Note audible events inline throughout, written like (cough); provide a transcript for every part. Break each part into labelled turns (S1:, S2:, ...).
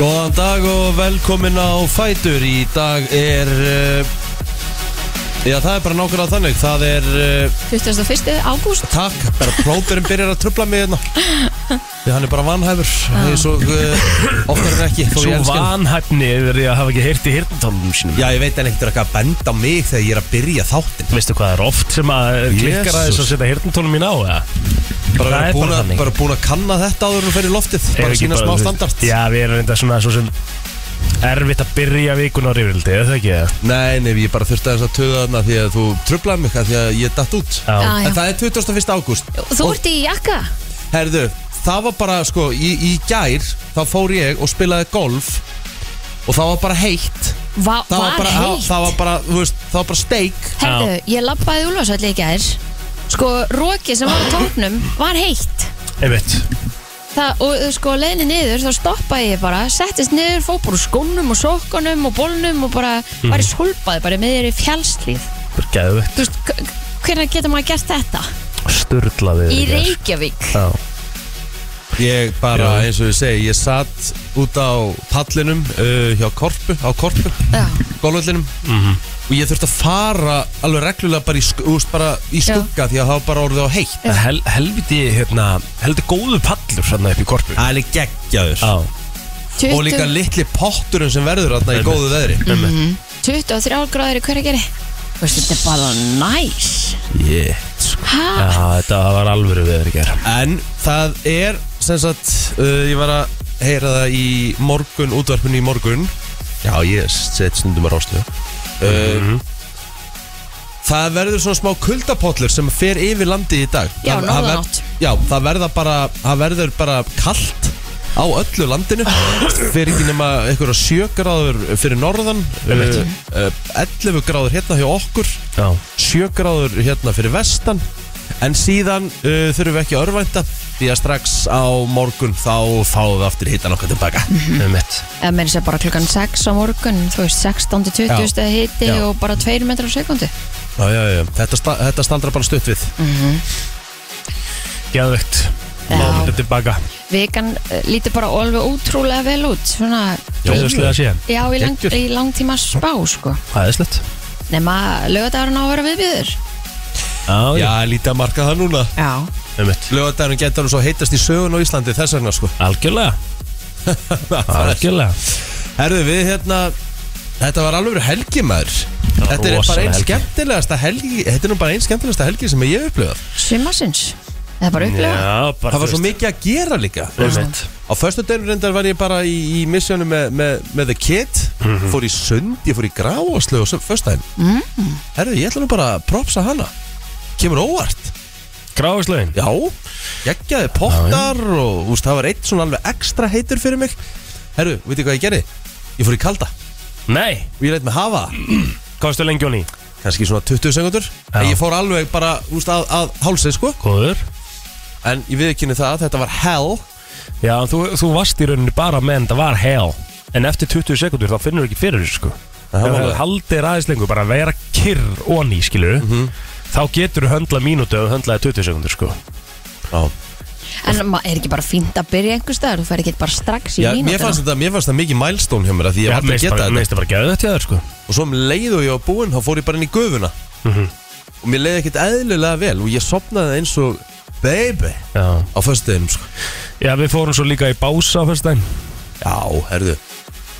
S1: Góðan dag og velkomin á Fætur Í dag er uh, Já, það er bara nákvæmlega þannig Það er, uh,
S2: 21. ágúst
S1: takk, bara prófurinn byrjar að trubla mig hérna Því hann er bara vanhæfur Það er svo uh, oftar en ekki þó ég
S3: Svo
S1: elski hann.
S3: vanhæfni yfir því að hafa ekki heyrt í hirtantálunum sínum
S1: Já, ég veit en ekkert er eitthvað að benda á mig þegar ég er að byrja þáttin
S3: Veistu hvað er oft sem að er klikkar aðeins
S1: Jesus.
S3: að setja hirtantálunum mín á eða?
S1: Bara,
S3: Það er
S1: búin,
S3: bara
S1: að,
S3: þannig.
S1: bara búin að kanna þetta áður en þú fyrir loftið
S3: Er
S1: Bara
S3: ekki
S1: sína smá
S3: þú veist-
S1: standart
S3: Já, við erum reynda svona svo sem erfitt að byrja vikun á rifrildi, er það ekki það?
S1: Nei, nei, ég bara þurfti aðeins að töða þarna Því að þú trublaði mig af Því að ég datt út
S3: Já.
S2: Já.
S1: En það er 21. ágúst
S2: Þú ert í jakka
S1: Herðu, það var bara sko í, í gær þá fór ég og spilaði golf Og það var bara heitt
S2: Va
S1: Það
S2: Var
S1: var bara,
S2: heitt
S1: Það var bara, þú veist, það var bara steik
S2: Herðu, ég lappaði úlfarsvall í gær Sko, roki sem var á tóknum var heitt
S3: Einmitt.
S2: Það, og uh, sko, leiðinni niður, þá stoppaði ég bara Settist niður, fór bara úr skónum og sokkunum og bólnum og bara
S1: Mhm.
S2: Var í sólbaði, bara með þér í fjallslíð
S3: Það er geðvitt.
S2: Þú veist, k- hvernig getur maður gert þetta?
S3: Sturlaði
S2: Í Reykjavík
S3: Já.
S1: Ég bara,
S3: Já.
S1: eins og ég segi, ég satt út á pallinum uh, hjá korpu, á korpu,
S2: Já,
S1: golföllinum Og ég þurfti að fara alveg reglulega bara í, sk- þú veist, bara í
S2: Já.
S1: skugga Því að það var bara orðið á heitt
S3: Það er Hel, helviti, hérna, heldur góðu pallur hérna upp í korpu.
S1: Það er geggjaður
S3: Já.
S1: Og líka
S2: 20,
S1: litli potturinn sem verður þarna í
S3: Einmitt.
S1: góðu veðri
S2: Mhm. 23 gráður í hverja geri Þú veist, þetta er bara næs
S1: Yeah
S2: Hæ?
S3: Já, þetta var alvöru veður í gerð.
S1: En það er sem sagt, uh, ég var að heyra það í morgun, útvarpinu í morgun Já, ég set stundum að rástu uh, Það verður svona smá kuldapollur sem fer yfir landið í dag
S2: Já,
S1: Það- það ver-
S2: norðanátt.
S1: Já, það verða bara, það verður bara kallt á öllu landinu fyrir ekki nema einhverja 7 gráður fyrir norðan uh, uh, 11 gráður hérna hjá okkur
S3: Já.
S1: 7 gráður hérna fyrir vestan en síðan uh, þurfum við ekki að örvænta því að strax á morgun þá fáum við aftur hittan okkar tilbaka
S2: Mhm.
S3: Einmitt.
S2: eða meira sér bara klukkan 6 á morgun þú veist 16 til 20
S1: Já.
S2: stið hiti
S1: Já.
S2: og bara 2 metrar á sekundu
S1: já, já, já. Þetta, sta þetta standra bara stutt við
S3: Geðvitt.
S2: Já.
S3: Mánuður tilbaka.
S2: vikan eh, lítur bara alveg ótrúlega vel út svona
S3: Veðurslega síðan.
S2: já í, lang,
S1: Geggjur.
S2: í langtíma spá sko
S3: Æðislegt.
S2: nema lögadagurinn á að vera viðbjöður
S3: Já,
S1: Já,
S3: já.
S1: lítið að marka það núna
S2: já
S3: Einmitt.
S1: Lögadagurinn getur hann svo heitast í sögun á Íslandi þess vegna sko
S3: Algjörlega. Algjörlega.
S1: Herðu við hérna Þetta var alveg helgi maður
S3: Það var
S1: Þetta er bara
S3: rosaleg
S1: einn
S3: helgi.
S1: skemmtilegasta helgi Þetta er nú bara einn skemmtilegasta helgi sem ég hef upplifað
S2: sumasins það er bara upplega
S3: Já,
S1: Það var
S3: bara þú
S1: svo
S3: veist.
S1: mikið að gera líka
S3: Einmitt.
S1: Á föstu daginn reyndar var ég bara í, í missjónu með, með, með The Kid
S3: Mhm.
S1: Fór í sund, ég fór í gráaslu og föstu daginn mm Herru, ég ætla nú bara að propsa hana Kemur óvart
S3: Gráðslögin.
S1: Já, geggjaði pottar og úst, það var eitt svona alveg ekstra heitur fyrir mig Herru, veitir hvað ég gerði? Ég fór í kalda
S3: Nei.
S1: og ég reynd með hafa
S3: Kastu lengi og ný.
S1: Kannski svona 20 sekundur
S3: Já.
S1: En ég fór alveg bara úst, að, að hálsið sko
S3: Góður.
S1: En ég viðkynni það að þetta var hell
S3: Já, en þú, þú varst í rauninni bara meðan það var hell En eftir 20 sekundur þá finnur þú ekki fyrir þessu sko
S1: Það var
S3: Ef þú
S1: alveg-
S3: haldir aðeins lengur, bara vera kyrr onni, skilur
S1: Mhm.
S3: Þá getur þú höndla mínútu ef þú höndlaði 20 sekundur sko
S1: Já,
S2: en maður er ekki bara fínt að byrja einhver staðar þú fer ekki bara strax í
S1: Já
S2: mínútur
S1: mér, fannst þetta, mér fannst það mikið milestone hjá mér af Því ég
S3: Já,
S1: var að
S3: mér
S1: geta þetta
S3: finnst það bara gæðið þetta hjá þér sko
S1: og svo um leið og ég var búinn þá fór ég bara inn í gufuna Mhm. og mér leiði ekkert eðlilega vel og ég sopnaði eins og baby
S3: Já.
S1: á föstudeginum sko.
S3: Já, við fórum svo líka í bása á fyrstæn
S1: já, herðu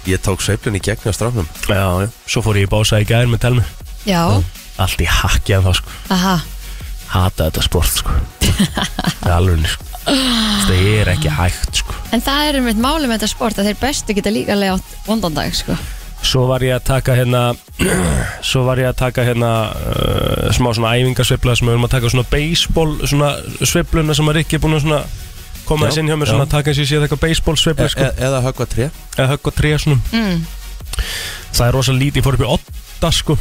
S1: ég tók sveiflun í gegn á strafnum
S3: Já, já, svo fór ég í bása í gæðir með telmi
S2: já
S3: Allt í hakki en þá sko
S2: aha
S3: Hata þetta sport sko Alveg sko Það er ekki hægt sko
S2: en það er einmitt máli með þetta sport að þeir bestu geta líka leið átt vondandag sko
S3: Svo var ég að taka hérna (clears throat) Svo var ég að taka hérna uh, Smá svona æfingasveifla sem við erum að taka svona baseball Svona sveifluna sem að Rikki er búin að svona Koma
S1: Já,
S3: þess inn hjá mér
S1: já.
S3: svona að taka eins og ég sé eitthvað baseball
S1: e
S3: sveifla sko
S1: e eða höggva tré
S3: Eða högg og tré svona
S2: mm.
S3: Það er rosa lítið, ég fór upp í otta sko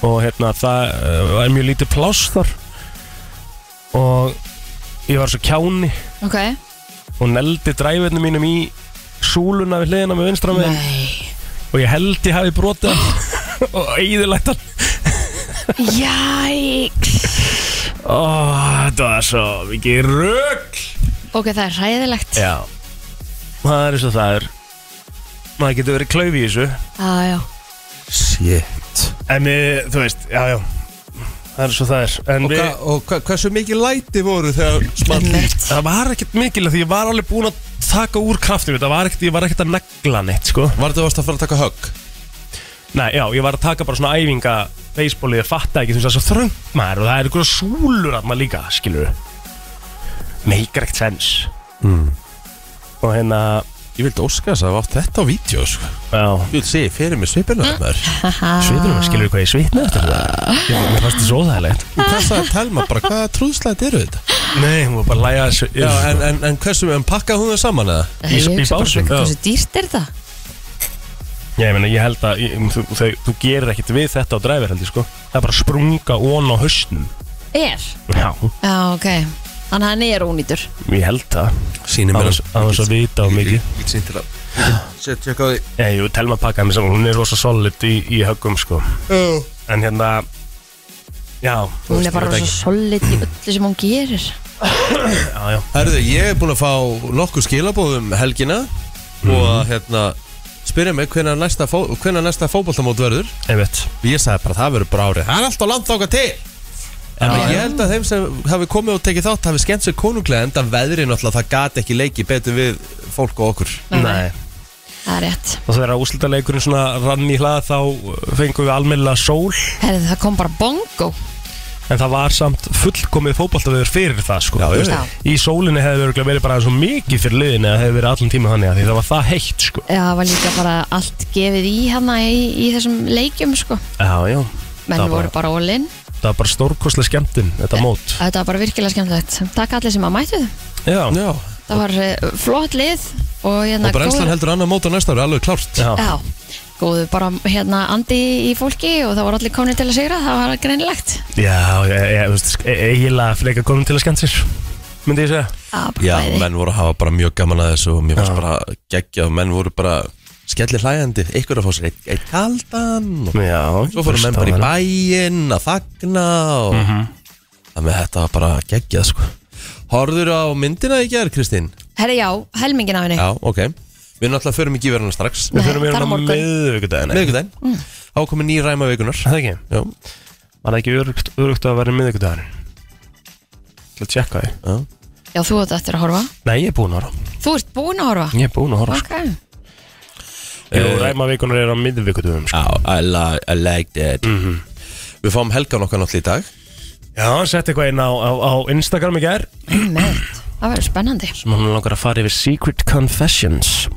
S3: Og hérna það uh, er mjög lítið pláss þar Og ég var svo kjáni
S2: ok
S3: Og neldi dræfinu mínum í Súluna við hliðina með vinstra með
S2: nei
S3: Og ég held ég hafi brotið (gasps) hann Og eigðilegt hann
S2: Jæks
S3: Ó, þetta var svo mikið rögl
S2: Ok, það er hræðilegt
S3: Já Það er eins og það er það getur verið klaufi í þessu
S2: Já, já.
S1: Shit
S3: En eh, þú veist, já, já Það er svo það er En
S1: Og,
S3: við,
S1: hva, og hva, hversu mikið læti voru þegar small
S2: Einmitt.
S3: það var ekkert mikil Því ég var alveg búinn að taka úr kraftum Það var ekkert, ég var ekkert að negla neitt, sko
S1: Var þetta varst að fara að taka högg?
S3: Nei, já, ég var að taka bara svona æfinga Baseballið, ég fatta ekki, þú veist, það er svo þröngt maður Og það er einhverja súlur að maður líka, skilur Meikar ekkert sens mm. Og hérna,
S1: Ég vildi óska þess að hafa átt þetta á vídeo sko.
S3: já
S1: Ég vil sé, ég fyrir með svipina mm.
S3: Sveitunum, skilur hvað ég sveitna eftir þetta Ég- Mér fannst það svo óþægilegt
S1: Hvað sagði Telma bara, hvaða trúðslæti eru þetta?
S3: Nei, hún var bara að læja þessu
S1: Já, en, en, en hversu, en pakkaði hún þau saman eða?
S2: Ég
S3: í
S2: hugsa bara,
S3: básum, já.
S2: Hversu dýrt er það?
S3: Ég meina, ég held að ég, þú, þau, þú gerir ekkert við þetta á dræfir heldur, sko Það er bara að sprunga ón á hausnum
S2: Er?
S3: Já,
S2: Já, ok. Þannig að hann er ónýtur.
S3: ég held það
S1: Sýnir mér
S3: Aðeins aðeins að vita á mikið
S1: Ég get sýnt til að Sett tjekka á því
S3: Nei, jú, telma pakkaði mér saman, hún er rosa solid í, í höggum, sko En hérna, já þú
S2: Hún
S3: veist,
S2: er bara
S3: ég veit
S2: svo
S3: ekki.
S2: solid í öllu sem hún gerir.
S3: Já, já,
S1: Herðu, ég er búin að fá nokkuð skilabóðum helgina Og að hérna Spyrja mig hvenær næsta, fó, hvenær næsta fótboltamót verður
S3: ég veit
S1: Og Ég sagði bara það verður bara árið Það er alltaf langt þáka til Þannig að ég held að þeim sem hafi komið og tekið þátt hafi skemmt sér konunglega enda veðri náttúrulega það gati ekki leiki betur við fólk og okkur
S2: Nei.
S3: Nei,
S2: Það er rétt.
S3: og þegar úslitaleikurinn svona rann í hlað þá uh, fengum við almennilega sól
S2: Herði, það kom bara bongo.
S3: En það var samt fullkomið fótballtaveður fyrir það sko.
S1: Já, já,
S2: já.
S3: Í sólinni hefði örugglega verið bara svo mikið fyrir liðinni að hefði verið allan tíma þannig að því það var það heitt sko.
S2: Já, það var líka bara allt gefið í hana í, í þessum leikjum, sko.
S3: Já, já
S2: Menn
S3: Það bara-
S2: voru bara all-in.
S3: Það var bara stórkoslega skemmtinn, þetta mót
S2: Þetta var bara virkilega skemmtilegt. Takk allir sem að mættu.
S3: Já, já,
S1: Já,
S2: Það var eh, flott lið og hérna
S1: og brennslan
S2: góður-
S1: heldur annað mót á næsta ári, alveg klárt
S3: já.
S2: Já, góðu bara hérna andi í fólki og það voru allir komin til að sigra, það var greinilegt.
S3: já ég, ég, þú veist, e- eiginlega frekar komum til að skemmt sér Myndi ég segja
S2: Já, bara
S1: Já,
S2: bæði.
S1: menn voru að hafa bara mjög gaman að þessu og mér fannst bara geggja og menn voru bara skellir hlæjandi, ykkur að fá sér eitt, eitt kaldan og
S3: Já,
S1: svo fóru menn bara í bæinn að fagna og mm -hmm. þannig að þetta var bara geggjað sko. Horður á myndina í gerð, Kristín?
S2: Herri, já, helmingin af henni.
S1: Já, ok. Við náttúrulega förum ekki yfir hana strax.
S3: Við fyrir
S2: Nei,
S3: mér
S2: bara
S3: hérna
S2: morgun.
S3: miðvikudaginn ekki?
S1: Miðvikudaginn. Þá er komið nýr ræma vikunar.
S3: Er Það ekki,
S1: Já,
S3: var það ekki örugt, örugt að vera miðvikudaginn Til að tjekka því
S1: já.
S2: Já, þú ert eftir að horfa.
S3: Nei, ég er búin að horfa
S2: Þú ert búin að horfa.
S3: Ég er búin að horfa sko. Eh,
S2: Ok.
S3: Jú, ræmavíkunar er á miðvikudagum sko.
S1: Já, I, li I like that. Mhm. Við fáum helgan okkar náttúrulega í dag.
S3: Já, hann setti eitthvað inn á, á, á Instagram í gær
S2: Einmitt. Það verður spennandi.
S3: sem hann langar að fara yfir Secret Confessions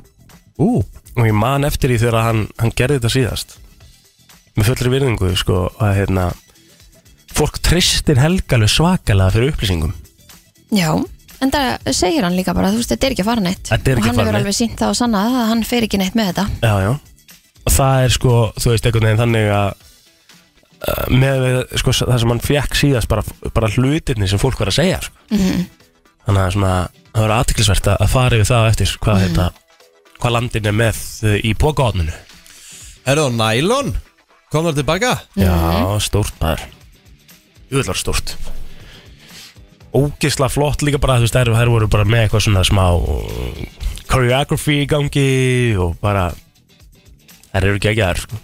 S1: Ú,
S3: og ég man eftir því þegar hann, hann gerði þetta síðast með fullri virðingu sko, að hérna fólk tristir helgalveg svakalega fyrir upplýsingum
S2: Já, en það segir hann líka bara, þú veist, þetta er ekki að fara neitt.
S3: Þetta er
S2: Og
S3: ekki að
S2: hann
S3: fara
S2: hefur
S3: neitt.
S2: alveg sínt það og sannað að hann fer ekki neitt með þetta.
S3: já, já. og það er sko, þú veist, einhvern veginn þannig að uh, með við, sko, það sem hann fekk síðast bara, bara hlutirni sem fólk var að segja sko. þannig að það er svona, það var aðtiklisvert að að fara yfir það á eftir hvað, mm hvað landin er með uh, í pókaotninu
S1: er það nælon? Kom það tilbaka?
S3: Já, stórt maður Júðlar stórt Ógisla flott líka bara þú veist, þær, þær voru bara með eitthvað svona smá uh, choreography í gangi og bara þær eru geggjaðar sko.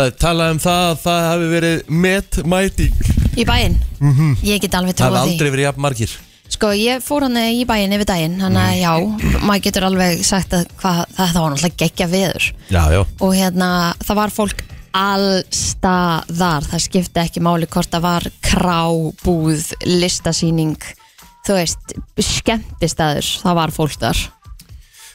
S1: Það er talað um það að það hafi verið metmæting.
S2: Í bæinn.
S3: Mhm.
S2: Ég get alveg
S1: Það hafi
S2: trúið því.
S1: aldrei verið jafn margir.
S2: Sko, ég fór hann í bæinn yfir daginn, þannig
S3: Mhm.
S2: að já, maður getur alveg sagt að hvað, það, var náttúrulega geggja veður.
S1: Já, já.
S2: og hérna það var fólk allstaðar það skipti ekki máli hvort það var krá, búð, listasýning þú veist skemmtistaður, það var fólk þar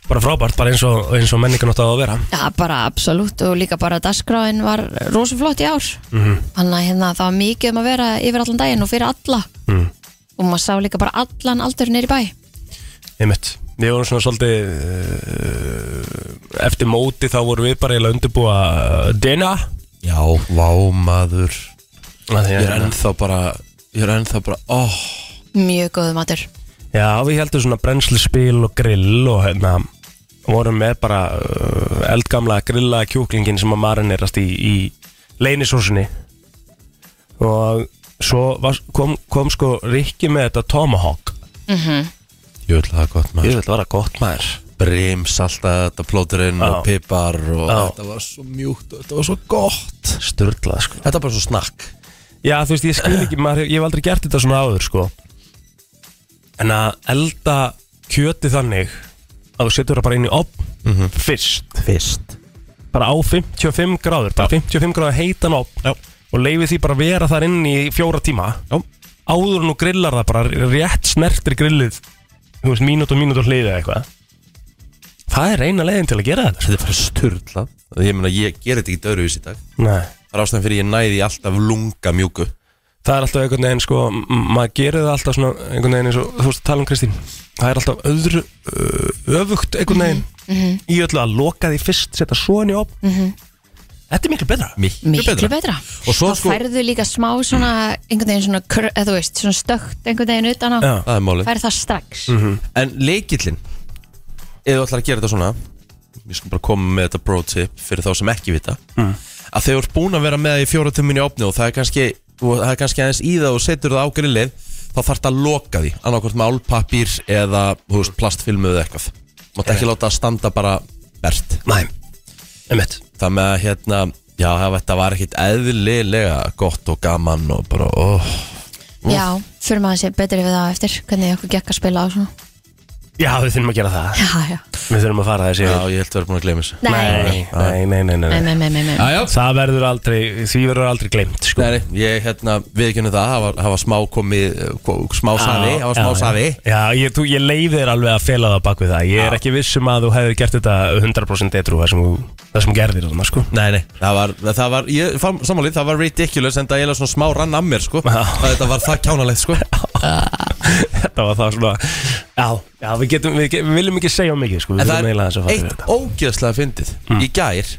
S3: bara frábært, bara eins og, eins og menningan átt á að vera
S2: Já, bara absolutt og líka bara dagskráin var rosaflott í ár þannig að hérna, það var mikið um að vera yfir allan daginn og fyrir alla
S3: Mm.
S2: og maður sá líka bara allan aldur nýri bæ
S3: einmitt, við vorum svona svolítið uh, eftir móti þá vorum við bara eiginlega að undirbúa uh, dina
S1: Já, vá maður. Ég er
S3: en,
S1: ennþá bara, ég er ennþá bara, oh. óh.
S2: mjög góðu matur
S3: já, við heldum svona brennslispil og grill og hérna vorum með bara uh, eldgamla grilla kjúklingin sem að marinerast í, í leynisósunni og svo var, kom, kom sko Rikki með þetta Tomahawk
S1: Ég vil það gott maður.
S3: ég vil vera gott maður
S1: brimsalta þetta plóturinn
S3: Já.
S1: og pipar og
S3: Já.
S1: þetta var svo mjúkt og þetta var svo gott
S3: Sturlað sko
S1: Þetta var bara svo snakk
S3: Já, þú veist, ég skil ekki, maður, hef- ég hef aldrei gert þetta svona áður, sko En að elda kjöti þannig að þú setur það bara inn í opn
S1: Mhm.
S3: fyrst
S1: Fyrst
S3: Bara á 55 gráður, bara 55 gráður heitan opn
S1: Já.
S3: Og leifið því bara að vera þar inn í fjóra tíma
S1: Já.
S3: Áður nú grillar það bara rétt snertir grillið Þú veist, mínút og mínút og hliðið eða eitthvað Það er eina leiðin til að gera þetta sko.
S1: Þetta er bara sturlað Ég meina, ég ger þetta ekki dörru í dag
S3: Nei
S1: Það er ástæðan fyrir ég næði alltaf lunga mjúku
S3: Það er alltaf einhvern veginn sko, m- maður gerir það alltaf svona einhvern veginn eins og þú veist að tala um Kristín Það er alltaf öðru ö, öfugt
S2: Mhm,
S3: einhvern veginn í öllu að loka því fyrst, setja svo henni upp Þetta er miklu betra
S1: Miklu,
S2: miklu betra,
S1: Og svo
S2: þá
S1: sko,
S2: færðu líka smá svona einhvern veginn svona, kr- eða þú veist, svona stökt einhvern veginn utan á,
S3: Já.
S1: það er málið
S2: færðu það strax
S1: En leikillin Ef þú ætlar að gera þetta svona Ég skal bara koma með þetta pro tip Fyrir þá sem ekki vita Að þegar þú ert búin að vera með það í fjóra tömmin í opni Og það er kannski, og það er kannski aðeins í það Og setur það á grillið Þá þarf það að loka því Annarkvort með álpapír Eða þú veist, plastfilmu eða eitthvað Mátt ekki láta það standa bara bert
S2: Mm.
S3: Næ, einmitt
S1: Það með að hérna Já, það- þetta var ekkit eðlilega gott og gaman Og bara, oh. óh
S2: já, fyrir maður að sé betur yfir það á eftir hvernig okkur gekk að spila á svona
S3: Já, við þurfum að gera það
S2: (laughs) já, já,
S3: Við þurfum að fara þessi
S1: Já, ég held að vera búin að gleyma þessu
S2: nei, nei,
S3: nei, nei, nei, nei,
S2: nei,
S3: nei,
S2: nei, nei, nei, nei.
S1: Jæja,
S3: Það verður aldrei, því verður aldrei gleymt sko.
S1: Nei, nei, ég hérna viðkynna það, það var, það var smá komið, eh, ko- smá safi, það var smá safi
S3: Já, ég, þú, ég leiði þér alveg að fela það bak við það Ég er ekki viss um að þú hefur gert þetta 100% etru það sem þú, það sem þú gerðir þarna, sko.
S1: Nei, nei, það var, það var, ég, fam- samanlít, það var ridiculous en það er svona smá rann að mér, sko
S3: Já.
S1: að þetta var það kjánalegt,
S3: (laughs)
S1: sko En
S3: Þetta var það svona Já, já við, getum, við, getum, við viljum ekki segja of mikið sko. Við
S1: það
S3: viljum eiginlega þess að
S1: er
S3: fara yfir
S1: eitt
S3: þetta Hmm.
S1: ógeðslega fyndið Í gær,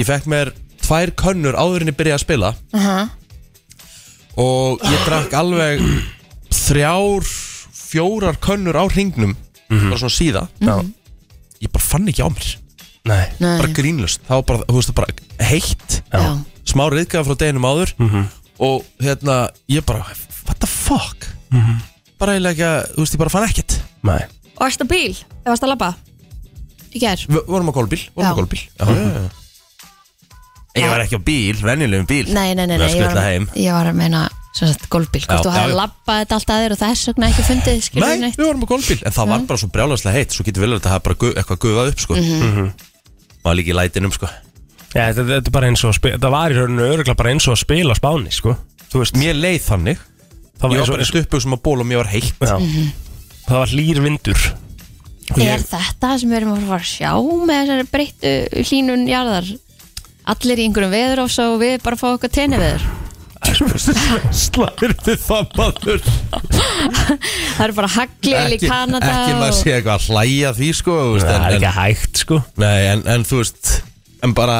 S1: ég fekk mér tvær könnur áðurinni byrjaði að spila
S2: Aha.
S1: og ég drakk alveg þrjár, fjórar könnur á hringnum,
S3: Mhm.
S1: bara svona síða Ég bara fann ekki á mér,
S3: Nei,
S1: bara
S2: nei,
S1: grínlust, það var bara, þú veist, bara heitt
S2: já,
S1: smá reyðgæða frá deginum áður
S3: Mhm.
S1: og hérna, ég bara what the fuck
S3: Mhm.
S1: bara eiginlega ekki að, þú veist, ég bara fann ekkert
S3: nei
S2: og erstu á bíl, eða varstu að labba í ger,
S1: Vi, vorum á gólbíl, vorum
S2: Já.
S1: á gólbíl já, já, já. En ég var ekki á bíl, venjulegum bíl
S2: nei, nei, nei, nei
S1: Ég
S2: ég,
S1: var að
S2: var,
S1: skutla heim
S2: ég var að meina sem sagt gólbíl, hvort
S1: Já,
S2: þú
S1: já,
S2: hafði
S1: já.
S2: labbað þetta allt að þér og þess vegna ekki fundið skilur
S1: Nei, við vorum á gólbíl, en það var bara svo brjálæslega heitt svo getur vel verið að þetta hafa bara gu, eitthvað gufað upp, sko
S2: Mhm.
S3: Mhm.
S1: maður líka í lætinum, sko
S3: ja, þetta, þetta er bara eins og að spila Það var í rauninu öruglega bara eins og að spila á Spáni sko. Þú veist,
S1: mér leið þannig,
S3: það
S1: ég var
S3: var eins
S1: bara
S3: og
S1: stupug sem að ból og mér var heitt
S3: já, Það var hlýr vindur Og
S2: Er þetta sem við erum að fara að sjá með þessari breyttu hlínun jarðar? Allir í einhverjum veður og svo við bara fá okkur tenni veður.
S1: slæður þið það, maður
S2: Það eru bara haglil í
S1: ekki,
S2: Kanada
S1: ekki maður sé eitthvað að hlæja að því, sko þú veist,
S3: Það
S1: en-
S3: er
S1: en-
S3: ekki hægt sko
S1: Nei, en, en þú veist En bara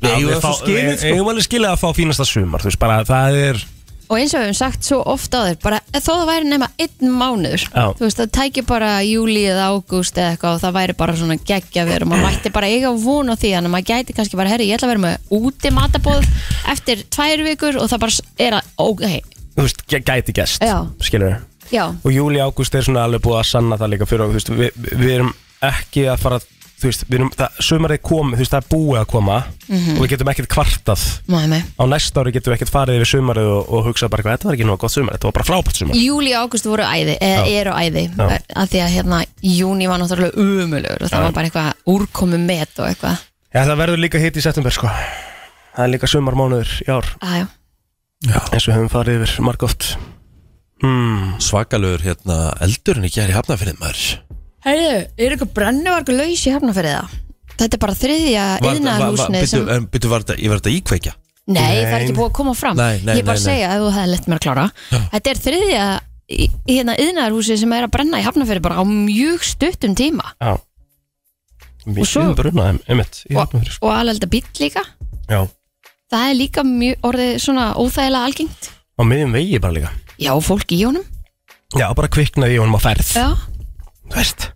S1: Við eigum það svo skilið sko
S3: Ég var alveg skilið að fá fínasta sumar Þú veist bara, það er
S2: Og eins og við höfum sagt svo ofta á þér, bara þó það væri nema einn mánuður.
S3: Já.
S2: Þú veist, það tæki bara júli eða ágúst eða eitthvað og það væri bara svona geggja veður og maður mætti bara eiga von á því þannig að maður gæti kannski bara, herri, ég ætla að vera með úti matabóð eftir tvær vikur og það bara er að, ok,
S3: Þú veist, gæ- gæti gæst
S2: Já.
S3: Skilur
S2: já,
S3: og júli ágúst er svona alveg búið að sanna það líka fyrir okkur, þú veist, við, við erum ekki að fara, þú veist, við erum, það, sumarið komi, þú veist, það er búið að koma
S2: Mhm.
S3: og við getum ekkert kvartað
S2: maður með.
S3: á næsta ári getum við ekkert farið yfir sumarið og, og hugsað bara, eitthvað, þetta var ekki nóg gott sumar, þetta var bara frábært sumar
S2: Júli og águst voru æði, eða
S3: Já.
S2: eru æði
S3: Já.
S2: að því að hérna júni var náttúrulega umulugur og það var bara eitthvað úrkomi met og eitthvað
S3: Já, það verður líka hitt í september, sko það er líka sumarmánuður í ár
S2: Æjá,
S3: eins og við höfum farið yfir margótt hmm,
S1: Svakalur hérna eldurinn í gæri hafnafyrir maður
S2: heyrðu, er eitthvað brennuvargu laus í hafnafyrir það? Þetta er bara þriðja yðnaðarhúsnið sem...
S1: sem Byttu, var þetta, ég var þetta íkveikja
S2: Nei, það er ekki
S3: Nei.
S2: búið að koma fram
S1: Nei, nei,
S2: Ég er bara
S1: nei,
S2: að
S1: nei.
S2: segja að þú hefði lett mér að klára Þetta er þriðja í- í hérna yðnaðarhúsið sem er að brenna í hafnafyrir bara á mjög stuttum tíma
S3: já Mér
S2: Og svo-
S3: séum bara unnaðum, einmitt, í
S2: og,
S3: hafnafyrir, sko.
S2: og alveg bíll líka
S3: Já,
S2: Það er líka mjög orðið svona óþægilega algengt
S3: á miðjum vegi bara líka
S2: Já, fólk í honum
S3: Já, bara kviknaði í honum á ferð
S2: Já
S3: Þú veist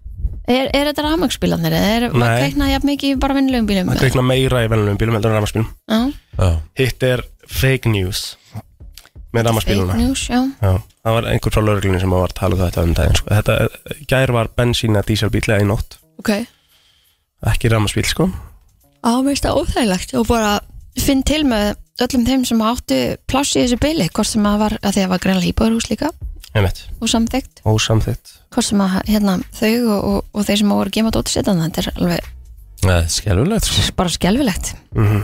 S2: Er, er þetta rafmögsbílarnir eða er maður
S3: Nei.
S2: kveiknað jafn mikið í bara vinnulegum bílum?
S3: Það kveikna meira í venlunum bílum heldur en rafmarsbílum
S2: Já,
S1: Já,
S3: Hitt er fake news með
S2: fake
S3: rafmarsbíluna
S2: news, já.
S3: Það var einhver frá lauruglunni sem var að tala um þetta um daginn sko. Þetta, gær var bensína dísalbíl eða í nótt
S2: ok,
S3: ekki rammaspíl sko
S2: á mér finnst það óþægilegt og bara finn til með öllum þeim sem áttu pláss í þessu byli, hvort sem að var að því að var greinlega íbúðurhús líka
S3: einmitt,
S2: og samþygt,
S3: ósamþitt
S2: hvort sem að hérna, þau og, og, og þeir sem voru að gema dóttisettan þetta er alveg
S1: Nei, skelfulegt sko.
S2: bara skelfilegt
S3: mm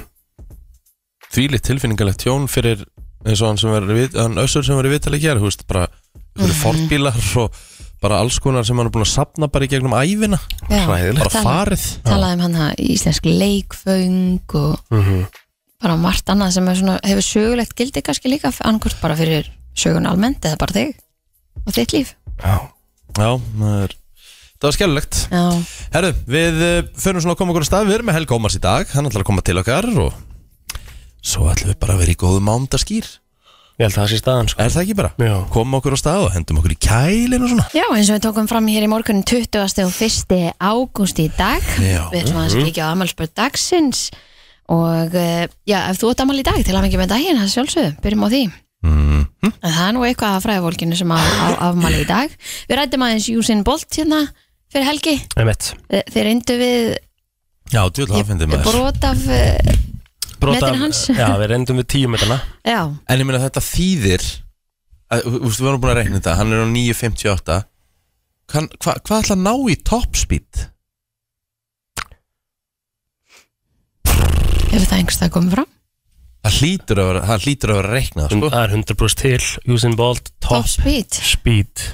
S1: Þvílitt tilfinningalegt tjón fyrir eins og hann sem verið við, hann össur sem verið viðtalið hér, hú veist, bara ykkur
S2: Mm.
S1: fordbílar og bara alls konar sem hann er búin að sapna bara í gegnum ævina
S2: Já.
S3: Hræðilegt.
S1: bara
S2: Þannig.
S1: farið
S2: talaði um hann að íslensk leikföng og bara margt annað sem er svona, hefur sögulegt gildi kannski líka annarkvort bara fyrir sögun almennt eða bara þig og þitt líf
S3: já,
S1: Já, það er Það var skellulegt.
S2: Já,
S1: Herru, við uh, förum svona að koma okkur að stað. Við erum með Helga Ómars í dag. Hann ætlar að koma til okkar og svo ætlum við bara að vera í góðu mándaskýr.
S3: ég held að það sé staðan sko
S1: Er það ekki bara?
S3: já,
S1: Koma okkur á stað og hendum okkur í kælin og svona.
S2: Já eins og við tókum fram hér í morgun 20. og 1. ágúst í dag
S1: Já.
S2: Við erum aðeins ekki á amalspöld dagsins og eh, já, ef þú átt amal í dag til að mikið með daginn, það er sjálfsögðu, byrjum á því
S1: Mm.
S2: En það er nú eitthvað að fræðavólkinu sem á, á afmali í dag Við rættum aðeins Júsin Bolt hérna fyrir helgi
S3: einmitt
S2: Eh, Þeir reyndu við
S1: Já, djúðlega það finnir maður.
S2: brot af eh,
S3: Brot af-
S2: Metin hans.
S3: (laughs) já, við reyndum við tíu metrana
S2: já,
S1: En ég meina þetta þýðir að, þú veist, við varum búin að reikna þetta, hann er á 9.58 Kann- hva- Hvað ætla að ná í topspeed?
S2: ef það einhvers það komið fram
S1: Það hlýtur að vera, það hlýtur að vera að reikna það, sko.
S3: það er 100% til, Usain Bolt top,
S2: Top speed,
S3: speed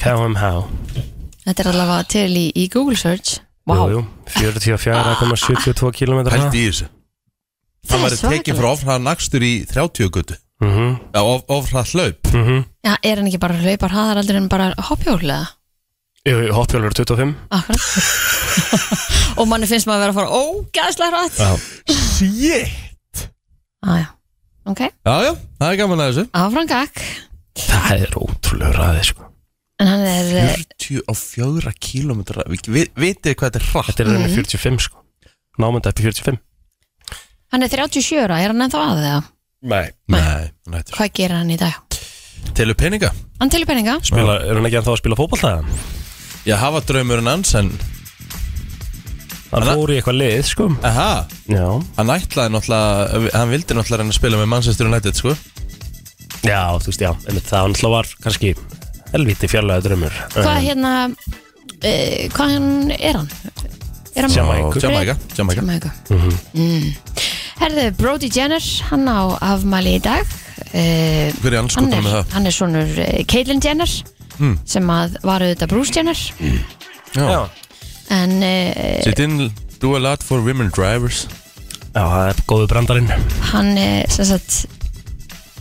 S3: KMH
S2: þetta er allavega til í, í Google search
S3: Jú,
S2: wow.
S3: jú, 44,72 km
S1: Pælt í þessu
S2: Það
S1: Hann
S2: er
S1: væri tekin
S2: svakalegt.
S1: frá ofrað nakstur í 30 götu
S3: Mhm,
S1: Já, of, ofrað hlaup
S2: Já, er hann ekki bara hlaupar hraðar aldrei en bara hoppjólega
S3: Jú, jú, hoppjólfur 25
S2: Akkurat Og manni finnst maður að vera að fara ógæðslega hratt
S3: Já.
S1: Shit
S2: ah, já. Ok,
S1: Já, já, það er gaman að þessu
S2: áfram gakk
S3: Það er ótrúlega ræði sko
S2: En hann er, eh,
S1: 44 kílómetra Vi- Vitið hvað þetta er hratt
S3: Þetta er
S2: Mhm.
S3: reyna 45 sko Námynda upp í 45
S2: hann er 37 ára, er hann ennþá að þegar?
S3: Nei
S1: Nei, nættur
S2: Hvað gerir hann í dag?
S1: Telur peninga
S2: Hann telur peninga
S3: Spila, Er hann ekki ennþá að spila fótballtæðan?
S1: Ég hafa draumurinn hans en
S3: Hann
S1: Hann-
S3: fór í eitthvað lið sko
S1: Aha,
S3: Já
S1: hann ætlaði náttúrulega Hann vildi náttúrulega reyna að spila með Manchester United, sko
S3: Já, þú veist, já en Það hann hlá var kannski helviti fjarlæða drömmur
S2: Hvað hérna, uh, hvað hann er hann? Er hann
S3: Jamaica.
S1: Og Jamaica, Jamaica
S2: Jamaica
S1: Mhm.
S2: mm. Herðu, Brody Jenner, hann á afmæli í dag uh,
S1: Hver er
S2: hann,
S1: anskotan
S2: er,
S1: með það? Mm.
S2: hann er svonur uh, Caitlyn Jenner sem að var auðvitað Bruce Jenner
S1: Já.
S2: en uh,
S1: Sit in, do a lot for women drivers
S3: Já, það er góðu brandarinn
S2: hann eh, sem sagt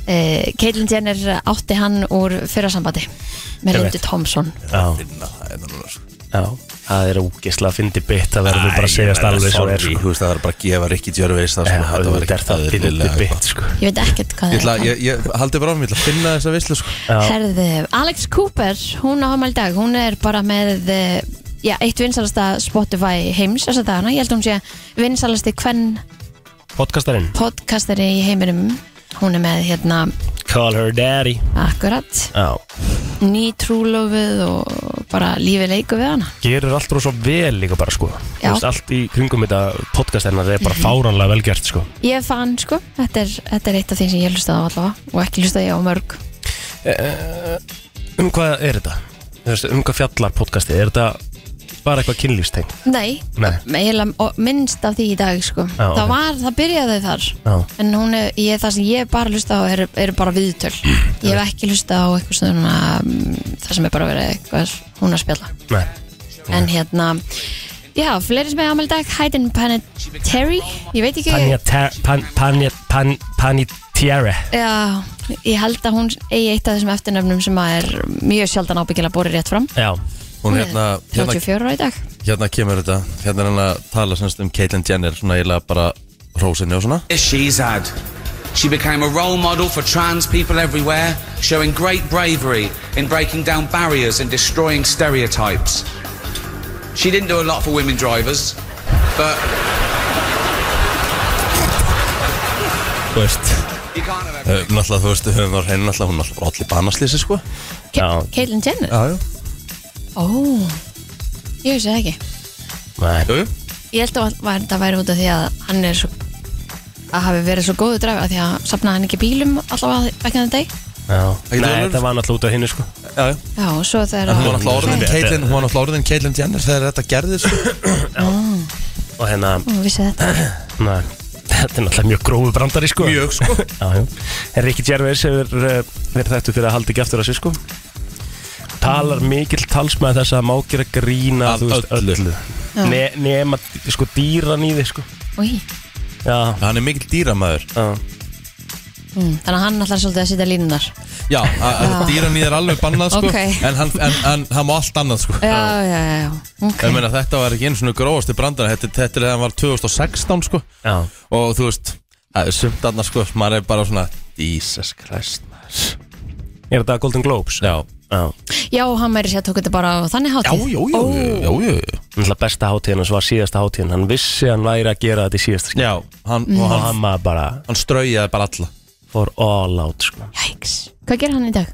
S2: uh, Caitlyn Jenner átti hann úr fyrrasambandi með
S3: Ég
S2: Lindu
S3: veit.
S2: Thompson
S3: Já,
S1: Finna, það er þannig að-
S3: já Það er ógislega fyndi bytt Það verður bara að segja
S1: Æ,
S3: alveg svo
S1: sorry,
S3: er sko
S1: Þú veist, það er bara að gefa Rikki Djörveis það
S3: Já,
S1: sem þetta var
S3: þetta er
S1: ekkert
S3: það fyndi
S1: eðlilega gott.
S3: bytt sko
S2: ég veit ekkert hvað
S1: Ég ætla,
S2: það er
S1: ég, ég haldi bara áfram, ég ætla að finna þessa vislu sko.
S3: Já.
S2: Herðu, Alex Cooper, hún á afmæli í dag, hún er bara með eh, já, eitt vinsalasta Spotify heims þessa dagana, ég held hún sé vinsalasti hvern
S3: Podcastarinn
S2: podcastari í heiminum hún er með hérna
S3: Call her daddy
S2: akkurat
S3: Já
S2: ný trúlofuð og bara lífið leiku við hana
S3: gerir allt rosa vel líka bara sko Þú
S2: Já. Mhm.
S3: veist, allt í kringum þetta podcast hennar er bara fáranlega vel gert sko
S2: ég fann sko, þetta er, þetta er eitt af því sem ég hlustaði á allavega og ekki hlustaði ég á mörg
S3: um hvað er þetta? Þú veist, um hvað fjallar podcasti? er þetta bara eitthvað kynlífstengt?
S2: nei,
S3: Nei,
S2: eiginlega og minnst af því í dag sko
S3: Já,
S2: það
S3: ok.
S2: var, það byrjaði þar
S3: já,
S2: en hún er, ég, það sem ég hef bara hlusta á eru er bara
S3: (clears throat)
S2: viðtöl ég hef ekki hlusta á eitthvað svona mm, það sem er bara verið eitthvað hún að spjalla
S3: nei
S2: en hérna já, fleiri sem er ámæli í dag Hayden Panettiere ég veit ekki
S3: Panja pan, panja, pan, Panitiere
S2: Já, ég held að hún eigi eitt af þessum eftirnöfnum sem að er mjög sjaldan ábyggilega borið rétt fram
S3: Já,
S1: Hún hérna, hérna,
S2: 34 ára í dag
S1: hérna kemur þetta Hérna er hann að tala semst um Caitlyn Jenner Svona eiginlega bara rósinni og svona
S4: she's had. She became a role model for trans people everywhere, showing great bravery in breaking down barriers and destroying stereotypes. She didn't do a lot for women drivers, but
S1: Þú veist
S4: you can't have everything.
S1: Eh, Náttúrulega þú veist, við höfum á hreinu náttúrulega Hún náttúrulega allir banaslýsi sko
S2: Ke
S3: Já.
S2: Caitlyn Jenner
S1: Já, já
S2: Ó, ég vissi það ekki
S3: Nei,
S1: Jú, jú.
S2: Ég held að var- þetta væri út af því að hann er svo að hafi verið svo góðu dræfi að því að sapnaði hann ekki bílum allavega back in the day
S3: já.
S1: getur
S3: Nei
S1: verið.
S3: þetta var náttúrulega út af hinnu sko
S1: Já, já.
S2: Já, og svo
S1: En
S2: þegar
S1: hún
S2: að-
S1: var náttúrulega orðin
S3: Þetta-
S1: Caitlyn- hún var náttúrulega orðin Caitlyn Jenner þegar þetta gerðist sko.
S3: Og hérna,
S2: Hún vissi þetta
S3: nei, þetta er náttúrulega mjög grófu brandari sko
S1: (laughs) Mjög sko
S3: Já, já. En Rikki Gervais hefur uh, verið þættu fyrir að halda ekki aftur að sér sko Talar mikill talsmaður þess að má gera grína
S1: Að öllu.
S2: Já.
S3: Ne, Nema sko dýran í þig sko
S2: Új,
S3: Já,
S1: Hann er mikill dýramæður
S3: já
S2: mm, Þannig að hann allar svolítið að setja línunar
S1: Já, a- a-
S2: Já.
S1: dýran í þér alveg bannað sko
S2: Ok.
S1: En hann, en, en, hann má allt annað sko
S2: Já, já, já, já, ok
S1: Ég meina þetta var ekki einu svona grófasti brandara Þetta, þetta er þegar hann var 2016 sko
S3: Já,
S1: Og þú veist, það er sumt annað sko Maður er bara svona Jesus Christ maður.
S3: er þetta Golden Globes?
S1: Já,
S3: já.
S2: Já, hann meiri sér að tók þetta bara á þannig
S1: já, já,
S2: hátíð
S1: já, já, já, já.
S3: Náttúrulega besta hátíðin hans var síðasta hátíðin Hann vissi að hann væri að gera þetta í síðasta skil
S1: já hann,
S2: Mm.
S1: Og
S3: Og
S1: hann,
S3: hann maður bara
S1: hann straujaði bara alla
S3: for all out sko
S2: Jæks, hvað gerir hann í dag?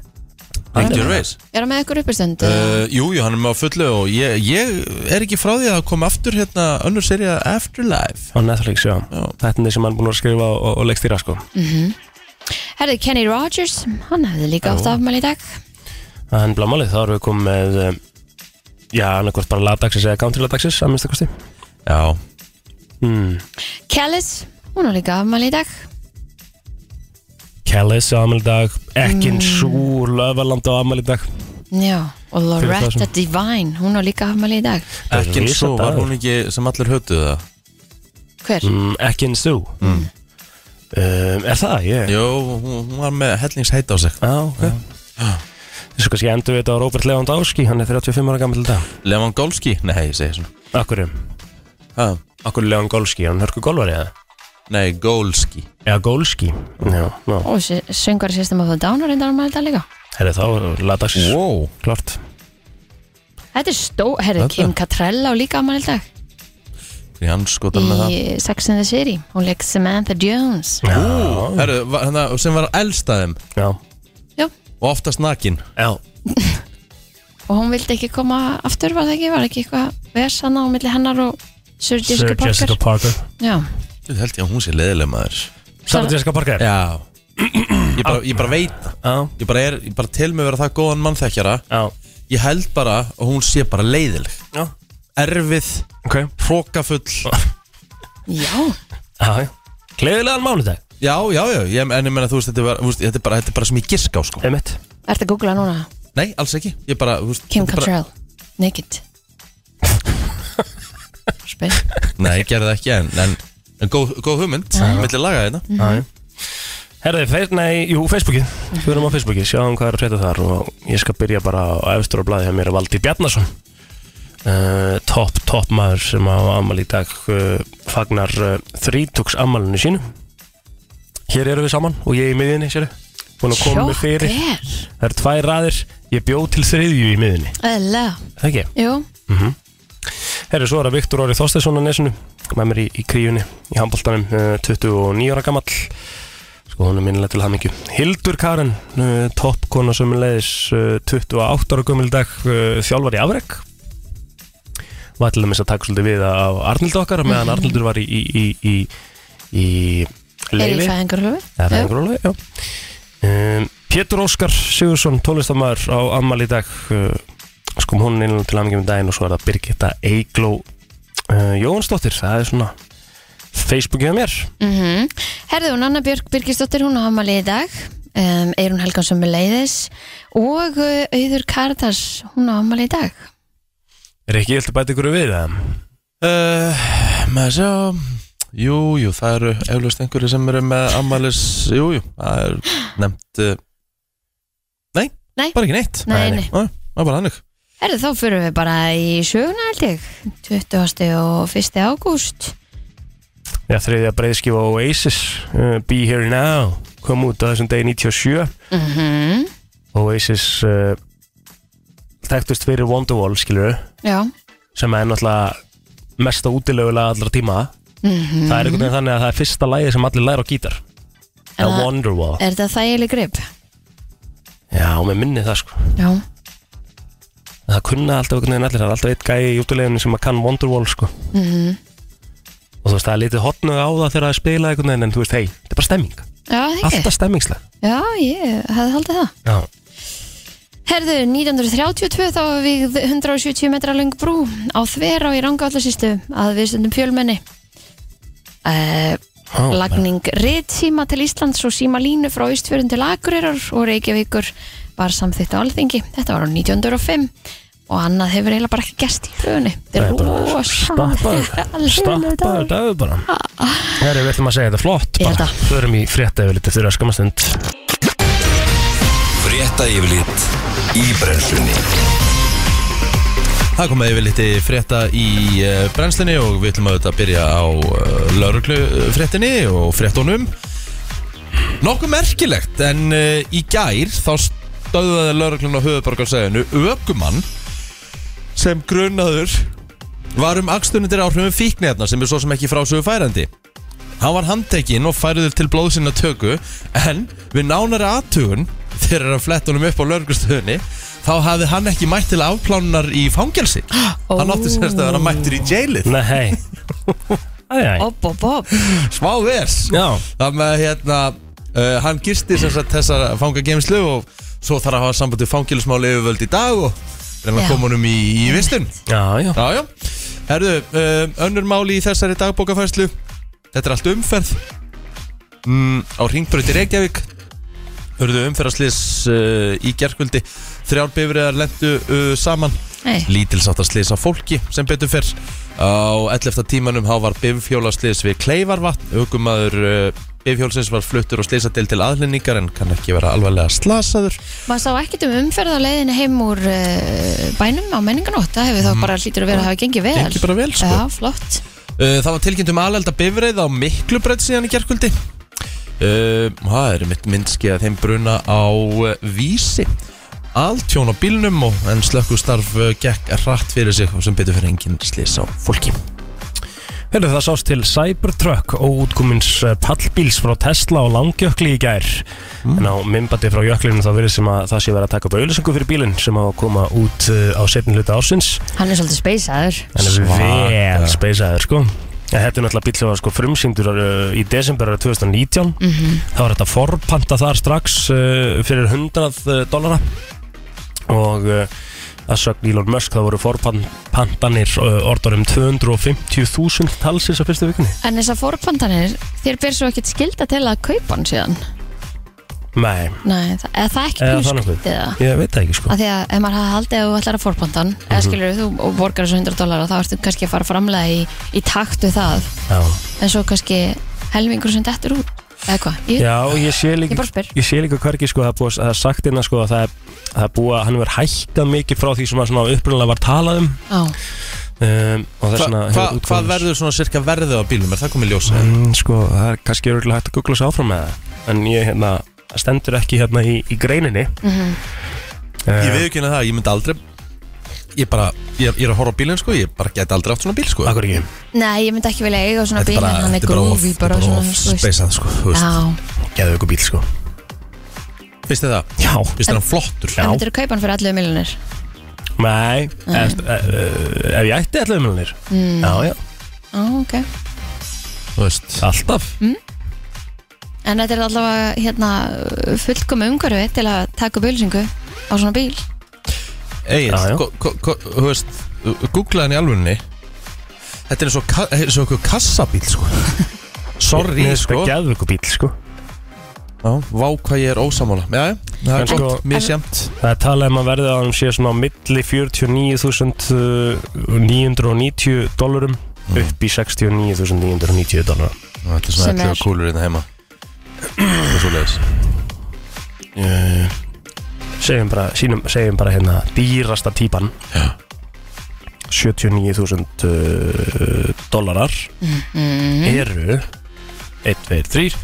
S1: Ricky Gervais
S2: Er hann með ykkur uppistund?
S1: Uh, jú, jú, hann er með á fullu og ég, ég er ekki frá því að koma aftur hérna önnur serið Afterlife
S3: Á Netflix, já, Þetta er þessi mann búin að skrifa og, og leikstýra sko
S2: Herði, Kenny Rogers, hann hefði líka átt afmæli í dag
S3: Það er nefnilega málið, þá erum við komið með um, Já, annarkvort bara lagdagsins eða country-lagdagsins að minnsta kosti
S1: Já,
S3: mm.
S2: Kellis, hún er líka afmæli í dag
S3: Kellis á afmæli í dag Ekkin mm. Súr Löfaland á afmæli í dag
S2: Já, og Loretta
S3: þessum.
S2: Devine, hún er líka afmæli í dag
S3: Það er
S1: ekki eins og var
S3: risadagur.
S1: hún ekki sem allir hötuðu það
S2: Hver?
S3: mm, Ekkin Sú mm. um, Er það? Ég
S1: Jó, hún, hún var með hellingsheit á sig
S3: Já, ok Þessu kannski endur við þetta á Robert Leon Dáski Hann er 35 ára gammal í dag
S1: Levan Golski? Nei, ég segi svona
S3: Akkur,
S1: ha,
S3: akkur Leon Golski, hann hörku golfari eða?
S1: Nei, Golski
S3: Eða Golski Já, já
S2: Og söngar sýstum af það dánar reyndar afmæli í dag líka
S3: Herri þá, lagdagsins
S1: Wow
S3: Klart
S2: Þetta er stó, herri,
S1: Þetta?
S2: Kim Cattrall á líka afmæli í dag
S1: Því hann skotar með það
S2: Í Sex and the City, hún leik Samantha Jones
S3: Já,
S1: Herru, var- hérna, sem var elst að þeim
S3: já,
S2: Já,
S1: og oftast nakin
S3: já.
S2: og hún vildi ekki koma aftur, var það ekki? Var ekki eitthvað vesanna á milli hennar og Sir Jessica
S3: Sir
S2: Parker?
S3: Jessica Parker
S2: Já,
S1: Þú held ég að hún sé leiðileg maður
S3: Sarah Jessica Parker
S1: Já Ég bara, ég bara veit það.
S3: Já,
S1: Ég bara er, ég bara tel mig vera það góðan mannþekkjara
S3: já,
S1: Ég held bara að hún sé bara leiðileg
S3: já.
S1: Erfið,
S3: Ok
S1: hrókafull
S2: já,
S3: Já, já Gleðilegan mánudag
S1: Já, já, já, ég, en ég menna þú veist þetta, var, þú veist, þetta, er bara, þetta er bara sem ég gisk á sko
S3: Einmitt
S2: ertu að googla núna?
S1: Nei, alls ekki, ég bara þú veist,
S2: Kim
S1: þetta er bara-
S2: Cattrall,
S3: (laughs)
S2: naked Spil
S1: Nei, ég gerði það ekki en, en, en góð, góð hugmynd Millir laga hérna. þetta
S3: Já, já Herði, fe nei, jú, Facebooki Við erum á Facebooki, sjáum hvað er að setja þar og ég skal byrja bara á efstur og blaði hjá mér að Valdi Bjarnason uh, Topp, topp maður sem á ammali í dag uh, fagnar uh, þrítugs ammalinu sínu Hér eru við saman og ég í miðinni, séru Búin að koma mig fyrir
S2: Sjokker,
S3: Það eru tvær raðir, ég bjó til þriðju í miðinni
S2: eða,
S3: Það ekki?
S2: jú
S3: Mhm. Herri, svo er það Viktor Orri Þorsteinsson á nesunu með mér í, í kríunni í eh, handbóltanum 29 ára gamall sko hún er minnilega til hamingju Hildur Karen, uh, toppkona sömulegis uh, 28 ára gömul í dag uh, þjálfar í afreg var til dæmis að taka svolítið við af Arnildu okkar meðan Arnildur var í í, í, í, í
S2: er í
S3: leifi Það er
S2: fæðingarhöfu
S3: fæðingurólega, já um, Pétur Óskar Sigursson, tónlistamæður á Ammal í dag uh, skum hún inn til aðmyggjum í daginn og svo er það Birgitta Eigló uh, Jóhansdóttir, það er svona Facebookið að mér
S2: mm Herðu hún Anna Björk Birgisdóttir hún á hamali í dag um, Eirun Helgansson með leiðis og uh, Auður Kardas hún á hamali í dag
S3: Er ekki vilt að bæta ykkur við það?
S1: uh, Með sjá Jú, jú, það eru eflaust einhverju sem eru með ammælis Jú, jú, það er nefnt uh, nei,
S2: Nei.
S1: bara ekki neitt
S2: Nei,
S3: Nei,
S2: nei.
S1: Nei, það er bara hannig
S2: Herðu þá fyrir við bara í söguna held ég 20. og 1. ágúst
S3: Já, þriðja breiðskifa Oasis uh, Be Here Now kom út á þessum degi 97
S2: mm
S3: Oasis uh, þekktust fyrir Wonderwall, skilur
S2: Já
S3: sem er náttúrulega mesta útilegulega allra tíma
S2: mm
S3: Það er einhvern veginn þannig að það er fyrsta lægi sem allir læra á gítar
S2: En
S3: Það
S2: það-
S3: er Wonderwall
S2: Er þetta þægileg grip?
S3: Já, og mér minni það sko
S2: Já
S3: En það kunna alltaf einhvern veginn allir það er alltaf eitt gæi í jútuleginni sem að kann Wonderwall sko.
S2: Mhm.
S3: og þú veist það er litið hotnug á það þegar það er spilað einhvern veginn en þú veist hei, þetta er bara stemming,
S2: Já, það ekki.
S3: alltaf stemmingslega
S2: Já, ég hefði haldið það.
S3: Já,
S2: Herðu, 1932 þá var við 170 metra lung brú á þver og í rangállarsýstu að við stundum fjölmenni. Uh,
S3: Ó,
S2: lagning ritsíma til Íslands og síma línu frá Ístfjörðin til Akureyrar og Reykjavíkur var samþýtt á alþingi. Þetta var á 1905 og annað hefur eiginlega bara ekki gerst í hlunni.
S3: það er
S2: Þetta
S3: bara
S2: er (laughs)
S3: stappaður stappaður
S2: rosalega.
S3: dagur bara Það er við ætlum að segja þetta flott
S2: Ég
S3: bara,
S2: held að.
S3: förum í frétta yfir litið þeirra skamastund
S5: Frétta yfirlit í brennslunni
S1: Það komið yfir liti frétta í eh, brennslunni og við ætlum auðvitað að byrja á lauruglu fréttinni og fréttunum. Nokkuð merkilegt en eh, í gær þá stöðuði lauruglun á höfuborgarsæðinu ökumann sem grunnaður var um akstunundir áhrifum fíknefna sem er svo sem ekki frásögu færandi. Hann var handtekinn og færður til blóðsina töku en við nánari aðtugun þegar hann flett honum upp á lauruglustöðunni þá hafði hann ekki mætt til afplánunar í fangelsi. Hann átti sérst að vera mættur í jailið.
S3: Nei, hei Æ, æ,
S2: Bob, bob, bob.
S1: Smá vers.
S3: já
S1: Það með hérna uh, hann gisti sem sagt þessar fangageimslu og svo þarf að hafa samband við fangilismáli yfirvöld í dag og reyna
S2: Já.
S1: að koma honum í, í vistun.
S3: Já, já,
S1: Já, já. Herðu, um, önnur máli í þessari dagbókafærslu Þetta er allt umferð mm, Á ringbröti Reykjavík Hörðu umferðarslis uh, í gerkvöldi Þrjár bifriðar lendu uh, saman
S2: Nei.
S1: Lítilsáttarslis á fólki sem betur fyrr Á 11. tímanum há var bifhjólaslis við Kleifarvatn Ögumadur uh, bifhjólsins var fluttur og slisadil til aðlinningar En kann ekki vera alvarlega slasaður
S2: Maður sá ekkert um umferð á leiðinu heim úr uh, bænum á menninganótt það hefur þá bara hlýtur að vera að hafa gengið vel
S1: Gengi Mm. bara vel sko
S2: Já, flott
S1: Uh, Það var tilkynnt um alelda bifreið á Miklubröð síðan í gerkvöldi Uh, Það er mitt minnski að þeim bruna á uh, vísi Altjón á bílnum og en slökkustarf uh, gekk hratt fyrir sig og sem betur fyrir enginn slis á fólki
S3: Heyrðu, það sást til Cybertruck óútkomins eh, pallbíls frá Tesla og Langjökli í gær en á mymbandi frá jöklinu þá verið sem að það sé verið að taka upp auðlýsingu fyrir bílinn sem á að koma út eh, á setni hluta ársins
S2: Hann er svolítið speysaður
S3: en það
S1: Svaka.
S3: er vel speysaður sko En þetta er náttúrulega bíl sem var sko frumsýndur eh, í desember árið 2019
S2: Mhm.
S3: þá var þetta forpanta þar strax uh, fyrir 100 eh, dollara og uh, að sögn Elon Musk þá voru forpantanir uh, orðar um 250.000 talsins á fyrstu vikunni
S2: En þessar fórpantanir, þér ber svo ekkert skilda til að kaupa hann síðan
S3: Nei,
S2: Nei, það, eða það er ekki
S3: Eða
S2: pínu
S3: það nokkuð.
S2: skrítið eða?
S3: ég veit það ekki sko
S2: Af því að ef maður hafði haldið að þú ætlar að fórpantan eða
S1: Mhm.
S2: skilur þú og borgar þessu 100 dólar þá ertu kannski að fara framlega í, í takt við það
S3: Já,
S2: en svo kannski helmingur sem dettur út eða hvað, ég,
S3: Já og ég sé
S2: ég
S3: líka
S2: bara spyr
S3: Ég sé líka hvergi sko, það er, búið, það er sagt innan sko að það er, það er búið að hann verið hækkað mikið frá því sem að svona upprunalega var talað um
S2: Já,
S3: um og
S1: Hva,
S3: þess vegna
S1: hva,
S3: hefur útkomið-
S1: Hvað verður svona cirka verðið á bílnum? Er það komið ljósa?
S3: Mm, Sko, það er kannski örgulega hægt að googla sér áfram með það En ég hérna, það stendur ekki hérna í, í greininni
S2: Mhm.
S1: Ég
S3: mm
S1: veið ekki henni það, ég myndi aldrei Ég bara, ég, er- ég er að horfa á bílinn sko Ég bara geti aldrei átt svona bíl sko
S3: Akkur ekki
S2: nei, ég myndi ekki vilja eiga svona bíl en hann er
S1: þetta bara of-
S2: grúfi bara
S1: þetta er bara
S2: svona
S1: of
S2: þú veist.
S1: speysað sko þú veist.
S2: Já,
S3: Geðu ykkur bíl sko
S1: Finnst þið það?
S3: Já
S1: Finnst þið hann flottur?
S2: en myndir þú kaupa hann fyrir 11 miljonir
S3: Nei, Eh, ef, ef, eh, ef ég ætti allavega mjölnir mm. Já, já,
S2: Já, ok
S1: Þú veist
S3: alltaf
S2: Mm. En þetta er allavega hérna, fullkom umhverfi til að taka bölsingu á svona bíl.
S3: Já, já.
S1: Egil, þú veist Googlaði hann í alvunni Þetta er eins og, ka- eins og einhver kassabíl
S2: (laughs)
S1: sko. Sorry sko Já,
S3: Geðu ykkur bíl sko
S1: Vá hvað ég er ósamála Já, já, það
S3: En
S1: er
S3: sko-
S1: gott, mér sjemt
S3: Það er talað um að verðið á hann sé svona á milli eh, 49.990 dólarum upp í 69.990 dólarum
S1: Þetta er
S2: Sem
S1: svona
S2: er-
S1: eitthvað kúlur hérna heima (clears throat) Það er svo leiðis
S3: segjum bara, sínum, segjum bara hérna dýrasta típan
S1: Já.
S3: 79.000 uh, dólarar eru 1, 2, 3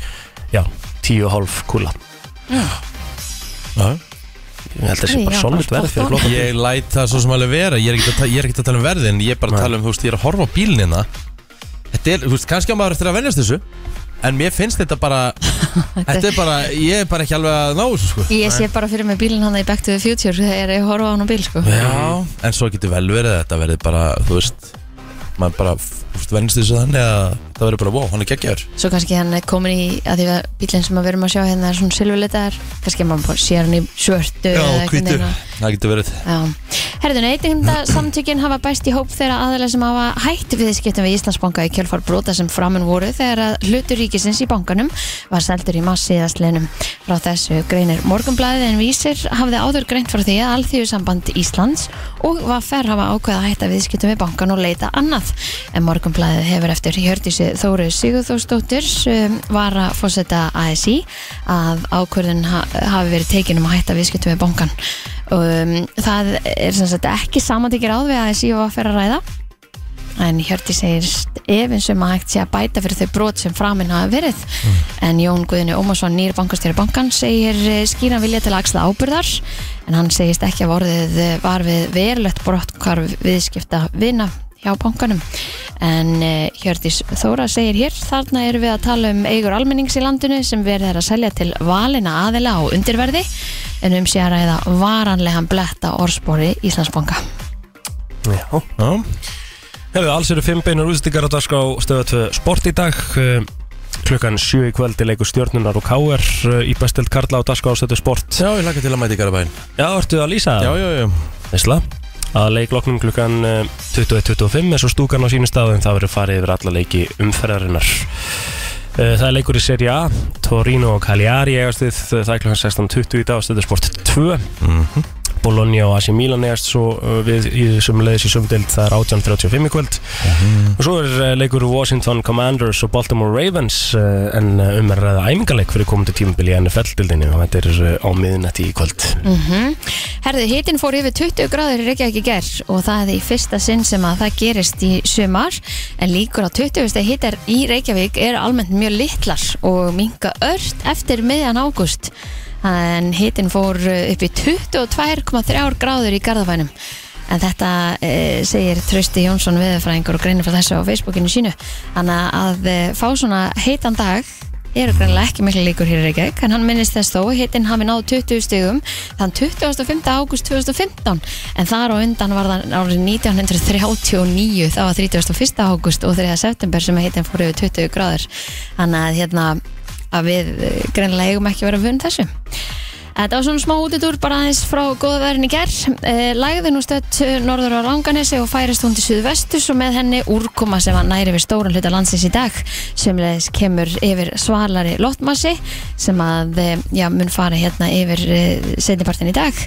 S3: já, 10,5 kúla ég held að það sé
S2: Nei,
S3: bara
S2: já,
S3: solid
S2: bara
S3: verð fyrir
S2: spot
S3: flóta
S1: Ég læt það svo sem alveg vera Ég er ekkert að, ta- ég er ekkert að tala um verðin Ég er bara að
S3: Nei.
S1: tala um, þú veist, ég er að (laughs) horfa á bílnina Þetta er, þú veist, kannski á maður eftir að venjast þessu En mér finnst þetta bara Þetta er bara, ég er bara ekki alveg að ná þessu sko
S2: Ég sé bara fyrir mig bílinn hann í Back to the Future þegar ég horfa á hann á bíl sko
S1: Já, en svo getur vel verið að þetta verði bara, þú veist maður bara, þú veist, vennst þessu þannig að það verður bara, wow, hann er geggjaður
S2: Svo kannski hann er komin í, að því að bílinn sem við erum að sjá hérna er svona silfurlitaðar Kannski maður bara sér hann í svörtu eða einhvern
S1: hvítur.
S2: veginn að-
S1: Það getur verið
S2: Já. Herðu, neytinda samtökin hafa bæst í hóp þeirra aðeila sem hafa hætt við skiptum við Íslandsbanka í kjölfar brota sem framun voru þegar að hlutur ríkisins í bankanum var seldur í massiðastlinum. Frá þessu greinir morgunblæðið en vísir hafði áður greint frá því að Alþjóðsamband Íslands og var fer hafa ákveða að hætta við skiptum við bankan og leita annað. En morgunblæðið hefur eftir Hjördísi Þóru Sigurþórsdóttir um, var að fósetta ASI að ákvörðun ha hafi verið tekin um að hætta við skiptum við bankan um, það er sem sagt ekki samandikir áð við að þessi var að fyrir að ræða en Hjörti segir efins um að hægt sé að bæta fyrir þau brot sem framinn hafa verið en Jón Guðinu Ómarsson, nýr bankastjóri bankan segir eh, skýran vilja til að axla ábyrðar en hann segist ekki að orðið eh, var við verulegt brott hvar viðskipta vinna hjá bankanum en eh, Hjördís Þóra segir hér þarna erum við að tala um eigur almennings í landinu sem verður að selja til valina aðila á undirverði en um sé að ræða varanlegan bletta orðspori Íslandsbanka
S3: Já Hefur alls eru fimm beinar útstikar á dagskrá stöða 2 sport í dag Um, Klukkan 7 í kvöldi leikur stjórnunar og káer í bestild Karla á dagskrá stöðu sport
S1: Já, ég laka til að mæta í Garabæn
S3: Já, ertu að lýsa
S1: Já,
S3: það?
S1: já, já
S3: Veistla að leikloknum klukkan eh, 21.25 eins og stúkan á sínu stað en það verður farið yfir alla leiki umferðarinnar Eh, Það er leikur í Serie A Torino og Cagliari eigast við eh, það er klukkan 16.20 í dag stöðu sport 2 Bologna og AC Milan eigast svo eh, við í þessum leiðis í sumdild það er 18.35 í kvöld og svo er eh, leikur Washington Commanders og Baltimore Ravens eh, en eh, um er að ræða æfingaleik fyrir komandi tímabili í NFL-dildinni og þetta er eh, á miðinætti í kvöld
S2: Herði, hitin Mm-hmm. fór yfir 20 gráður í Reykjavík í gerð og það er í fyrsta sinn sem að það gerist í sumar en líkur á 20 steg hitar í Reykjavík er almennt mjög litlar og minga ört eftir miðjan ágúst en hitin fór eh, upp í 22,3 gráður í Garðafænum En þetta e, segir Trausti Jónsson viðurfræðingur og greinir frá þessu á Facebookinu sínu. Þannig að e, fá svona heitan dag eru greinlega ekki miklu líkur hér í Reykjavík en hann minnist þess þó, hitinn hafi náð 20 stigum þann 25. ágúst 2015 en þar og undan var það árið 1939 það var 31. ágúst og 3. september sem að hitinn fór yfir 20 gráður þannig að hérna að við greinlega eigum ekki að vera vunn þessu Þetta Eh, var svona smá útidúr bara aðeins frá góðverðin í gerð. Lægði nú stött norður á Ranganesi og færist hún til suðvestus og með henni úrkoma sem að næri við stóran hluta landsins í dag sem leðis kemur yfir svalari lottmassi sem að eh, já, mun fara hérna yfir setjapartin í dag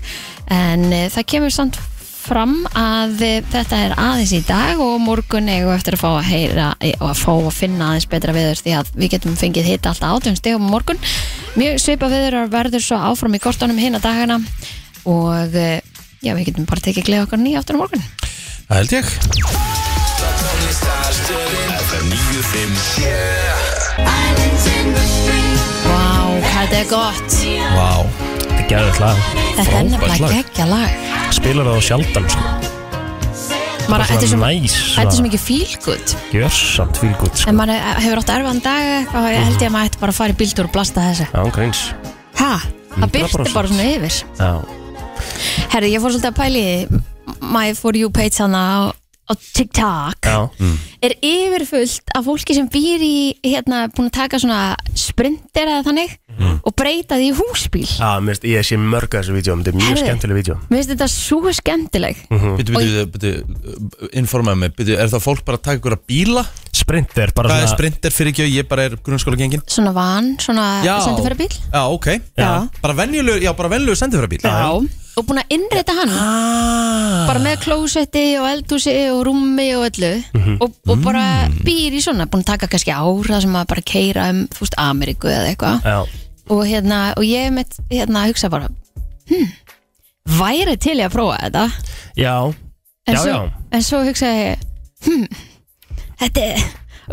S2: en eh, það kemur samt fram að eh, þetta er aðeins í dag og á morgun eigum við eftir að fá að heyra eh, og að fá að finna aðeins betra viður því að við getum fengið hitta alltaf átjum stegum á morgun mjög svipa viður og verður svo áfram í kortunum hinn að dagana og eh, já við getum bara tekið gleð okkar nýja aftur á morgun
S1: Það held ég
S2: Vá, hvað þetta er gott
S1: Vá
S3: Þetta er gerðið hlaðan
S2: Þetta er nefnilega
S1: lag.
S2: geggja lag
S3: spilar það á sjaldan sko.
S2: Maður- Þetta er svo-
S3: næs
S2: þetta er svo mikið fílgut
S3: gjörsamt fílgútt sko.
S2: en maður eh, hefur átt erfaðan dag eitthvað og ég held ég að maður ætti bara að fara í bíldur og blasta þessu
S3: án gríns
S2: Hæ? Það
S3: 100%
S2: byrti bara svona yfir
S3: Já.
S2: Herri, ég fór svolítið að pæli í því. My For You page hana á, á TikTok
S3: Já.
S2: er yfirfullt af fólki sem býr í hérna, búin að taka svona sprinter eða þannig
S3: Mhm.
S2: og breyta því í húsbíl
S3: Já, mér finnst- ég sé mörg að þessu vídjum þetta er mjög
S2: Herðu.
S3: skemmtileg Mhm. vídjum
S2: Mér finnst þetta svo skemmtileg
S1: Byttu, byttu, byttu, informaðu mig Byttu, er það fólk bara að taka ykkur að bíla?
S3: sprint er bara
S1: Hvað er
S3: svona
S1: sprinter fyrir ekki? Ég bara er grunnskóla gengin
S2: Svona van, svona sendifæra bíl
S1: Já, ok
S2: Já.
S1: Bara venjulegur, já, bara venjulegur sendifæra bíl
S2: Og búin að innreita hann
S1: Ah
S2: bara með klósetti og eldhúsi og rúmi og öllu
S3: Mhm.
S2: og, og bara
S3: Mm.
S2: býr í svona búin að taka kannski ára sem að bara keira um þú veist, Ameríku eða eitthvað
S3: já,
S2: og hérna, og ég mitt hérna hugsa bara hm, væri til ég að prófa þetta
S3: já,
S2: en
S3: Já,
S2: svo,
S3: já.
S2: En svo hugsa ég hm, þetta er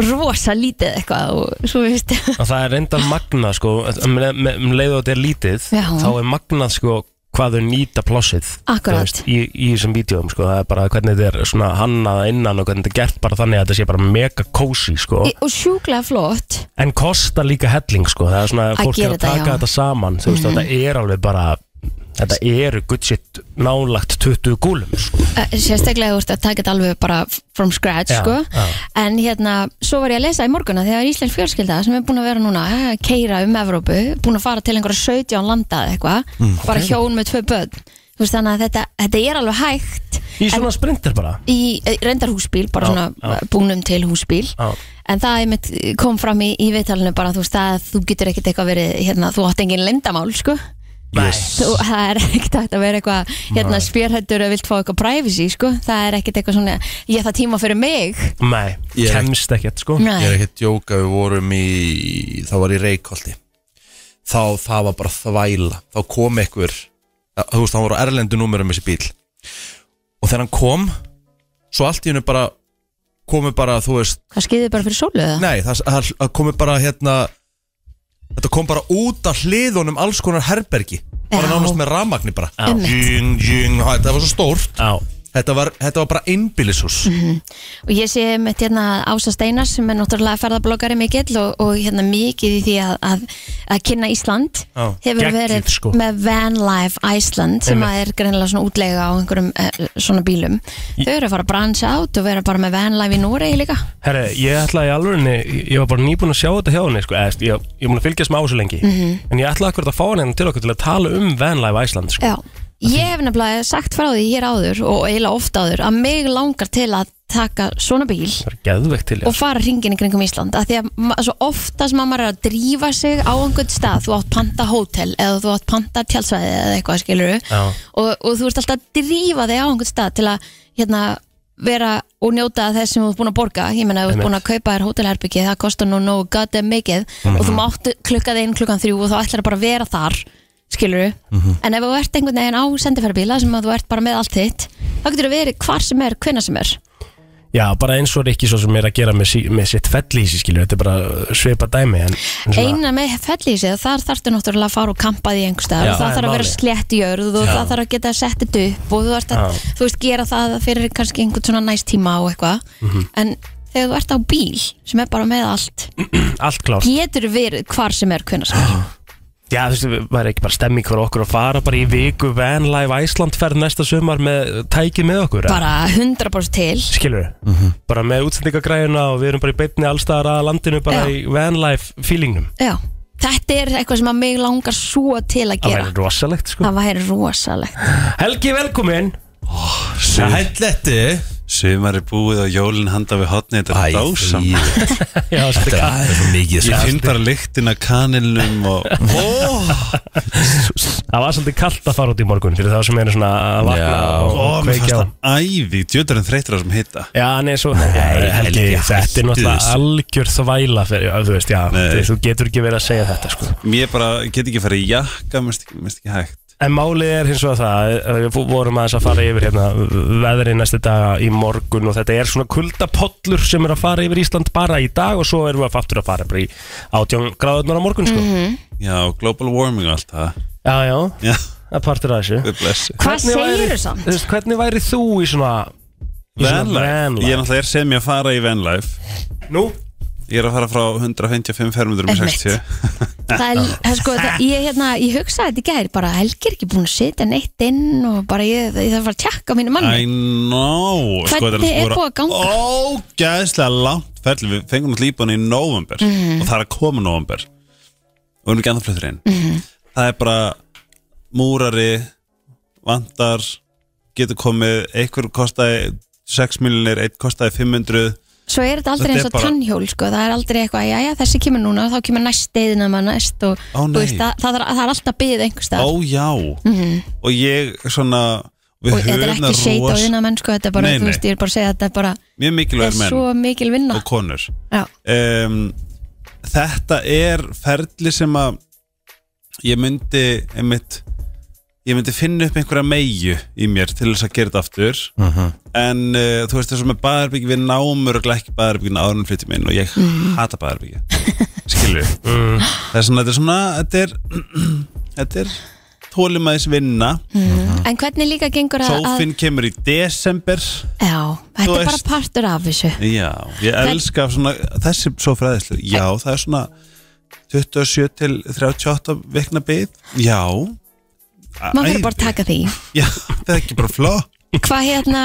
S2: rosa lítið eitthvað og svo veist (laughs)
S3: og það er enda magnað sko, um, le- me- um leið og þetta er lítið
S2: Já.
S3: þá er magnað sko hvað þau nýta plossið
S2: Akkurat.
S3: þú veist, í, í þessum vídjóum sko, það er bara hvernig þetta er svona hannað innan og hvernig þetta er gert bara þannig að þetta sé bara mega cozy sko.
S2: Í- Og sjúklega flott
S3: en kostar líka helling sko. það er svona
S2: Að
S3: að fólk er
S2: gera
S3: að
S2: þetta, já.
S3: taka
S2: Mhm.
S3: þetta saman þú veist, þetta er alveg bara þetta eru good shit nálagt 20 gúlum sko.
S2: Eh, sérstaklega þú ert að taka þetta alveg bara from scratch
S3: Já,
S2: sko.
S3: já.
S2: en hérna, svo var ég að lesa í morguna þegar Íslensk fjölskylda sem er búin að vera núna að keira um Evrópu, búin að fara til einhverja 17 landa eða eitthvað,
S3: Mm,
S2: bara hjón með tvö börn, þú veist þannig að þetta, þetta er alveg hægt
S3: í svona sprinter bara
S2: í eh, reyndar húsbíl, bara
S3: Já,
S2: svona búnum til húsbíl
S3: Já.
S2: en það einmitt eh, kom fram í, í viðtalinu bara þú veist að þú getur ekkert eitthvað verið hérna, þú átt engin lindamál sko
S3: yes.
S2: þú, það er ekkert hægt að vera eitthvað hérna spjörhættur að vilt fá eitthvað privacy sko. það er ekkert eitthvað svona ég það tíma fyrir mig
S3: nei,
S1: Ég er-
S3: kemst ekkert sko.
S1: Ég er
S2: Nei,
S1: ekki að djóka, við vorum í Það var í Reykholti Þá, það var bara þvæla Þá kom einhver Þú veist, hann voru á erlendu númerum þessi bíl Og þegar hann kom Svo allt í hennu bara Komi bara, þú veist,
S2: hvað skeiði bara fyrir sólu eða?
S1: nei Það, það það komi bara hérna Þetta kom bara út af hliðunum alls konar herbergi Bara
S2: Já.
S1: nánast með rafmagni bara
S2: Einmitt.
S1: Jing, jing, hæ, þetta var svo stórt
S3: Já.
S1: Þetta var, þetta var bara einbýlishús
S2: Mhm. og ég sé með hérna Ása Steinars sem er náttúrulega ferðabloggari mikill og, og hérna mikið í því að, að, að kynna Ísland
S1: Já,
S2: hefur
S3: geggjuð,
S2: verið
S3: sko.
S2: með Van Life Iceland sem að er greinilega svona útlega á einhverjum eh, svona bílum þau eru að fara að bransa át og vera bara með Van Life í Noregi líka
S3: Herre, ég ætlaði í alvörinni, ég var bara nýbúin að sjá þetta hjá henni sko, eða, ég, ég múin að fylgjast með ásu lengi en ég ætlaði akkurat að fá henni til okkur til að tala um Van Life Iceland sko.
S2: Mhm. Já, ég hef nefnilega sagt frá því hér áður og eiginlega ofta áður að mig langar til að taka svona bíl
S3: það er geðvegt til
S2: og
S3: ég
S2: fara hringin í kringum Ísland af því að ma- svo ofta sem að maður er að drífa sig á einhvern stað, þú átt panta hótel eða þú átt panta tjálsvæði eða eitthvað skilur
S3: Já.
S2: og, og þú ert alltaf að drífa þig á einhvern stað til að hérna, vera og njóta þess sem þú ert búin að borga ég meina, þú ert
S3: Einmitt. Mhm.
S2: búin að kaupa þér hótelherbyggi það kostar nú nógu goddamn mikið og þú mátt klukka þig inn klukkan þrjú og þú ætlar bara að vera þar skilur
S3: Mhm.
S2: en ef þú ert einhvern veginn á sendifærbíla sem að þú ert bara með allt þitt þá getur þú verið hvar sem er, hvenna sem er
S3: Já, bara eins og Rikki svo sem er að gera með, sí, með sitt fellísi skilju, þetta er bara uh, svipa dæmi en, en svona,
S2: eina með fellísið, þar þarftu náttúrulega að fara og kampa því einhverstað
S3: Já,
S2: og
S3: það
S2: það
S3: er
S2: þarf að vera
S3: málið.
S2: slett jörð og það þarf að geta að setja þetta upp og þú ert að,
S3: Já.
S2: þú veist, gera það fyrir kannski einhvern svona næst tíma og eitthvað
S3: Mhm.
S2: en þegar þú ert á bíl sem er bara með allt,
S3: allt klárt
S2: getur verið hvar sem er hvernig sem er,
S3: Já, þú veist, það er ekki bara stemming fyrir okkur að fara bara í viku Van Life Iceland ferð næsta sumar með tækið með okkur eða?
S2: bara 100% til
S3: skilur bara með útsendingagræðuna og við erum bara í beinni allstaðar að landinu bara
S2: Já.
S3: í Van Life feelingnum
S2: já, þetta er eitthvað sem að mig langar svo til að
S3: það
S2: gera
S3: væri rosalegt sko
S2: það væri rosalegt
S3: Helgi, velkomin
S1: Hælletti
S6: Sumar er búið og jólinn handa við hotni Þetta er dásam
S1: Þetta er
S3: Já,
S1: alveg svo mikið
S6: Ég finn bara lyktin að kanilnum og
S3: Það var svolítið kallt að fara út í morgun fyrir það sem er svona að vakna
S1: Já.
S3: og,
S6: Ó,
S3: og
S6: mér fannst
S3: kveikja á
S6: það ævi Djöðurinn þreytur á þessum hitta
S3: Já, hann er svo Nei, Helgi,
S1: Helgi,
S3: þetta er
S1: hættu
S3: náttúrulega
S1: þessu.
S3: algjör þvæla fyrir, já, þú veist, já,
S6: Nei.
S3: þú veist, þú getur ekki verið að segja þetta sko.
S6: Mér bara get ekki farið í jakka Mest ekki, mest ekki hægt
S3: En málið er hins vegar það að við vorum aðeins að fara yfir hérna veðrið næstu dag í morgun og þetta er svona kuldapollur sem er að fara yfir Ísland bara í dag og svo erum við að fattur að fara bara í 18 gráðunar á morgun sko.
S2: Mhm.
S6: Já, global warming og allt það
S3: Já, já,
S6: Já,
S3: það partur að þessu
S6: við blessi
S2: hvað
S3: væri-
S2: segirðu samt?
S3: þú veist, Hvernig væri þú í svona í svona
S6: Vanlife, ég
S3: vanlife?
S6: náttúrulega er sem ég að fara í vanlife
S3: Nú?
S6: Ég er að fara frá 155 fermetrum í
S2: Einmitt.
S6: 60
S2: það er, það er sko, það, ég, hérna, ég hugsaði þetta í gæri bara, Helgi er ekki búin að setja neitt inn og bara ég, ég þarf að fara að tjekka á mínu
S6: I
S2: manni
S6: know Sko,
S2: Hvernig er búið að ganga?
S6: Ógæðslega langt ferli Við fengum alltaf íbúinu í november
S2: Mhm.
S6: Og það er að koma november Og við erum ekki andan fluttur inn
S2: Mhm.
S6: Það er bara múrari Vandar Getur komið, einhver kostaði 6 miljonir, einn kostaði 500
S2: svo er þetta aldrei
S6: Þetta er
S2: eins og
S6: bara-
S2: tannhjól sko, það er aldrei eitthvað, já já þessi kemur núna og þá kemur næst deyðina maður næst og
S6: Ó,
S2: þú
S6: nei.
S2: veist, það, það, er, það er alltaf byggð einhvers stað
S6: Ó já Og ég svona Við
S2: Mhm. og þetta er
S6: höfum
S2: ekki seit á
S6: ros-
S2: þina menn sko, þetta er bara,
S6: Nei,
S2: þú
S6: nei.
S2: veist, ég er bara að segja að þetta er bara,
S6: Mjög
S2: er
S6: mikilvægur menn
S2: svo mikil vinna
S6: og konur
S2: já,
S6: um, þetta er ferli sem að ég myndi einmitt, ég myndi finna upp einhverja meiu í mér til þess að gera þetta aftur en uh, þú veist þess að með baðarbyggi við námur og ekki baðarbyggin árunum flyttum inn og ég
S2: Mhm.
S6: hata baðarbyggi skilur mm. það er svona, þetta er svona þetta er, þetta er þólimaðis vinna Mm.
S2: En hvernig líka gengur að, að
S6: Sófinn kemur í desember
S2: Já, þetta
S6: Þú
S2: er bara
S6: veist-
S2: partur af þessu
S6: Já, ég elska svona, þessi svo fræðislu Já, það er svona 27 til 38 vikna byð Já Æ-
S2: Maður verður bara að
S6: æði.
S2: taka því
S6: Já, það er ekki bara flott
S2: Hvað hérna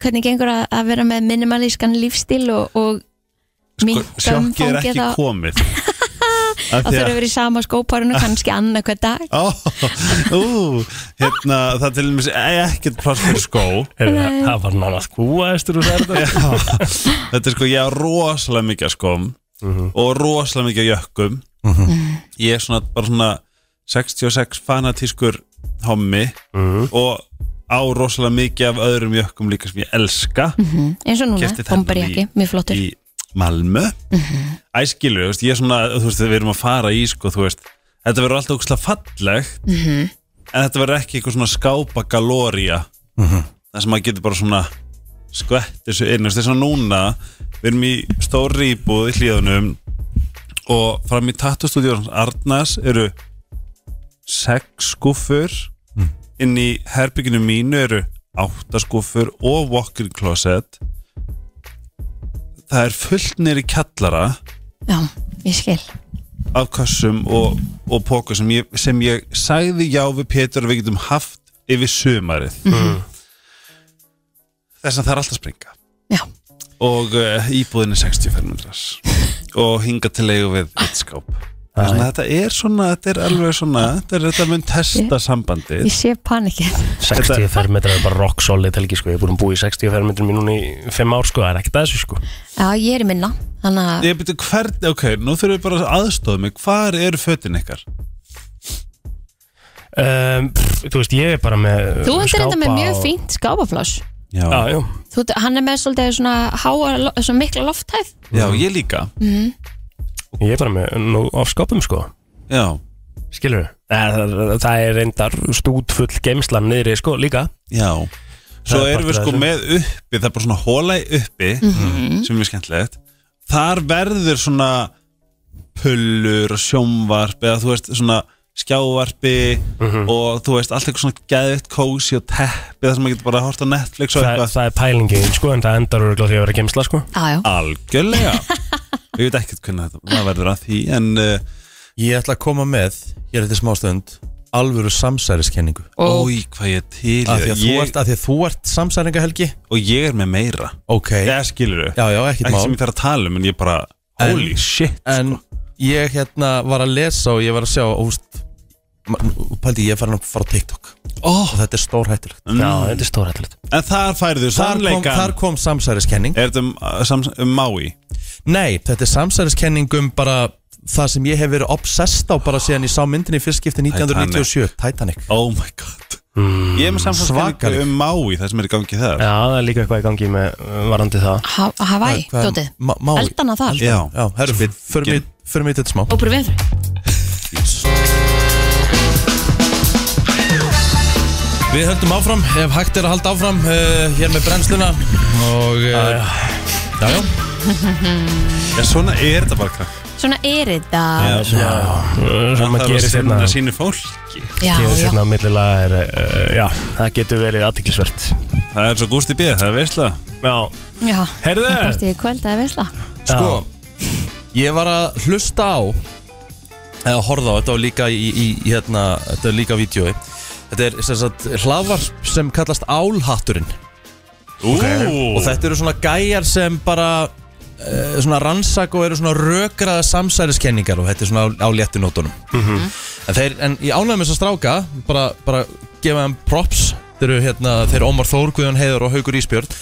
S2: Hvernig gengur að, að vera með minimalískan lífstíl og, og minkum
S6: Sko, Sjokkið er ekki
S2: þá (laughs)
S6: komið
S2: Það
S6: Það
S2: þurfa að vera í sama
S6: Ah.
S2: skóparinu kannski annað hver dag
S6: Ó, ú, hérna, það er til dæmis ekkert pláss fyrir skó
S3: Heyrðu, Það það var nánast kúaðistur og særða
S6: Já,
S3: (laughs)
S6: þetta er sko, ég á rosalega mikið af skóm og rosalega mikið af jökkum Ég er svona bara svona 66 fanatískur hommi og á rosalega mikið af öðrum jökkum líka sem ég elska
S2: eins og núna,
S6: Keypti þennan
S2: bomberjakki,
S6: í-
S2: mjög flottur
S6: í Malmö Æ, skilur, þú veist, ég er svona, þú veist, við erum að fara í, sko, þú veist Þetta verður alltaf ógustlega fallegt En þetta verður ekki eitthvað svona skápa galória Það sem maður getur bara svona skvett þessu inn, þú veist, þess að núna Við erum í stóri íbúð í hlíðunum Og fram í tattustúdíu Arnas eru sex skúfur Inn í herbygginu mínu eru átta skúfur og walk-in closet það er fullt nýri kjallara
S2: Já, ég skil
S6: af kassum og, og póka sem ég, sem ég sagði já við Pétur að við getum haft yfir sumarið þess að það er alltaf að springa
S2: Já,
S6: og uh, íbúðin er 60 fermetrar og hinga til leigu við eitt skáp Það er svona, þetta er svona, þetta er alveg svona þetta, er, þetta mun testa
S2: ég
S6: sambandið
S2: sé panikið
S3: 60 fermetrar er bara rock solid helgi sko Ég er búin að búa í 60 fermetrar mín núna í 5 ár sko Það er ekkert að þessu sko
S2: Já, ég er í minna Þannig að
S6: Ég byrju hvern, ok, nú þurfum við bara að aðstofa mig hvar eru fötin ykkar?
S3: um, pff, Þú veist ég er bara með uh,
S2: þú endur þetta með
S3: skápa
S2: mjög
S3: og-
S2: fínt skápafloss
S6: Já,
S3: Já, já
S2: Þú, hann er með svolítið svona, háa, svona mikla lofthæð
S6: já ég líka
S3: Ég er bara með nú af skápum sko
S6: Já,
S3: Skilur Það, það, það er reyndar stútfull geimslan niðri sko líka
S6: Já Svo
S3: Það er
S6: erum við
S3: partur af
S6: sko
S3: þessu.
S6: með uppi Það er bara svona hóla í uppi sem er skemmtilegt Þar verður svona pullur og sjónvarp eða þú veist svona skjávarpi og þú veist allt eitthvað svona geðvitt kósi og teppi þar sem maður getur bara að horta Netflix og
S3: það,
S6: eitthvað
S3: það er pælingin sko En það endar örgulega því að vera geimsla sko
S2: Já, já,
S6: Ah, Algjörlega Ég veit ekkert hvernig þetta maður verður að því en uh,
S1: Ég ætla að koma með, hér eftir smástund alvöru samsæriskenningu
S2: og
S6: ói hvað ég er til í
S1: af því
S6: það.
S1: að, þú
S6: ég,
S1: ert, af því að þú ert samsæringahelgi
S6: og ég er með meira
S1: Ok,
S6: Það skilur þau,
S1: já já, ekkert
S6: ekki sem
S1: mál
S6: ég þarf að tala um en ég bara,
S1: En-
S6: holy shit
S1: En ég hérna var að lesa og ég var að sjá úst, Paldi, ég er farin að fara á TikTok
S6: oh,
S1: og þetta er stórhættulegt
S3: Já, þetta er stórætlegt
S6: En þar færðu
S1: Þar kom,
S6: sannleikan
S1: þar kom samsæriskenning
S6: Er þetta um, uh, sams- um Maui?
S1: Nei, þetta er samsæriskenning um bara það sem ég hef verið obsessed á bara síðan ég sá myndinni í fyrstskipti 1997 Titanic,
S6: Oh my god Ég er með samsvarskenningu
S1: Svakaleg.
S6: um Maui Það sem er í gangi þar
S3: Já, það er líka eitthvað í gangi með uh, varandi það
S2: ha Hawaii,
S1: Hvað- hvað-
S2: dótið
S1: Ma- Maui.
S2: Eldana þar
S6: Já,
S1: Já, herru, förum við- förum við í þetta smá
S2: Ópru við
S1: Við höldum áfram, ef hægt er að halda áfram uh, hér með brennsluna og uh, já, já.
S6: Já, svona er þetta bara krakk
S2: Svona er þetta
S6: Já,
S3: Sem
S6: Það
S3: að
S6: er að
S3: gerist hérna
S6: sinna sínu fólk
S2: Já,
S3: Gerist
S2: já,
S3: hérna á millilega er uh, Já, það getur verið aðtiklisvert
S6: Það er svo gústi bíð, það er veistla
S3: Já,
S2: já
S3: heyrðu
S2: Partí kvöld eða veisla
S1: Sko, ég var að hlusta á eða horfa á, þetta var líka í, í í hérna, þetta er líka vídjói Þetta er sem sagt hlaðvarp sem kallast Álhatturinn
S6: Ú,
S1: og þetta eru svona gæjar sem bara uh, svona rannsak og eru svona rökraða samsæriskenningar og þetta er svona á, á léttinótunum en, þeir, en ég ánægði með þess að stráka bara, bara gefa þeim props þeir eru hérna, þeir Ómar Þór, Guðjón Heiður og Haugur Ísbjörn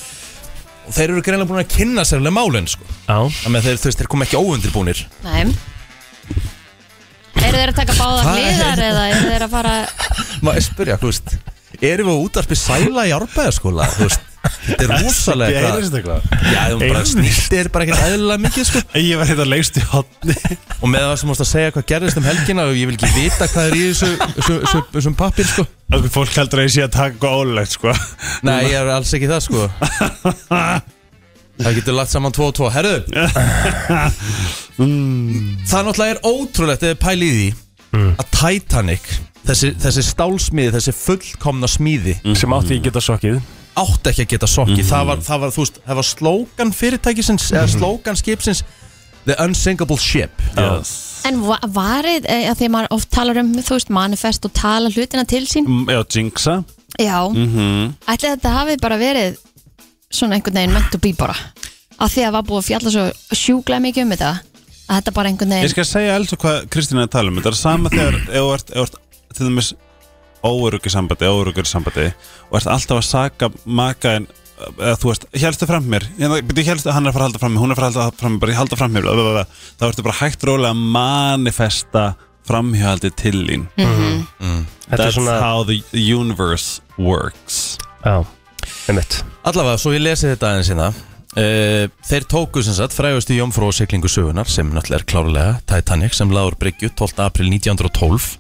S1: og þeir eru greinlega búin að kynna sérlega málin sko.
S3: Já,
S1: þannig að þeir, þeir, þeir kom ekki óundirbúnir
S2: Nei Eru þeir að taka báðar
S1: Hvað er-
S2: hliðar eða eru þeir að fara
S1: maður spyrja, þú veist erum við á útarpi sæla í árbæðaskóla þú veist, þetta er rosalega
S6: Ég
S1: eitthvað-
S6: heyrðist eitthvað
S1: já, þú bara
S3: Heyrðist.
S1: snýtti er bara ekkert eðlilega mikið sko.
S6: Ég var hérna lengst í (laughs) hotni
S1: og með það sem mást að segja hvað gerðist um helgina og ég vil ekki vita hvað er í þessu, þessu, þessu, þessu pappir sko
S6: Okkur fólk heldur að ég sé að taka eitthvað ólegt, sko
S1: Nei, ég er alls ekki það sko Það getur lagt saman 2 og 2 Herðu Það náttúrulega er ótrúlegt eða pæli í því að Titanic þessi, þessi stálsmiði, þessi fullkomna smíði
S3: sem átti ég geta sokkið
S1: átti ekki að geta sokkið það, var, það var, þú veist, það var slókan fyrirtækisins eða slókan skipsins The Unsinkable Ship
S2: En va- varið, eh, að því maður oft talar um þú veist, manifest og tala hlutina til sín
S6: Mm, Já, jinxa
S2: Já, ætli þetta hafi bara verið svona einhvern veginn meant to be bara að því að var búið að fjalla svo sjúklega mikið um þetta að þetta bara einhvern
S6: Ég
S2: veginn
S6: skal segja alls og hvað Kristín er að tala um Þetta er
S3: (clears throat)
S6: sama þegar ef þú ert, ef þú ert til dæmis óöruggi sambandi, óöruggi sambandi og ert alltaf að saka maka en eða þú veist, helstu fram mér hérna, byrju, helstu, hann er að fara að halda fram mér, hún er að fara að halda fram mér bara ég halda fram mér, bla, bla, bla, bla. þá ertu bara hægt rólega að manifesta framhjóhaldi til þín
S3: Mm. Þetta er
S6: That's
S3: svona
S6: how the universe works
S3: Já, einmitt
S1: Allavega, svo ég lesi þetta aðeins hérna uh, Þeir tóku sem sagt frægustu jómfrú og siglingu sögunar sem náttúrulega er klárlega Titanic sem laður bryggju 12. april 1912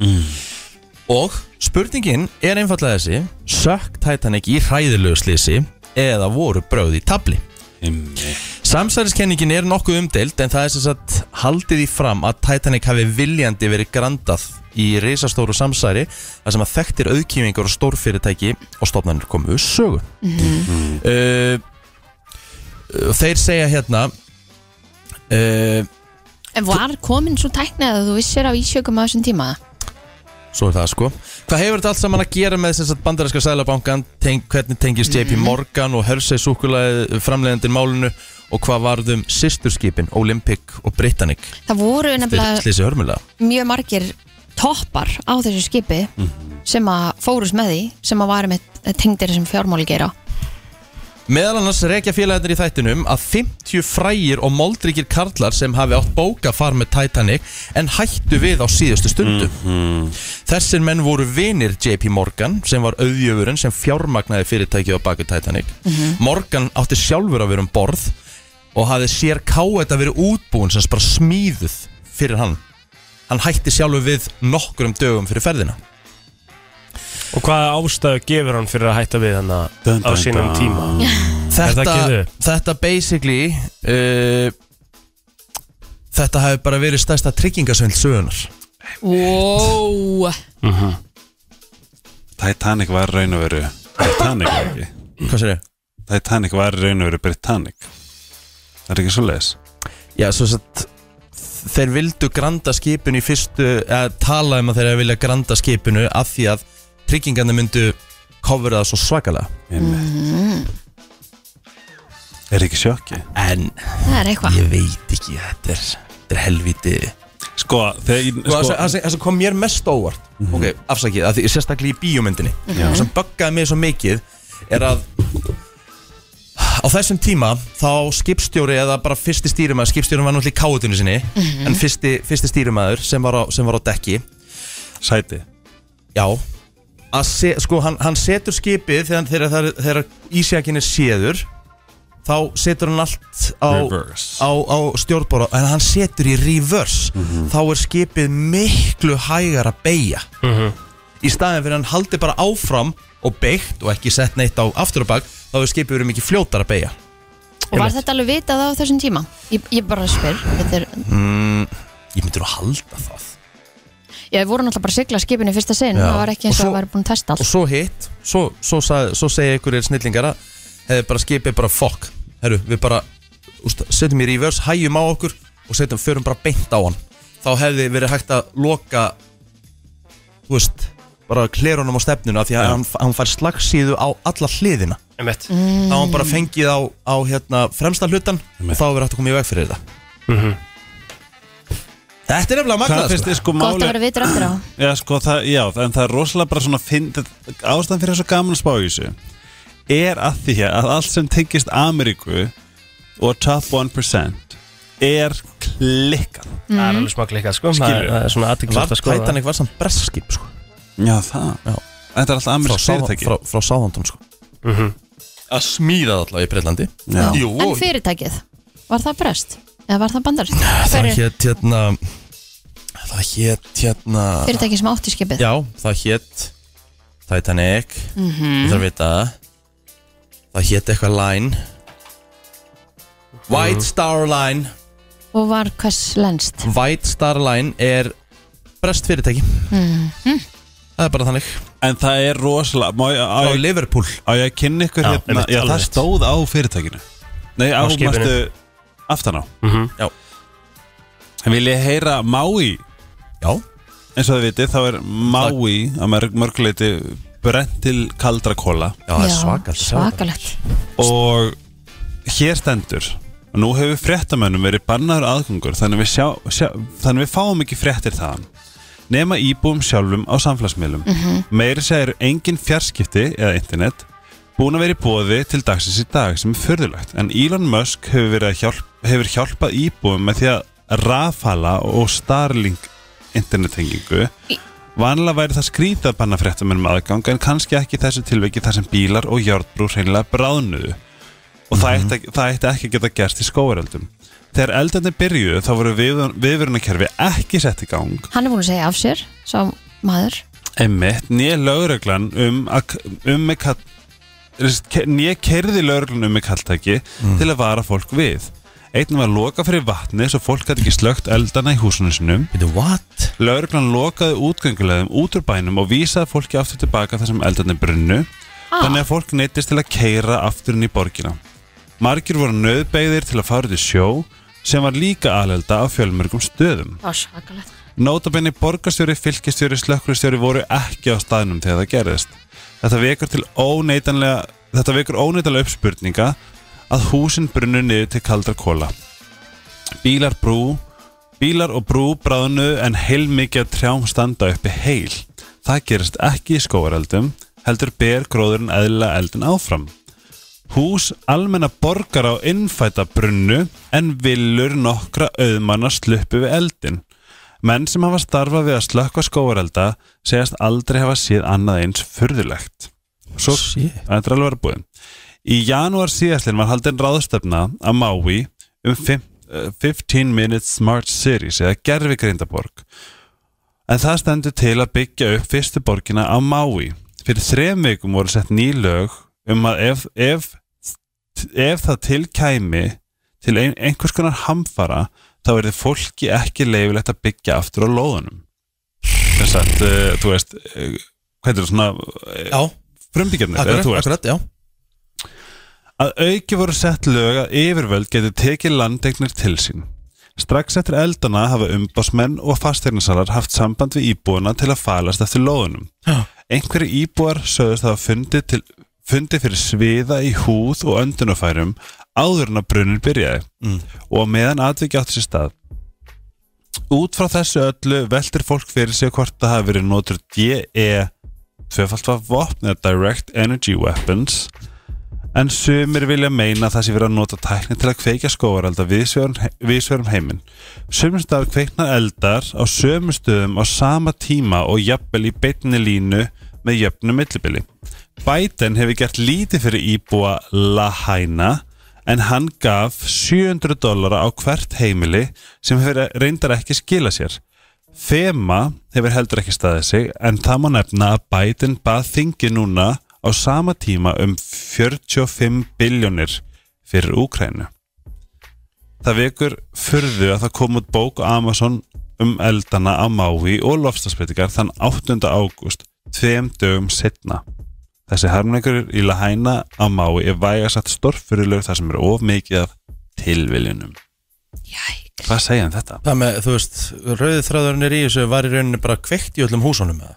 S1: Og spurningin er einfallega þessi Sökk Titanic í hræðilegu slísi eða voru bröð í tabli
S6: Himmi.
S1: Samsæðiskenningin er nokkuð umdeild en það er sem sagt haldið í fram að Titanic hafi viljandi verið grandað í risastóru samsæri þar sem að þekktir auðkýmingar og stórfyrirtæki og stofnanir komu við sögu mm Þeir segja hérna uh,
S2: En var komin svo tæknið að þú vissir á ísjökum á þessum tíma
S1: Svo er það sko Hvað hefur þetta allt saman að gera með þess að bandarinska sælabankan teng, Hvernig tengist JP Morgan og Hörsey súkulaði framleiðandinn málinu og hvað varðum sýsturskipin Olympic og Britannic
S2: Það voru nefnilega
S1: Þeir slýsi hörmulega
S2: mjög margir toppar á þessu skipi
S1: Mhm.
S2: sem að fórus með því sem að varum tengdir þessum fjármáli gera
S1: Meðal annars reykja félagarnir í þættinum að 50 frægir og moldrykir karlar sem hafi átt bóka far með Titanic en hættu við á síðustu stundu. Þessir menn voru vinir JP Morgan sem var auðjöfurinn sem fjármagnaði fyrirtækið á baku Titanic. Morgan átti sjálfur að vera um borð og hafði sér káet að vera útbúin sem bara smíðuð fyrir hann. Hann hætti sjálfur við nokkrum dögum fyrir ferðina.
S3: Og hvaða ástæðu gefur hann fyrir að hætta við hann á
S6: Dun, dun,
S3: sínum
S6: dun.
S3: tíma? Er það ekki
S1: þetta,
S3: þau?
S1: þetta basically uh, Þetta hefur bara verið stærsta tryggingasvindl sögunar
S2: Wow
S6: Titanic var raun og veru Titanic var ekki
S1: Hvað sér ég?
S6: Titanic var raun og veru Britannic Það er ekki svo leiðis
S1: Já, svo satt Þeir vildu granda skipinu í fyrstu eða tala um að þeir vilja granda skipinu af því að tryggingarnir myndu kofra það svo svakalega
S6: mm. Er ekki sjokki?
S1: En
S2: Það er eitthvað
S1: ég veit ekki Þetta er, þetta er helviti
S6: Sko, þegar
S1: sko, það, sem, það sem kom mér mest á óvart ok, afsakið, að því sérstaklega í bíómyndinni það sem buggaði mig svo mikið er að á þessum tíma þá skipstjóri eða bara fyrsti stýrimaður, skipstjóri var náttúrulega í káutinu sinni en fyrsti, fyrsti stýrimaður sem var á, sem var á dekki
S6: Sæti
S1: já að se, sko, hann, hann setur skipið þegar, þegar, þegar, þegar ísjakin er séður þá setur hann allt á,
S6: Reverse.
S1: á, á stjórnbóra en hann setur í reverse þá er skipið miklu hægar að beigja í staðin fyrir að hann haldi bara áfram og beigt og ekki sett neitt á afturabak þá er skipið verið mikið fljótar að beigja
S2: Og var þetta alveg vitað á þessum tíma? Ég, ég bara spyr Þetta er,
S1: ég myndir að halda það
S2: Ég voru náttúrulega bara að sigla skipinu í fyrsta sinn
S1: Já.
S2: Það var ekki eins
S1: Og svo-
S2: og það væri búin að testa
S1: og
S2: allt
S1: svo hitt, svo, svo, sag, svo segja ykkur er snillingar að hefði bara skipið bara fokk herru, við bara úst, setjum í reverse, hægjum á okkur og setjum, förum bara beint á hann þá hefði verið hægt að loka þú veist bara klerunum á stefnuna af því að hann, hann fær slagsíðu á alla hliðina
S3: Einmitt
S1: þá hann bara fengið á, á hérna, fremsta hlutan og þá verið hægt að koma í veg fyrir þetta Þetta er nefnilega
S6: Það
S1: magnað
S6: finnst
S1: sko.
S6: þið sko
S2: Gott að vera
S6: máli
S2: vitur eftir á
S6: já, sko, það, já, en það er rosalega bara svona finn, Ástæðan fyrir þessu gaman að spá í þessu Er að því að allt sem tengist Ameríku og top 1% er klikkan
S3: Það er alveg smakleikað sko Það
S6: Skilur.
S3: er- það er svona aðtiklisvægt
S1: Var
S3: að skoða
S1: Titanic var samt breskip sko,
S6: Já, það
S1: Já.
S6: Þetta er alltaf
S1: frá,
S6: amerísk
S1: South-
S6: fyrirtæki
S1: frá, frá Sáðandón sko. að smíða það allavega í Breitlandi
S6: Já.
S1: Jú,
S2: En fyrirtækið, var það brest? Eða var það bandar? Hver
S1: það
S2: er
S1: hétt hérna það hétt hérna
S2: fyrirtækið sem átti skipið?
S1: já, það hétt Titanic mm -hmm. það vita það. það hétt eitthvað line White Star Line
S2: Og var hvers lenst?
S1: White Star Line er brest fyrirtæki Það er bara þannig
S6: En það er rosalega Má ég, á,
S1: Frá
S6: ég,
S1: Liverpool
S6: á ég að kynna ykkur
S3: Já,
S6: hérna
S3: einmitt,
S6: Já, það
S3: alveg.
S6: stóð á fyrirtækinu Nei,
S3: Á
S6: á
S3: skipinu.
S6: mástu aftan á
S3: Mhm.
S1: Já.
S6: En vil ég heyra Maui
S1: Já
S6: Eins og þið vitið, þá er Maui að mörg, mörguleiti brent til kaldra kóla
S1: Já, það er svakalt
S2: svakalegt
S6: og hér stendur og nú hefur fréttamönnum verið bannaður aðgangur þannig við, sjá, sjá, þannig við fáum ekki fréttir þaðan nema íbúum sjálfum á samfélagsmiðlum meiri segir engin fjarskipti eða internet búin að vera í bóði til dagsins í dag sem er förðulegt en Elon Musk hefur, verið að hjálp, hefur hjálpað íbúum með því að rafala og Starlink internettengingu Vanlega væri það skrítið að banna fréttamönnum aðgang en kannski ekki í þessu tilveiki þar sem bílar og járnbrú hreinlega bráðnuðu og það, ætti, ekki- það ætti ekki að geta gerst í skóveröldum. Þegar eldarnir byrjuðu þá voru viðvörunakerfi ekki sett í gang
S2: Hann er búin að segja af sér, sá maður
S6: Einmitt, nýja lögreglan um, að- um með kall nýja kerði lögreglan um með kalltæki til að vara fólk við einn var loka fyrir vatni svo fólk gæti ekki slögt eldana í húsunum sinum
S1: Veitu, what?
S6: Lauruglan lokaði útgöngulegðum út úr bænum og vísaði fólki aftur tilbaka þar sem eldarnir brunnu þannig að fólk neittist til að keira aftur inn í borgina. Margir voru nöðbeigðir til að fara út í sjó sem var líka alelda á fjölmörgum stöðum.
S2: Það var svakalegt
S6: Nótabenni borgarstjóri, fylkistjóri, slökkurstjóri voru ekki á staðnum þegar það gerðist. Þetta vekur til óneitanlega, þetta vekur óneitanlega uppspurninga að húsin brunnu niður til kaldra kóla. Bílar brú, bílar og brú bráðnu en heilmikið af trjám standa uppi heil. Það gerist ekki í skóareldum, heldur ber gróðurinn eðlilega eldin áfram. Hús almenna borgar á innfæta brunnu en villur nokkra auðmanna sluppu við eldin. Menn sem hafa starfað við að slökka skóarelda segjast aldrei hafa séð annað eins furðulegt. Svo,
S1: Shit.
S6: þetta er alveg að búin. Í janúar síðastlinn var haldin ráðstefna að Maui um fim- eh, 15 Minute Smart Series eða gerfi grindaborg. En það stendur til að byggja upp fyrstu borgina á Maui. Fyrir þrem vikum voru sett ný lög um að ef, ef, ef það tilkæmi til ein, einhvers konar hamfara þá er þið fólki ekki leifilegt að byggja aftur á lóðunum. Þess að, uh, þú veist, uh, hvað er það svona,
S1: Já,
S6: frumbyggjarnir, eða
S1: akkurat,
S6: þú veist
S1: akkurat, já
S6: að auki voru sett lög að yfirvöld geti tekið landegnir til sín. Strax eftir eldana hafa umbásmenn og fasteirnisalar haft samband við íbúana til að falast eftir lóðunum.
S1: Já.
S6: Einhverju íbúar sögðust hafa fundið, til, fundið fyrir sviða í húð og öndunafærum áður en að brunin byrjaði mm. og á meðan atviki átti sér stað. Út frá þessu öllu veltir fólk fyrir sig hvort það hafi verið notur DE tvöfalt var vopn eða Direct Energy Weapons en sumir vilja meina að það sé verið að nota tækni til að kveikja skóarelda viðsverum heiminn. Sumir staðar kveiknar eldar á sömu stöðum á sama tíma og jafnvel í beinni línu með jöfnu millibili. Biden hefur gert lítið fyrir íbúa Lahaina en hann gaf 700 dollara á hvert heimili sem hefur reyndar ekki skila sér. FEMA hefur heldur ekki staðið sig en það má nefna að Biden bað þingi núna á sama tíma um 45 biljónir fyrir Úkrænu. Það vekur furðu að það kom út bók á Amazon um eldana á Maui og lofstafsbreytingar þann 8. ágúst, tveim dögum setna. Þessi harmleikur í Lahaina á Maui er vægasatt stórfyrirlög þar sem er of mikið af tilviljunum.
S2: Jæk
S6: Hvað segja um þetta?
S1: Það með, þú veist, rauðið þráðurinn er í þessu var í rauninni bara kveikt í öllum húsunum eða?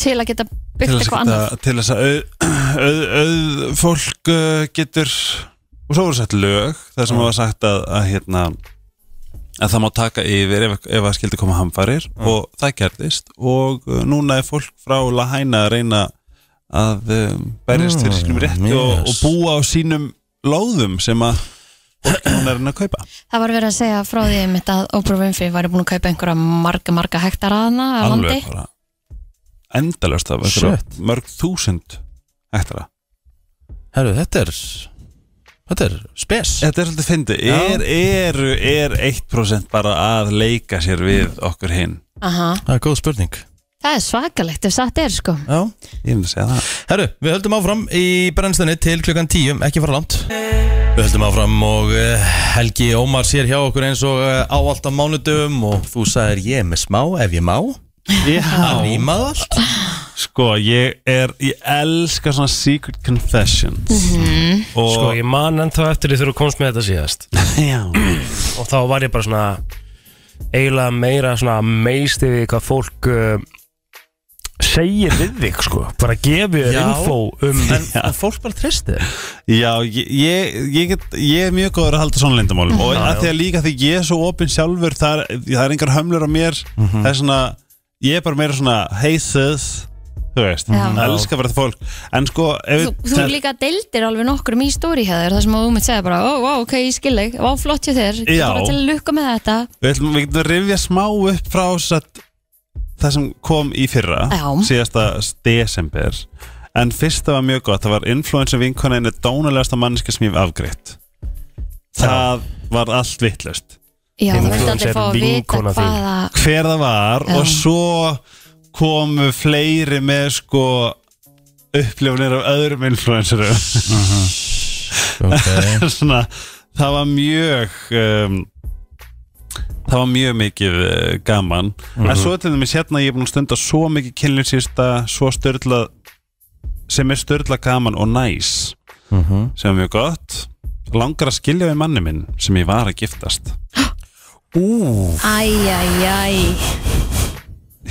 S2: Til að geta
S6: til
S2: byggt
S6: þess
S2: eitthvað
S6: að,
S2: annað
S6: geta- til þess að auð, auð, (clears throat) auð, fólk uh, getur og svo voru sett lög þar sem hafa sagt að, að hérna að það má taka yfir ef, ef að skildi koma hamfarir og það gerðist og uh, núna er fólk frá Lahaina að reyna að um, berjast fyrir sínum rétti og, og
S1: yes.
S6: búa á sínum lóðum sem að fólk núna er að reyna að kaupa
S2: Það var verið að segja frá því mitt að Oprah Winfrey væri búin að kaupa einhverja marga, marga hektar að hana að landi
S6: alveg bara endalöst af einhverja mörg þúsund hektara
S1: Herru, þetta er Þetta er spes
S6: Þetta er svolítið fyndið
S1: Já.
S6: er, er, er 1% bara að leika sér við
S3: Mm.
S6: okkur hinn
S2: Aha.
S1: Það er góð spurning
S2: Það er svakalegt ef satt er sko
S1: Já
S6: Ég myndi segja það
S1: Herru, við höldum áfram í brennstunni til klukkan 10, ekki fara langt Við höldum áfram og eh, Helgi Ómar sér hjá okkur eins og eh, á allt á mánudum og þú sagðir ég er með smá ef ég má
S6: Já,
S1: Rímað allt
S6: Sko, ég er, ég elska svona secret confessions Og,
S3: Sko ég man ennþá eftir því þegar þú komst með þetta síðast
S6: (clears throat) já
S3: og þá var ég bara svona eiginlega meira svona meist yfir því hvað fólk uh, segir við þig sko bara gefið þér
S1: Já.
S3: info um
S1: En, en fólk bara tristi þér
S6: Já, ég, ég, ég, get, ég er mjög góður að halda svona lindamálum og
S3: Mhm. Já,
S6: að
S3: já.
S6: því að líka því ég er svo opinn sjálfur það er, það er engar hömlur á mér
S3: Mhm.
S6: það er svona, ég er bara meira svona hey sis, þú veist
S2: Já.
S6: mm elskar bara þetta fólk, en sko ef,
S2: Þú, þú líka deildir alveg nokkrum í stóri hefur það sem að þú mitt segja bara, ó, ó, ok, ég skil þig, ó, flott hjá þér, ég
S6: Já.
S2: bara til að lukka með þetta.
S6: við, ætlum, við getum að rifja smá upp frá satt, það sem kom í fyrra
S2: Já.
S6: síðasta desember en fyrsta var mjög gott, það var influencer vinkona einu dónulegasta manneska sem ég hef afgreitt það var allt vittlust
S2: Já, þú vilt
S3: Influencer
S2: allir fá að vita
S3: vinkona þín.
S2: hvaða,
S6: hver það var
S2: Já.
S6: og svo komu fleiri með sko upplifunir af öðrum influencerum
S1: okay.
S6: (laughs) svona, það var mjög um, það var mjög mikið uh, gaman en
S3: Mhm.
S6: svo til dæmis hérna ég er búin að stunda svo mikið kynlíf sísta svo störla sem er störla gaman og næs
S3: Mhm.
S6: sem er mjög gott langar að skilja við manni minn sem ég var að giftast
S2: æ, æ, æ,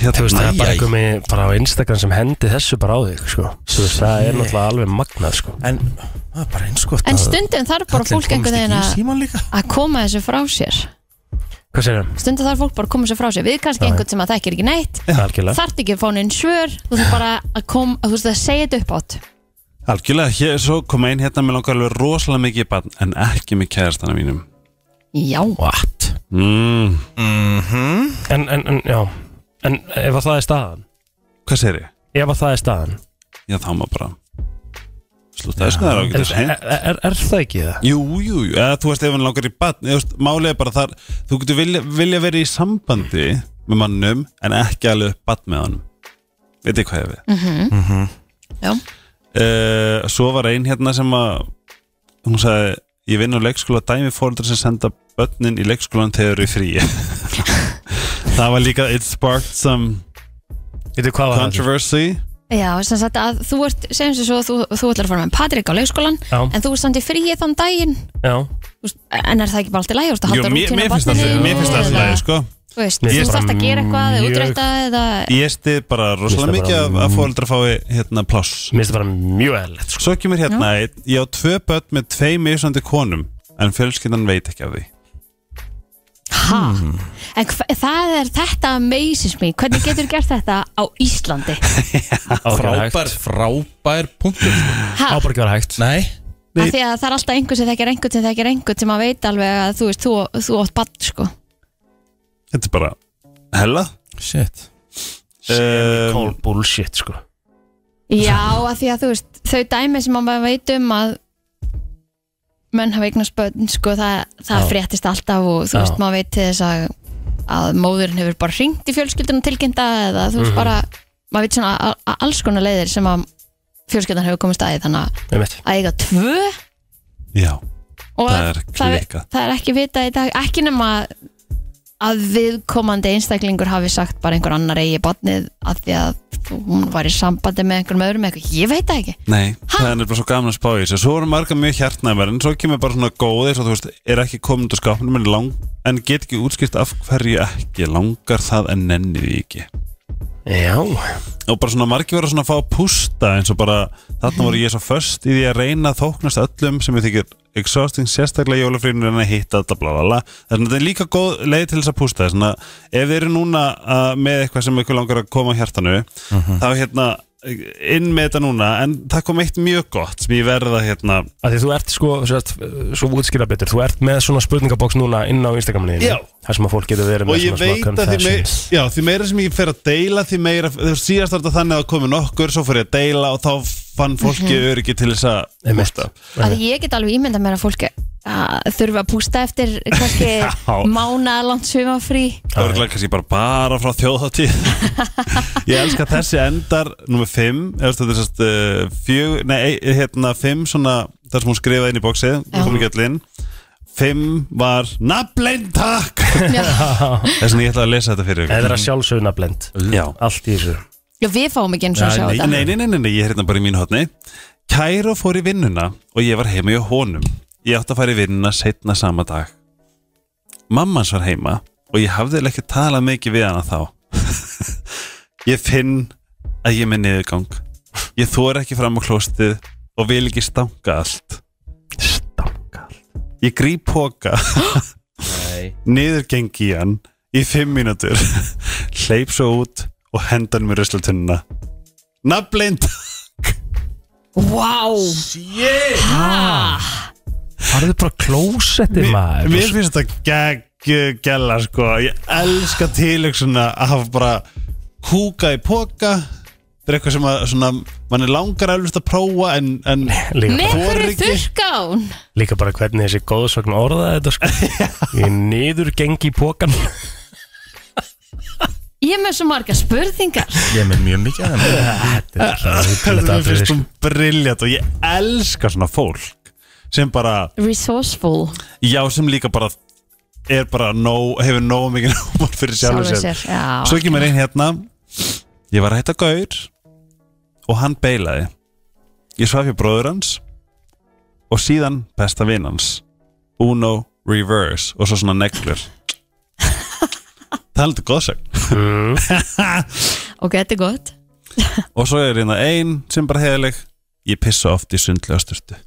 S3: þú
S6: Hérna,
S3: veist það er bara
S1: Æ, æ.
S3: einhver með bara á Instagram sem hendi þessu bara á þig sko þú veist það er náttúrulega alveg magnað sko
S1: En það er bara eins gott
S2: en
S1: að-
S2: stundum þarf bara
S1: Kallinn
S2: fólk
S1: komist
S2: einhvern veginn
S1: ekki í
S2: að-
S1: símann líka
S2: að koma þessu frá sér.
S3: hvað segir það?
S2: Stundum þarf fólk bara að koma þessu frá sér, við kannski einhvern sem að þekkir ekki neitt,
S3: algjörlega
S2: þarft ekki að fá neinn svör, þú þarf bara að kom, að þú veist að segja þetta upp átt.
S6: Algjörlega, hér, svo kom einn hérna með langar alveg rosalega mikið í barn en ekki með kærastana mínum
S2: Já,
S1: What?
S6: mm.
S3: en, en, en já en ef að það er staðan
S6: Hvað segir ég?
S3: ef að það er staðan
S6: Já, þá maður bara Slúta, það er
S3: er,
S6: ágætis
S3: er,
S6: hint
S3: er, er, er það ekki það?
S6: Jú, jú, jú, eða þú veist ef hann langar í barn eða, þú veist, Málið er bara þar Þú getur vilja, vilja verið í sambandi með mannum en ekki alveg upp barn með honum Veit hvað ég við
S2: já,
S6: uh, Svo var ein hérna sem að hún sagði Ég vinn á leikskóla dæmi fóreldra sem senda börnin í leikskólan þegar þau eru í fríi (laughs) Það var líka It sparked some
S3: Veitu hvað var það?
S6: Controversy
S2: já, sem sagt að þú ert, segjum sem svo, þú, þú ætlar að fara með Patrik á leikskólan,
S3: Já.
S2: en þú ert samt í fríi þann daginn,
S3: Já,
S2: Þú veist, en er það ekki bara allt í læg?
S6: Jú, mér, mér finnst það mér finnst það alltaf sko.
S2: Þú veist,
S3: Mér
S2: þú
S3: finnst
S2: þarft
S3: bara
S2: að gera eitthvað eða
S3: mjög-
S2: útrætta eða
S6: Ég stið bara
S3: Mér
S6: rosalega
S3: finnst
S6: mikið
S3: það
S6: að,
S3: bara-
S6: að fóreldra fái hérna pláss
S3: mér finnst það bara mjög
S6: (laughs)
S3: eðlilegt sko.
S6: Svo kemur hérna einn Ég á tvö börn með tvei misandi konum En fjölskyndan veit ekki af því
S2: ha. En hva- það er þetta amazes me, hvernig getur gert þetta á Íslandi?
S1: Frábær, frábær punktur
S2: Ha,
S3: Ábar ekki vera hægt
S1: Nei
S2: af því að það er alltaf einhver sem þekkir einhvern sem þekkir einhvern sem að veit alveg að þú veist, þú, þú átt bann, sko.
S6: Þetta er bara hella
S1: Shit
S6: um,
S3: Call bullshit sko
S2: Já, af því að þú veist, þau dæmi sem maður veit um að menn hafa eignast börn, sko, það, það fréttist alltaf og þú
S3: Já.
S2: veist, maður veit til þess að, að móðurinn hefur bara hringt í fjölskyldunum tilkynnta eða þú veist bara, maður veit svona a- a- alls konar leiðir sem að fjölskyldan hefur komist að því, þannig að-
S3: Einmitt.
S2: að eiga tvö
S6: Já,
S2: og
S6: það er
S2: það,
S6: klika
S2: það er ekki vitað í dag, ekki nema að- að viðkomandi einstaklingur hafi sagt bara einhver annar eigi barnið að því að hún var í sambandi með einhverjum öðrum eða eitthvað, ég veit það ekki
S6: Nei, það er nefnilega svo gaman að spá í þessu Svo eru marga mjög hjartnæmar En svo kemur bara svona góðir Svo þú veist, er ekki komin út á skápnum En, lang, en get ekki útskipt af hverju ekki Langar það en nenni því ekki
S3: Já,
S6: og bara svona margir verður svona að fá að pústa eins og bara þarna voru ég svo först í því að reyna að þóknast öllum sem ég þykir exhausting sérstaklega jólafrýnur en að hitta þetta bla bla bla þannig að þetta er líka góð leið til þess að pústa þannig að ef þið eru núna uh, með eitthvað sem ykkur langar að koma á hjartanu þá hérna inn með þetta núna en það kom eitt mjög gott sem ég verða hérna
S3: að því þú ert sko svo, ert- svo útskýra betur, þú ert með svona spurningaboks núna inn á Instagraminu
S6: Já.
S3: þar sem að fólk getur verið
S6: og
S3: með
S6: ég
S3: svona
S6: veit að því, mei,
S3: confessions.
S6: já, því meira sem ég fer að deila því meira, þú veist, síðast var þetta þannig að það komi nokkur svo fór ég að deila og þá fann fólki
S3: Mhm.
S6: öryggi til þess að
S3: Einmitt.
S6: pústa
S2: að ég get alveg ímynda mér að fólk eh, að þurfa að pústa eftir
S6: (laughs) Já.
S2: kannski mánaðalant svimafrí
S6: Það er kannski bara bara frá þjóðháttíð (laughs) Ég elska að þessi endar Númer 5 Þetta er sérst uh, fjög Nei, ei- hérna 5 svona þar sem hún skrifaði inn í bóksið
S2: Já.
S6: Við komum ekki allir inn 5 var Naflein takk (laughs) Þess vegna ég ætla að lesa þetta fyrir
S3: Það
S6: ykkur
S3: er að sjálfsögna blend
S6: Já
S3: Allt í þessu
S2: Já, við fáum ekki eins og að sjá
S1: Nei,
S2: þetta
S6: Nei, nei, nei, nei, nei, ég er hérna bara í mínu hotni Kæró fór í vinnuna og ég var heima hjá honum Ég átti að fara í vinnuna setna sama dag Mamma hans var heima og ég hafði eiginlega ekki talað mikið við hana þá (laughs) Ég finn að ég er með niðurgang Ég þor ekki fram á klóstið og vil ekki stanga allt Stanga allt Ég gríp póka (laughs)
S1: Nei
S6: niðurgengi í hann í fimm mínútur (laughs) hleyp svo út og hendan mér ruslatunna nafnblind
S2: Vá Shit
S3: Farðu bara klósetti maður
S6: mér finnst þetta gegg gæla sko, ég elska tilöksuna að hafa bara kúka í póka þetta er eitthvað sem að svona, mann er langar eflust að prófa en, en
S3: líka,
S2: Með
S3: bara,
S2: hverju
S6: Þorir ekki.
S2: þurrkán
S3: líka bara hvernig þessi góðsvagn orðaði þetta sko Ég niður gengi í pókan
S2: Ég er með svo marga spurningar
S1: Ég er með mjög mikið að það
S3: Þetta er svo huggullegt
S6: þetta mér
S3: atriði,
S6: finnst
S3: sko.
S6: hún briljant og ég elska svona fólk sem bara
S2: Resourceful
S6: Já, sem líka bara er bara nóg, hefur nóg mikið (laughs) námar fyrir sjálfur
S2: Sjálfur
S6: sér.
S2: sér, já.
S6: Svo kemur einn hérna Ég var að hætta gaur og hann beilaði Ég svaf hjá bróður hans og síðan besta vin hans Uno Reverse og svo svona neglur Það er aldrei góðsögn
S2: Ok, þetta er gott
S6: Og svo er hérna ein sem bara heiðaleg Ég pissa oft í sundlega styrtu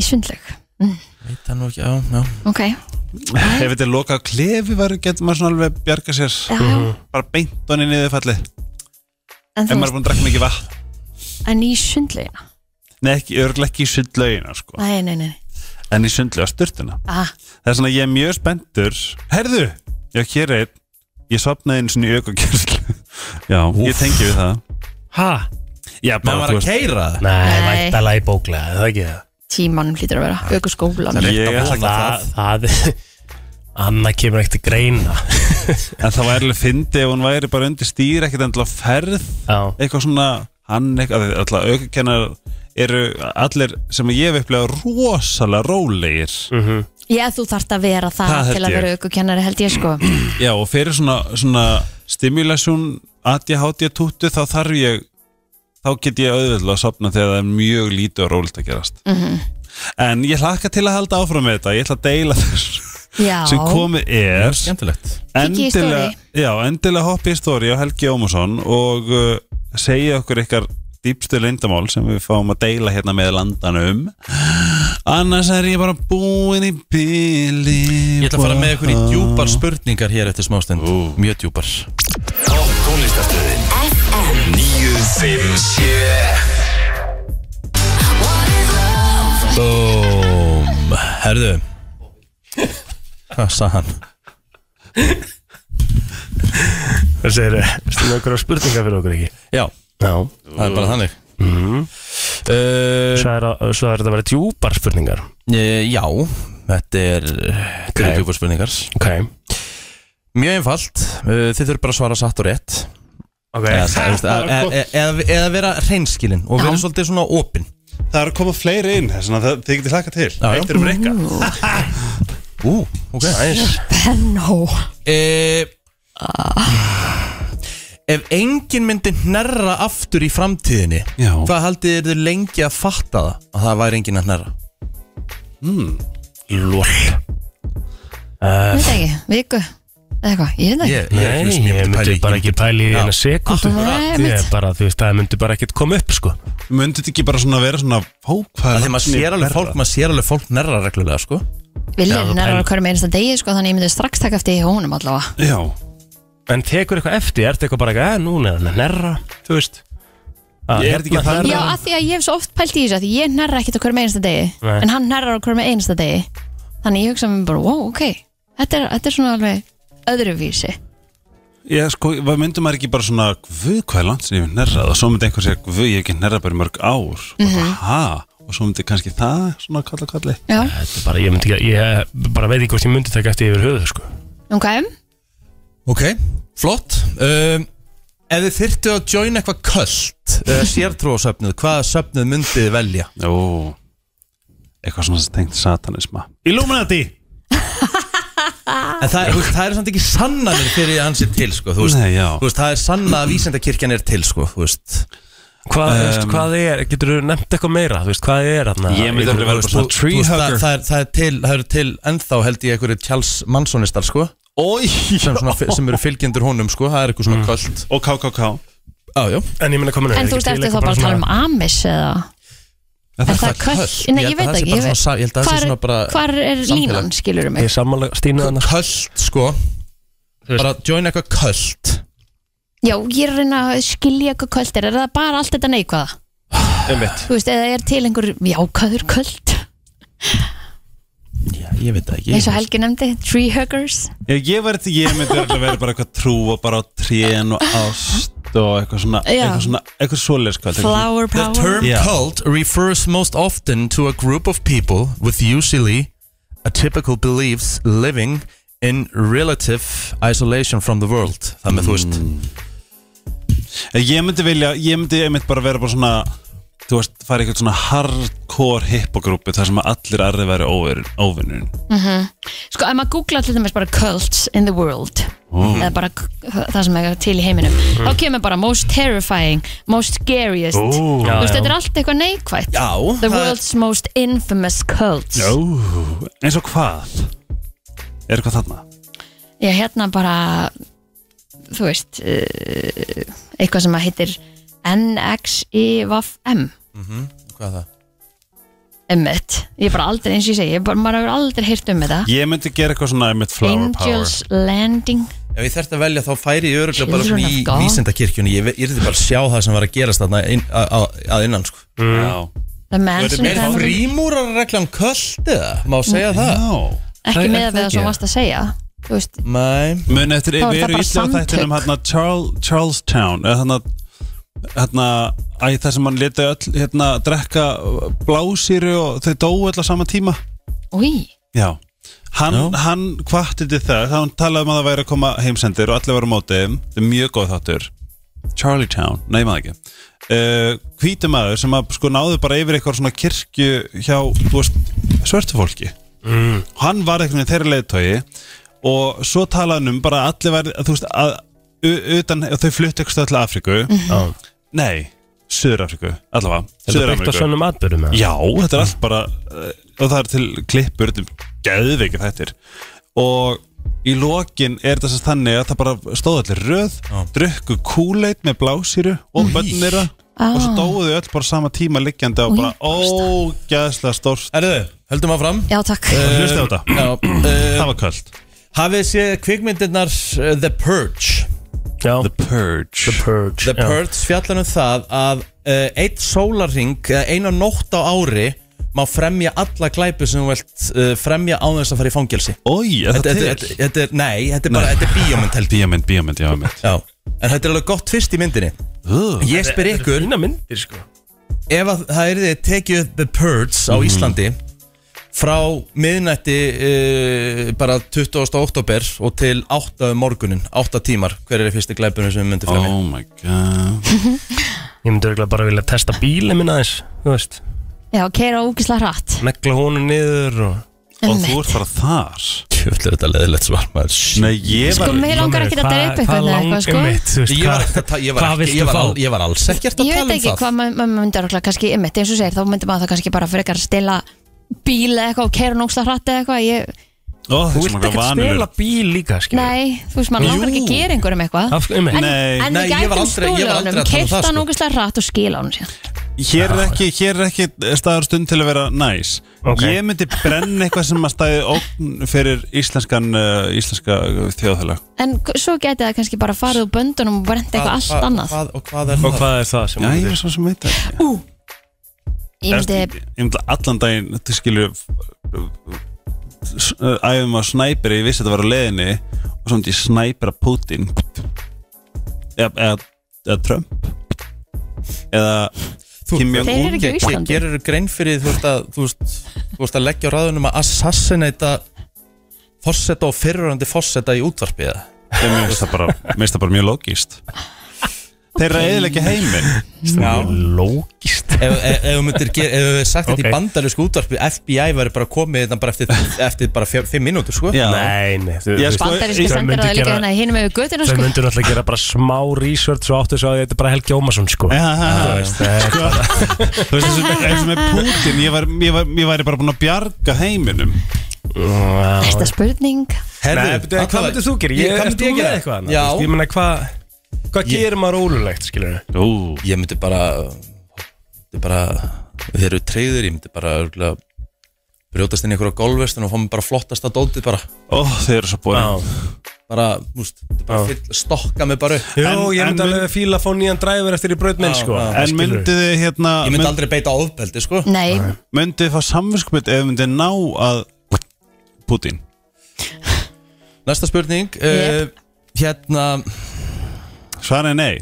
S2: Í svindleg
S1: Það er nú ekki, já, já
S2: Ok,
S6: Ef þetta er lokað á klefi var getur maður svona alveg bjarga sér
S2: já
S6: bara beint honni niður fallið
S2: En,
S6: Ef
S2: þú
S6: maður er
S2: veist,
S6: búin að drakka mikið vatn
S2: en í svindlegina
S6: Nei, ekki, örglega ekki í sundlaugina sko.
S2: Nei, nei, nei
S6: En í sundlega styrtuna
S2: ah,
S6: Það er svona að ég er mjög spenntur Herðu, já hér er einn. Ég sopnaði einu svona í aukakerslu (laughs) Já, ég tengi við það
S3: Ha?
S6: Já,
S1: Menn var að keira það
S3: Nei,
S2: Nei.
S3: væntala í bóklega, er það ekki það
S2: Tímanum hlýtur að vera Öku skólan
S1: Það er
S6: Ég
S1: rétt að
S6: ætla
S1: vona
S3: Það,
S1: það
S3: það Anna kemur ekkert til greina
S6: En það væri alveg fyndi ef hún væri bara undir stýr ekkert endilega á ferð
S3: Já,
S6: eitthvað svona hann eitthvað af því Alltaf aukakennar eru allir sem ég hef upplegað rosalega rólegir
S2: Já, þú þarft að vera það,
S6: Það held
S2: til að
S6: ég.
S2: vera aukukennari held ég sko
S6: Já, og fyrir svona, svona stimulation ADHD 20 þá þarf ég þá get ég auðvitað að sopna þegar það er mjög lítið og rólegt að gerast
S2: Mhm.
S6: -hmm. en ég hlakka til að halda áfram með þetta ég ætla að deila þess
S2: Já,
S6: sem komið er
S1: Skemmtilegt
S2: Kíkið í
S6: endilega, já, endilega hoppi í stóri á Helgi Ómarsson og uh, segja okkur ykkar dýpstu leyndamál sem við fáum að deila hérna með landanum annars er ég bara búin í bíli
S1: Ég ætla að fara með ykkur í djúpar spurningar hér eftir smástund Mjög djúpar
S5: Topp tónlistastöðin FM 957
S1: Búm Herðu Hvað sað hann?
S3: það segir Erstu með okkur á spurningar fyrir okkur ekki
S1: Já,
S3: Já
S1: það er bara þannig uh,
S3: Svo er, að- svo er þetta bara djúpar spurningar
S1: eh, Já, þetta er Þetta
S3: Ok.
S1: er djúpar spurningar
S3: Ok
S1: Mjög einfalt uh, Þið þurfum bara að svara satt og rétt
S3: Ok
S1: Eða, eða, eða, eða, eða vera reynskilin Og vera svolítið svona opin
S6: Það er að koma fleiri inn, þess að þið getið hlaka til
S1: Já, já.
S6: Eitt er um reyka
S1: Ú, ok, aðeins
S2: Benno
S1: e, Ef enginn myndi hnerra aftur í framtíðinni
S6: Já.
S1: Hvað haldið þið lengi að fatta það að það væri enginn að hnerra?
S3: Lól
S2: Ég veit ekki, viku eða eitthvað, ég veit ekki
S1: Ég, ég,
S3: Nei, ég myndi bara ekki pæli í
S1: Já.
S3: eina sekundu
S2: Akkurat. Nei,
S3: Ég
S2: mitt.
S3: bara, þú veist, það myndi bara ekkert koma upp sko
S6: Möndu þetta ekki bara svona vera svona
S1: Það
S6: Hókvæða
S1: er því maður sér alveg fólk, maður sér alveg fólk hnerra reglulega, sko
S3: Já, þú
S2: Viljum er
S3: pælir.
S2: að hverjum einasta degi sko Þannig ég myndi strax taka eftir í honum allavega
S6: Já,
S3: En tekur eitthvað eftir, ertu eitthvað bara eitthvað, eh, núna er hann að nerra, þú veist að
S6: Ég er þetta ekki
S3: hérna
S6: að
S2: Já,
S3: hnerra.
S2: af því að ég hef svo oft pælt í þessu af Því ég nærra ekkert á hverjum einasta degi
S3: Nei.
S2: En hann nærra á hverjum einasta degi Þannig ég hugsa mér bara, wow, ok Þetta er, þetta er svona alveg öðruvísi
S6: já sko, maður myndi maður ekki bara svona Guð, hvað er langt sem ég hef nærrað Og svo myndi einhver segja, guð, ég hef ekki nærrað bara í mörg ár mm Ha, og svo myndi kannski það Svona kalla kalli
S2: Já,
S3: Þetta er bara, ég myndi ekki, ég bara veit ekki hvort ég myndi taka eftir yfir höfuð sko
S2: ok
S1: Ok, flott um, Ef þið þyrftu að join eitthvað kvöld uh, Sértrúasöfnuð, hvaða söfnuð myndið þið velja?
S6: Ó, eitthvað svona sem tengt satanisma
S3: Illuminati
S1: En það, þú veist, það er samt ekki sannanir fyrir að hann sé til sko, þú, veist,
S6: Nei, já.
S1: þú veist, það er sanna að vísendakirkjan er til sko, þú veist
S3: Hvað, um, veist, hvað er, getur þú nefnt eitthvað meira Þú veist, hvað er þarna
S6: Ég myndi alveg vera bara svona
S1: Þú
S6: tree
S1: veist, það,
S6: hugger
S1: það, er, það er til, það eru til ennþá held ég einhverju Charles Mansonistar sko
S6: Oj,
S1: sem, svona, sem eru fylgjendur honum sko, það er eitthvað svona kvöld
S6: Og KKK
S1: Já, já,
S3: En ég meina komin
S2: En þú veist, ertu þá bara að tala um Amis eða? Er það köll?
S1: köll?
S2: Nei,
S1: Ég
S2: ég
S1: held að
S2: veit
S1: það sé bara
S2: ekki ég
S1: svona
S2: veit-
S1: sa- ég held að það sé
S2: Hvar-
S1: svona bara
S2: Hvar er
S1: samfélag.
S2: línan, skilur mig?
S3: Ég sammála Stínu þarna
S1: köld sko
S3: veist-
S1: bara join eitthvað köld
S2: Já, ég er að reyna að skilja hvað köld er Er það bara allt þetta neikvæða?
S3: Einmitt.
S2: Þú veist, eða er til einhver jákvæður köld
S1: Já, ég veit það ekki
S2: eins og Helgi nefndi, tree huggers
S6: Ég, ég, verð, ég myndi örugglega vera bara eitthvað trú og bara á trén og ást og eitthvað svona,
S2: Já.
S6: eitthvað svona, eitthvað svoleiðis kvöld eitthvað
S2: flower
S1: The
S2: power
S1: term
S6: Yeah.
S1: cult refers most often to a group of people with usually atypical beliefs living in relative isolation from the world. Það með þú veist,
S6: svona. Ég myndi vilja, ég myndi einmitt bara vera bara svona Þú veist, fara í eitthvað svona hardcore hippogrúpi þar sem að allir aðrið væri óvinurinn óvinurinn.
S2: sko, ef maður googlar til dæmis bara cults in the world eða
S1: Mm.
S2: bara k- það sem er til í heiminum þá kemur bara most terrifying most scariest
S3: Ú,
S2: þú
S3: já,
S2: veist,
S3: já.
S2: þetta er allt eitthvað neikvætt
S1: Já,
S2: the
S1: það er-
S2: world's most infamous cults
S6: Ó, eins og hvað? Er eitthvað þarna?
S2: ég hérna bara þú veist uh, eitthvað sem að heitir NXIVM
S1: hvað er það?
S2: emmitt, ég er bara aldrei eins og ég segi, ég bara, maður hefur aldrei heyrt um þetta
S6: Ég myndi gera eitthvað svona einmitt flower
S2: Angels Landing
S1: Ef ég þurfti að velja þá færi ég öruglega bara
S2: Children
S1: svona í
S2: of God.
S1: vísindakirkjunni. Ég ve- yrði bara að sjá það sem var að gerast þarna inn, a, a, að innan, sko.
S6: power Já,
S2: The Manson
S1: Er það
S2: Family
S1: frímúrar reglan köld eða? Má segja það?
S6: já.
S2: ekki
S3: Það-
S2: með
S3: er
S2: við
S3: það
S2: það sem
S3: ekki?
S2: varst að segja þú veist,
S1: Nei.
S6: Muni eftir
S2: Þá er
S6: við
S2: það
S6: eru
S2: bara
S6: íslega
S2: samtök.
S6: þættinum hérna Charles, Charlestown eða hérna hérna æ, það sem hann leti öll hérna drekka blásýru og þau dóu öll á sama tíma
S2: úi
S6: Já Hann, hann kvatti til það þá hann talaði um að það væri að koma heimsendir og allir varu á móti þeim. þetta er mjög góð þáttur Charlie Town, nei maður ekki uh, Hvítumæður sem að sko náðu bara yfir eitthvað svona kirkju hjá þú veist, svörtu fólki mm. Hann var eitthvað þeirra leiðtogi og svo talaði hann um bara að allir væri þú veist, að, u- utan, þau fluttu eitthvað til Afríku
S3: Já.
S6: Nei, Suður-Afríku, allavega
S3: Mhm. Þetta er byggt á
S6: Suður-Afríku.
S3: svonum atbyrðum eða?
S6: Já, þetta er allt bara uh, og það er til klippur til geðveikir þættir og í lokin er þetta sérst þannig að það bara stóð allir röð drukku kúleit með blásýru og bönnira og
S3: Ah.
S6: svo dóðu öll bara sama tíma liggjandi og bara ógeðslega stórt
S1: Erðu, höldum áfram.
S2: já takk,
S6: Hlustaðu Eh, á þetta.
S1: Eh, Já, eh,
S6: (clears throat) það var kvöld
S1: hafið séð kvikmyndirnar eh, The Purge?
S3: Já
S6: The Purge
S3: The Purge
S1: The
S3: já.
S1: Purge fjallar um það að uh, eitt sólarring eða eh, eina nótt á ári má fremja alla glæpi sem þú vilt uh, fremja á þess að fara í fangelsi
S6: Ói, er
S1: Þetta
S6: það
S1: þetta-
S6: til?
S1: þetta er, nei, þetta er bara, þetta er bíómynd held ég
S6: Bíómynd, bíómynd, já, mynd
S1: Já, en þetta er alveg gott fyrst í myndinni
S6: uh,
S1: Ég spyr
S3: Þetta er
S1: ykkur,
S3: fína myndir sko
S1: ef að það er þið tekið upp The Purge á Íslandi frá miðnætti uh, bara 20. oktober og til 8. um morgunin, 8 tímar hver er fyrsti glæpunum sem við myndum fremja
S6: Oh my god
S3: Ég myndi örgulega bara vilja testa bílið minn aðeins Þú veist
S2: já, keira ógisla hratt
S3: Negla honum niður og
S6: Og
S2: Einmitt.
S6: þú ert bara þar
S1: Kjöfl er þetta leðilegt svar maður
S6: Nei, ég var
S2: sko, mér langar ekki að
S3: Hvað-
S2: dæra upp eitthvað eða eitthvað, sko
S3: mitt, þú veist,
S1: Ég var, ekki að ta- ég, var
S3: hvað
S1: ekki,
S3: viltu
S1: ég, var
S3: fá?
S1: al, ég var alls ekkert að
S2: ég
S1: tala
S2: veit
S1: um
S2: ekki
S1: það
S2: hvað ma- maður myndi örgulega kannski einmitt, eins og segir, þá myndi maður það kannski bara frekar stela bíl eða eitthvað og keira nógsla hratt eða eitthvað ég,
S6: Ó,
S3: Þú
S6: þú
S3: vilt
S6: sem okkar
S3: ekki
S6: vanur
S3: stela bíl líka skilur
S2: nei, þú veist, maður langar ekki að gera einhverjum eitthvað
S3: Af, um,
S2: en,
S3: en,
S6: Nei.
S2: en
S1: Nei,
S2: við
S1: ég var
S2: gætum
S1: aldrei- ég
S2: stólu
S1: var aldrei að tala
S2: honum
S1: um það,
S2: keirta
S1: sko.
S2: nógisla hratt og skila honum síðan
S6: Hér er ekki, hér er ekki staður stund til að vera næs
S3: Ok.
S6: Ég myndi brenna eitthvað sem að staði ógn fyrir íslenskan, uh, íslenska þjóðfélag
S2: en k- svo geti það kannski bara farið úr böndunum og brent eitthvað allt
S1: Hvað-
S2: annað
S1: hvað, Og hvað er
S3: Og
S1: það?
S3: hvað er það sem
S6: Já, ég
S3: þú
S6: er svo sem veit það ekki.
S2: ég myndi
S6: Ég myndi allan daginn, þetta skilur s- uh, æfum að snæperi, ég vissi þetta var á leiðinni og svo myndi ég snæpera Putin eða, eða, eða Trump eða
S1: Þú-
S6: Kim Jong-un.
S2: Þeir eru ekki á
S1: Ge- ge-
S2: Íslandi.
S1: Gerirðu grein fyrir þú veist að þú veist, þú veist að leggja á ráðunum að assassinata fórseta og fyrrurandi fórseta í útvarpiða
S6: Ég mér finnst það bara, mér finnst það bara mjög logíst Þeirra eðilegja heiminn
S3: Lókist
S1: Ef ef- ef þú myndir gera, ef þú hefur sagt þetta
S3: Ok.
S1: í bandarísku útvarpi FBI væri bara komið þetta bara eftir, eftir bara fjör, fimm mínútur sko
S6: Já.
S3: Nei, nei þú-
S6: Já,
S3: þú-
S6: sko,
S2: Bandaríska
S3: Þau myndu
S2: sendiráði líka
S3: gera-
S2: hérna hinum yfir götuna
S3: Þau
S2: sko.
S3: myndur náttúrulega gera bara smá research og áttu svo að þetta er bara Helgi Ómarsson sko
S6: Já, já, já.
S3: Það er
S6: Sko, Þú veist þessu eins og með Putin ég, var, ég, var, ég væri bara búin að bjarga heiminum
S2: Þetta spurning
S1: Herðu,
S3: Nei, betur, hvað myndir þú gera?
S1: Ég-
S3: Ég,
S1: hvað
S3: er
S1: myndi
S3: þú
S1: ég
S3: með
S1: gera?
S3: eitthvað? annað?
S1: Já.
S3: Þú veist, Ég meina, hvað hva
S1: Ég-
S3: gerir maður ólulegt, skilur við?
S6: Ú.
S1: Ég myndi bara Ég bara Þeir eru treyður, ég myndi bara örgulega, brjótast inn í einhverja gólvestun og fá mig bara flottasta dótið bara
S6: Ó, þeir eru svo búin
S1: bara, múst, bara fyll, stokka mig bara upp
S3: Jú,
S6: En-
S3: ég
S6: en
S3: myndi
S6: mun-
S3: alveg fíla að fá nýjan dræfur eftir í braut minn,
S1: Já,
S3: sko
S1: já.
S6: En myndu þið hérna
S1: Ég myndi
S6: mynd,
S1: aldrei beita ofbeldi sko
S2: Nei,
S6: Myndu þið fá samvinskupið ef þið myndið ná að Putin
S1: Næsta spurning
S2: Yep.
S1: uh, Hérna,
S6: Svara er nei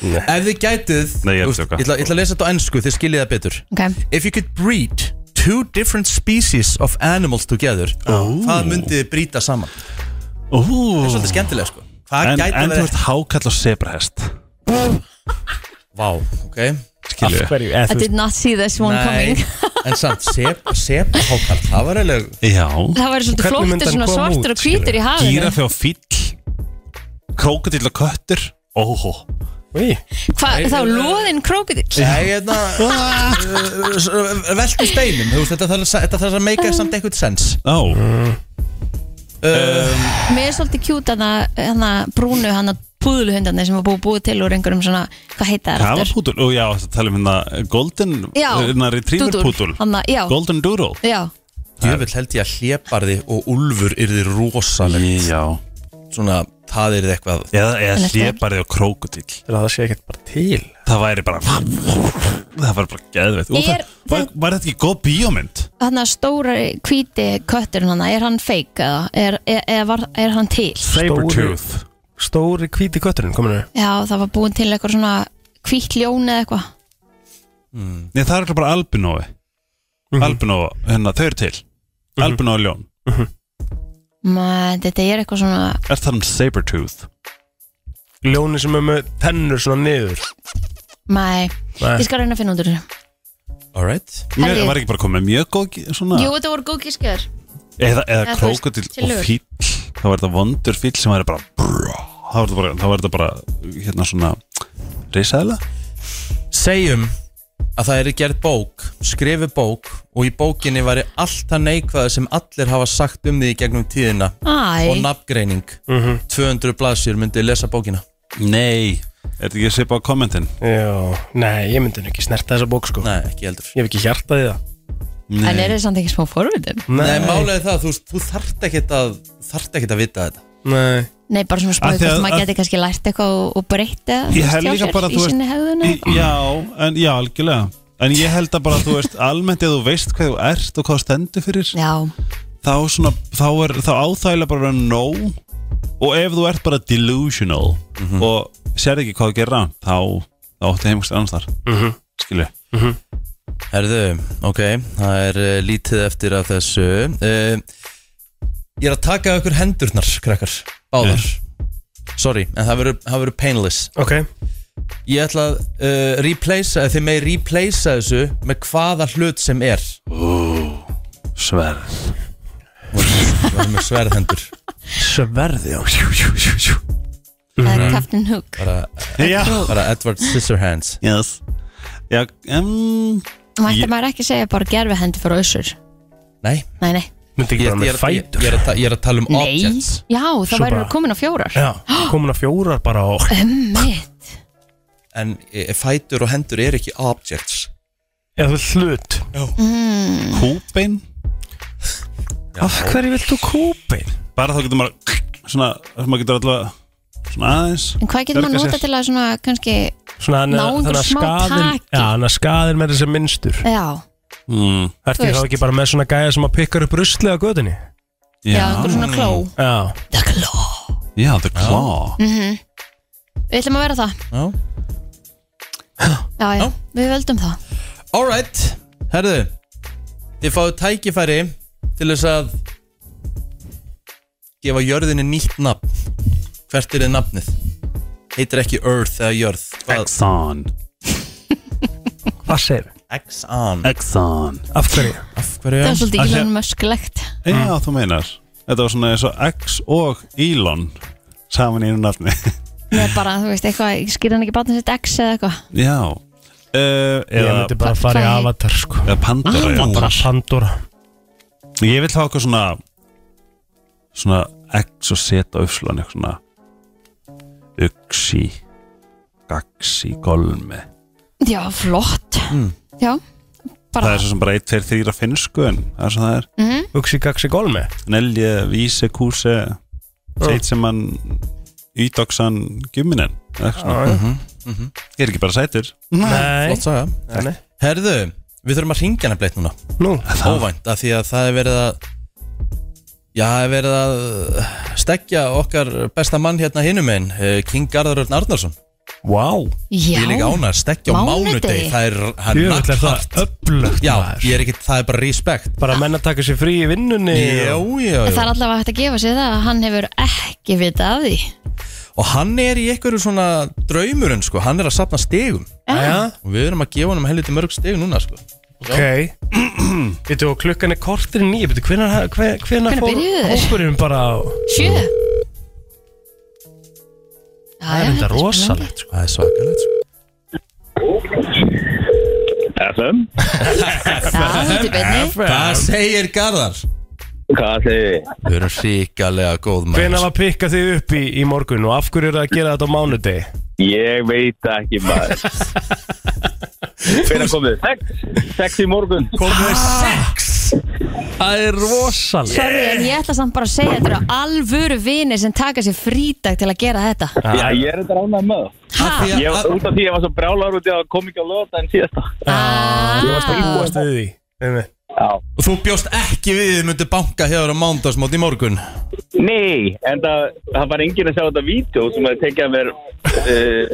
S1: ef þið gætið
S6: Nei, ég er að
S1: úst,
S6: tjóka.
S1: ætla, ég ætla að lesa þetta á ennsku, þið skiljið það betur
S2: ok
S1: If you could breed two different species of animals together oh. Hvað myndið þið brýta saman?
S6: Ú.
S1: Það er svolítið skemmtilega sko Hvað
S6: En,
S1: gæti
S6: en þú
S1: verið-
S6: ert hákall og sebrahest
S1: Vá, ok
S3: Af
S6: Skilju
S3: hverju, eða
S2: I
S3: þú veist
S2: did not see this one
S1: Nei,
S2: coming (laughs)
S1: (laughs) en samt, sepa, sepa hákarl, það var eiginlega
S6: Já
S2: Það væri svolítið
S3: Hvernig myndi
S2: flóttir
S3: hann
S2: svona
S3: koma
S2: svartur
S3: út,
S2: og hvítur í hafinu
S6: Gírafi og fýll Krókadill og köttur Óhó
S3: Í,
S2: Hvað, þá loðinn krókudil
S1: Nei,
S6: (laughs)
S1: hérna Veltum steinum, þú veist, þetta þarf að- þetta þarf að meika samt eitthvað sens
S6: Ó
S1: Mm. um,
S2: Mér er svolítið kjút hana brúnu hana púðluhundarnir sem var búið, búið til úr einhverjum svona, hvað heita þær aftur?
S6: Kafapútul, ó já, það tala um hérna Golden,
S2: Já,
S6: hérna retriever
S2: dúdúr.
S6: pútul
S2: Hanna- já.
S6: Golden doodle
S2: Já,
S1: Jöfell held ég að hlébarði og ulfur yrði rosalegt
S6: Já,
S1: Svona, það yrði eitthvað
S6: eða,
S2: En
S6: eða
S2: ertu ekki-
S6: hlébarði og krókudíl
S3: til að það sé ekkert bara til
S6: Það væri bara Það væri bara geðveitt Og
S2: Er-
S6: það- var, var þetta ekki góð bíómynd?
S2: hann að stóra hvíti kötturinn hann, er hann feik eða er, er, er, var, er hann til?
S6: Sabertooth
S3: Stóri hvíti kötturinn, kominu
S2: Já, það var búin til eitthvað svona hvítt ljón eða eitthvað
S6: Nei, það er örugglega bara albinói Albinói, hérna, þau eru til Albinói ljón
S2: Ma, Þetta er eitthvað svona
S6: Er það um Sabertooth?
S3: Ljóni sem er með tennur svona niður
S2: Nei,
S3: Nei.
S2: ég skal reyna að finna út úr þessu
S1: Alright
S6: Mér
S2: Herri.
S6: var ekki bara komið mjög góð gí- svona
S2: Jú, þetta voru góð gískjör
S6: Eða, eða
S2: Eða þú veist,
S6: krókudíl og
S2: tillögur.
S6: fíll Það var þetta vondur fíll sem væri bara Það var þetta bara, það var þetta bara hérna svona Risaðla?
S1: Segjum að það yrði gerð bók, skrifi bók og í bókinni væri allt það neikvæða sem allir hafa sagt um því í gegnum tíðina og
S2: Æ,
S1: nafngreining 200 blaðsjur myndi lesa bókina
S6: Nei Er þetta ekki að sepa á kommentin?
S3: Já, nei, ég myndi nú ekki snerta þessa bók, sko
S1: Nei, ekki heldur
S3: Ég hef ekki hjartað í það
S2: en er þetta samt ekki smá forvitin?
S1: Nei, málega það, þú, veist, þú þarft ekkert að þarft ekkert að vita þetta
S3: Nei,
S2: Nei, bara svona
S6: Af
S2: spáði
S6: því að-
S2: hvort maður
S6: að-
S2: geti kannski lært eitthvað og, og breyta
S6: Ég held líka bara að
S2: í
S6: þú veist-
S2: sinni hegðun eða
S6: Í- Já, en já, algjörlega En ég held að bara, þú veist, almennt ef þú veist hvað þú ert og hvað þú stendur fyrir
S2: Já,
S6: þá svona, þá er, þá áþægilega bara að vera nóg og ef þú ert bara delusional og sér ekki hvað þú gerir rann þá, þá áttu heimgst annars þar mm -hmm. Skilju
S1: Herðu, ok, það er uh, lítið eftir af þessu uh, Ég er að taka ykkur hendurnar, krakkar, báðar Sorry, en það verður- það verður painless
S3: ok
S1: Ég ætla að uh, replacea, þið megi replacea þessu með hvaða hlut sem er
S6: Sverð
S1: Það verður með sverðhendur
S3: Sverði, já
S2: það
S6: Mhm.
S2: er Captain Hook
S1: bara,
S6: Já,
S1: bara Edward Scissorhands
S6: yes Já, um,
S2: Mætti
S6: Ég-
S2: maður ekki segja bara gerfi hendi fyrir össur
S1: Nei,
S2: Nei, nei,
S1: ég,
S3: Myndi
S1: ég,
S3: ekki bara
S1: ég, ég,
S3: með
S1: ég,
S3: fætur
S1: er að ta- ég er að tala um
S2: nei
S1: objects
S2: Já, það
S3: Svo
S2: væri
S3: bara-
S2: komin á fjórar
S3: Já, komin að fjórar bara og
S2: Mitt,
S1: En eh, fætur og hendur er ekki objects
S3: Eða þú vilt hlut
S6: kúbein
S3: Af hverju vilt þú kúpin?
S6: Bara þá getur maður svona, þá maður getur allavega svona aðeins
S2: en hvað getur maður
S6: Bjarga
S2: nota
S6: sér.
S2: til að svona kannski
S3: Svona hann
S2: Ná einhver
S3: þannig að
S2: smá
S3: skaðinn-
S2: taki.
S3: Já, hann að skaðin með þessi minnstur
S2: Já,
S6: mm,
S2: Þú
S3: Ertu þá
S2: veist.
S3: ekki bara með svona gæja sem að pikkar upp ruslið á gödunni?
S2: já, einhver svona kló
S3: Já,
S2: The claw
S6: Já, the claw
S2: Við ætlum að vera það
S1: Já
S2: Já, já, við völdum það
S1: Alright, herðu Þið fáið tækifæri til þess að gefa jörðinni nýtt nafn Hvert er þið nafnið? heitir ekki Earth eða Jörð Hvað-
S6: Exxon
S3: Hvað segir?
S1: Exxon
S6: Exxon
S3: Af hverju?
S1: Af hverju
S2: Það er svolítið
S6: Að
S2: ekki
S6: sé-
S2: lönn möskulegt
S6: Já,
S3: Mm.
S6: þú meinar Þetta var svona eins og X og Elon Saman í einu nafni (laughs)
S2: Með bara, þú veist, eitthvað, skýr hann ekki bátnum sitt X eða eitthvað
S6: Já uh,
S3: Ég
S6: Eða
S3: myndi bara
S2: Hva-
S3: fara í
S2: hvað heit-
S3: Avatar sko
S6: eða Pandora já.
S3: Bara Pandora
S6: Ég vil hafa eitthvað svona Svona X og Z á uppslan Eitthvað svona Uxi Gaxi Golmi
S2: Já, flott Já,
S6: Það
S2: bara
S6: er svo sem bara 1, 2, 3 að finnsku En það er svo það er
S3: Uxi Gaxi Golmi
S6: Nelje, Víse, Kúse Seitsemann Ídoksan Gjuminen
S3: Nei
S6: Ég er ekki bara sætur
S1: Flott saga
S3: Nei.
S1: Herðu, við þurfum að ringja nefnilegt núna
S3: Nú
S1: Óvænt, af því að það er verið að Já, það er verið að stekja okkar besta mann hérna hinum einn King Garðar Örn Arnarsson
S3: Vá
S1: Ég
S2: Já,
S1: er líka ánægð, stekja á
S2: Mánudegi.
S1: mánudegi Það er, það er
S3: Jöfnveld er
S1: naglhart
S3: það öflugt
S1: Já,
S3: maður.
S1: ég er ekki, það er bara respect
S3: Bara menn að taka sér frí í vinnunni
S1: Jú, jú,
S2: En það
S1: jú
S2: er allavega hægt að gefa sér það að hann hefur ekki vitað af því
S1: Og hann er í einhverju svona draumurinn, sko Hann er að sapna stegum
S3: Jæja,
S1: Og við erum að gefa hann um helviti mörg steg núna, sko
S3: ok Býttu og klukkan er kortir í nýju Býttu, hvenær, hvenær, hvenær
S2: Hvenær
S3: fór
S2: byrjuðu þeir?
S3: hópurinn bara á
S2: Sjö
S3: Það er enda rosalegt sko
S1: Það er svakalegt, sko
S7: FM,
S2: Það er út í beinni
S1: Hvað segir Garðar?
S7: hvað segir þið?
S1: Við erum ríkalega góð
S3: Hvenær var pikkað þið upp í, í morgun og af hverju eru það að gera þetta á mánudegi?
S7: Ég veit það ekki maður Hvernig komið? Sex, sex í morgun
S1: Komum við sex
S3: Það er rosalegt
S2: Sorry, en ég ætla samt bara að segja þetta eru alvöru vini sem taka sér frídag til að gera þetta
S7: Já, ég er þetta ránað með það.
S1: Af því að-
S7: Ég var
S1: að-
S7: út af því að ég var svo brálar út í að kom ekki að löða en síðasta
S3: Ég varst að
S2: Ah.
S3: íbúast við því einmitt.
S7: Já,
S1: Og þú bjóst ekki við þið myndi banka hefur á mándagsmót í morgun
S7: nei, en það, það var enginn að sjá þetta vídeo sem að tekja mér uh,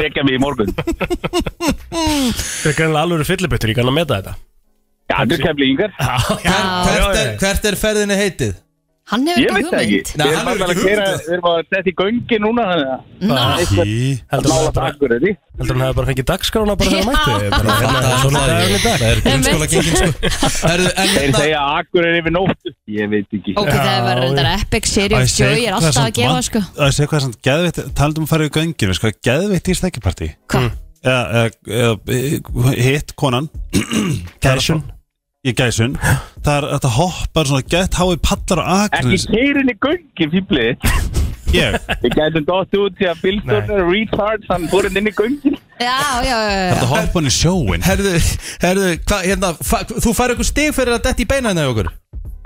S7: vekja mig í morgun
S3: Það er greinlega alveg fyllibuttur, ég kann að meta þetta
S7: Já, þú kemli yngar
S1: hvert, er,
S3: já.
S1: hvert er ferðinni heitið?
S2: Hann hefur
S7: Ég
S2: ekki
S7: veit það
S2: hugmynd
S7: ekki
S1: Nei,
S7: Við
S1: hann
S7: erum
S1: hefur
S7: alveg að
S1: ekki
S7: keira,
S1: hugmynd.
S7: við erum að setja í göngi núna þannig að
S6: Í
S3: Heldur hún
S7: mála
S3: hafi bara-
S7: takkur þetta
S3: heldur hún hefði bara fengið dagskrána bara
S2: Já.
S3: þegar mætti Bara,
S1: Það
S3: hérna,
S1: er
S3: Svona
S1: það
S3: dagarni
S1: ekki.
S3: dag
S1: Það er grunnskóla gengin sko Herðu, en
S7: Þeir
S1: hérna-
S7: segja að akkur er yfir nóttu Ég veit ekki
S2: Ok, það var reyndar epic, serious, joy, ég er alltaf að gefa sko
S6: Það sé hvað er samt geðveitt Taldum að fara í göngin Veist hvað geðveitt í stekkipartí
S2: Hvað?
S3: Hmm.
S6: eða, eða, eða hitt
S2: (clears throat)
S6: konan
S3: Gæsjun
S6: í gæsun það er þetta hoppar svona gett hái pallar á
S7: Ekki
S6: akrinins
S7: keirin í göngi, fýblið
S6: ég,
S7: Við gætum dótt út því að Bildurinn er retard, hann fór hann inn í göngin.
S2: Já, já, já, já
S6: þetta hoppan í sjóin
S1: Herðu, herðu, hva, hérna, fa, þú fær eitthvað stig fyrir að detti í beina hérna hjá okkur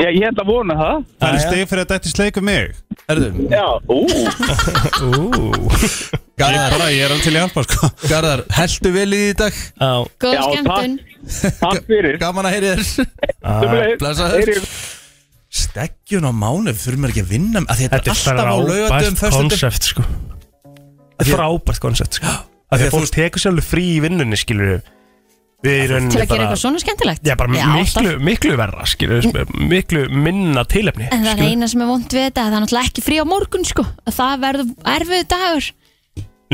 S7: Já, ég held að vona það.
S6: það er steg fyrir að þetta sleiku mig
S1: Herðu,
S7: Já, ú,
S1: Garðar,
S6: bara ég er alveg til í alpa sko
S1: Garðar, heldu vel í því í dag
S2: Góð
S7: Já,
S3: Hmm,
S2: skemmtun
S7: takk fyrir.
S1: Gaman að heyri þér blessaður.
S7: Blessaður.
S1: Steggjun á mánu, þurfum við ekki að vinna að Þetta er
S3: Þetta er
S1: alltaf á lögatum,
S3: frábært
S1: föstudum
S3: konsept sko Þetta er frábært konsept sko Af
S1: Því
S3: því
S1: að
S3: að
S1: þú
S3: fólk tekur sér alveg frí í vinnunni skilur við Við í
S2: Til
S3: rauninni
S2: að gera eitthvað svona skemmtilegt
S3: Já, bara miklu,
S2: alltaf. Mm.
S3: miklu verra skilur við Miklu minna tilefni
S2: En það er
S3: skilurðu.
S2: eina sem er vond við þetta, það er náttúrulega ekki frí á morgun sko Það verður erfið dagur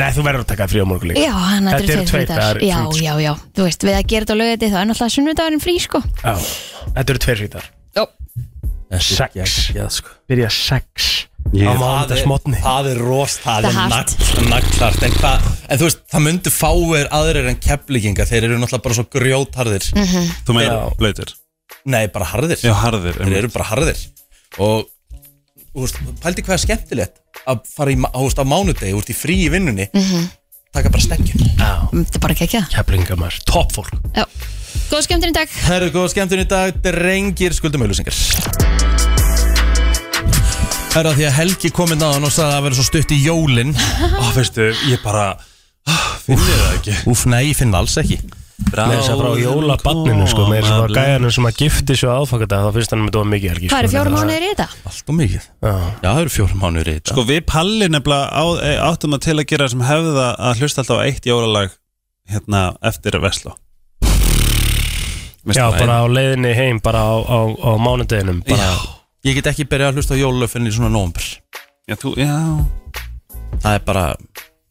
S3: Nei, þú verður að taka frí á morgun líka
S2: Já, hann
S3: Þetta
S2: þetta er
S3: eru tveir
S2: tveir frítar
S3: dagar í
S2: Já,
S3: frí, sko.
S2: já, já, þú veist, við að gera þetta á lögati þá er náttúrulega sunnudagurinn frí sko
S3: Já. Þetta eru tveir frítar
S1: Þetta er
S3: Sex.
S1: geggjað, sko.
S3: Byrja sex
S6: Ég-
S3: Á mánudagsmotni
S1: Það er rost, það er
S2: Það er hart.
S1: nagl- naglhart en, hva, en þú veist, það myndu fáir aðrir en keflíkinga Þeir eru náttúrulega bara svo grjótharðir
S6: þú meina blöytir
S1: Nei, bara harðir
S6: já harðir
S1: Þeir
S6: um,
S1: eru bara harðir Og, þú veist, pældi hvað er skemmtilegt Að fara í, ma- þú veist, á mánudegi, þú veist, í frí í vinnunni Taka bara steggjun
S2: Um, Þetta er bara ekki ekki
S3: Keflingar maður, topp fólk
S2: Góð skemmtun í dag
S1: Herru, góða skemmtun í dag, drengir skuldum auðlýsingar Herra, því að Helgi komið náðan og sagði að það verið svo stutt í jólin
S6: (laughs) ó veistu, ég bara finnir það ekki
S1: Úf, nei, ég finn það alls ekki
S3: með þess að frá jólabanninu sko, með þess að frá gæjanum sem að gifti svo aðfangadag þá finnst hann með það mikið helgi sko,
S2: Hvað eru fjórum mánuðir í þetta?
S1: Allt og mikið Já, það eru fjórum mánuður í þetta
S6: sko við palli nefnilega á, e, áttum að til að gera sem hefða að hlusta alltaf á eitt jólalag hérna eftir að vesla
S3: Já, bara á leiðinni heim, bara á, á, á mánudeginum bara,
S1: Ég get ekki byrjað að hlusta á jólalöf fyrir svona nómbr
S6: já, þú, já
S1: Það er bara,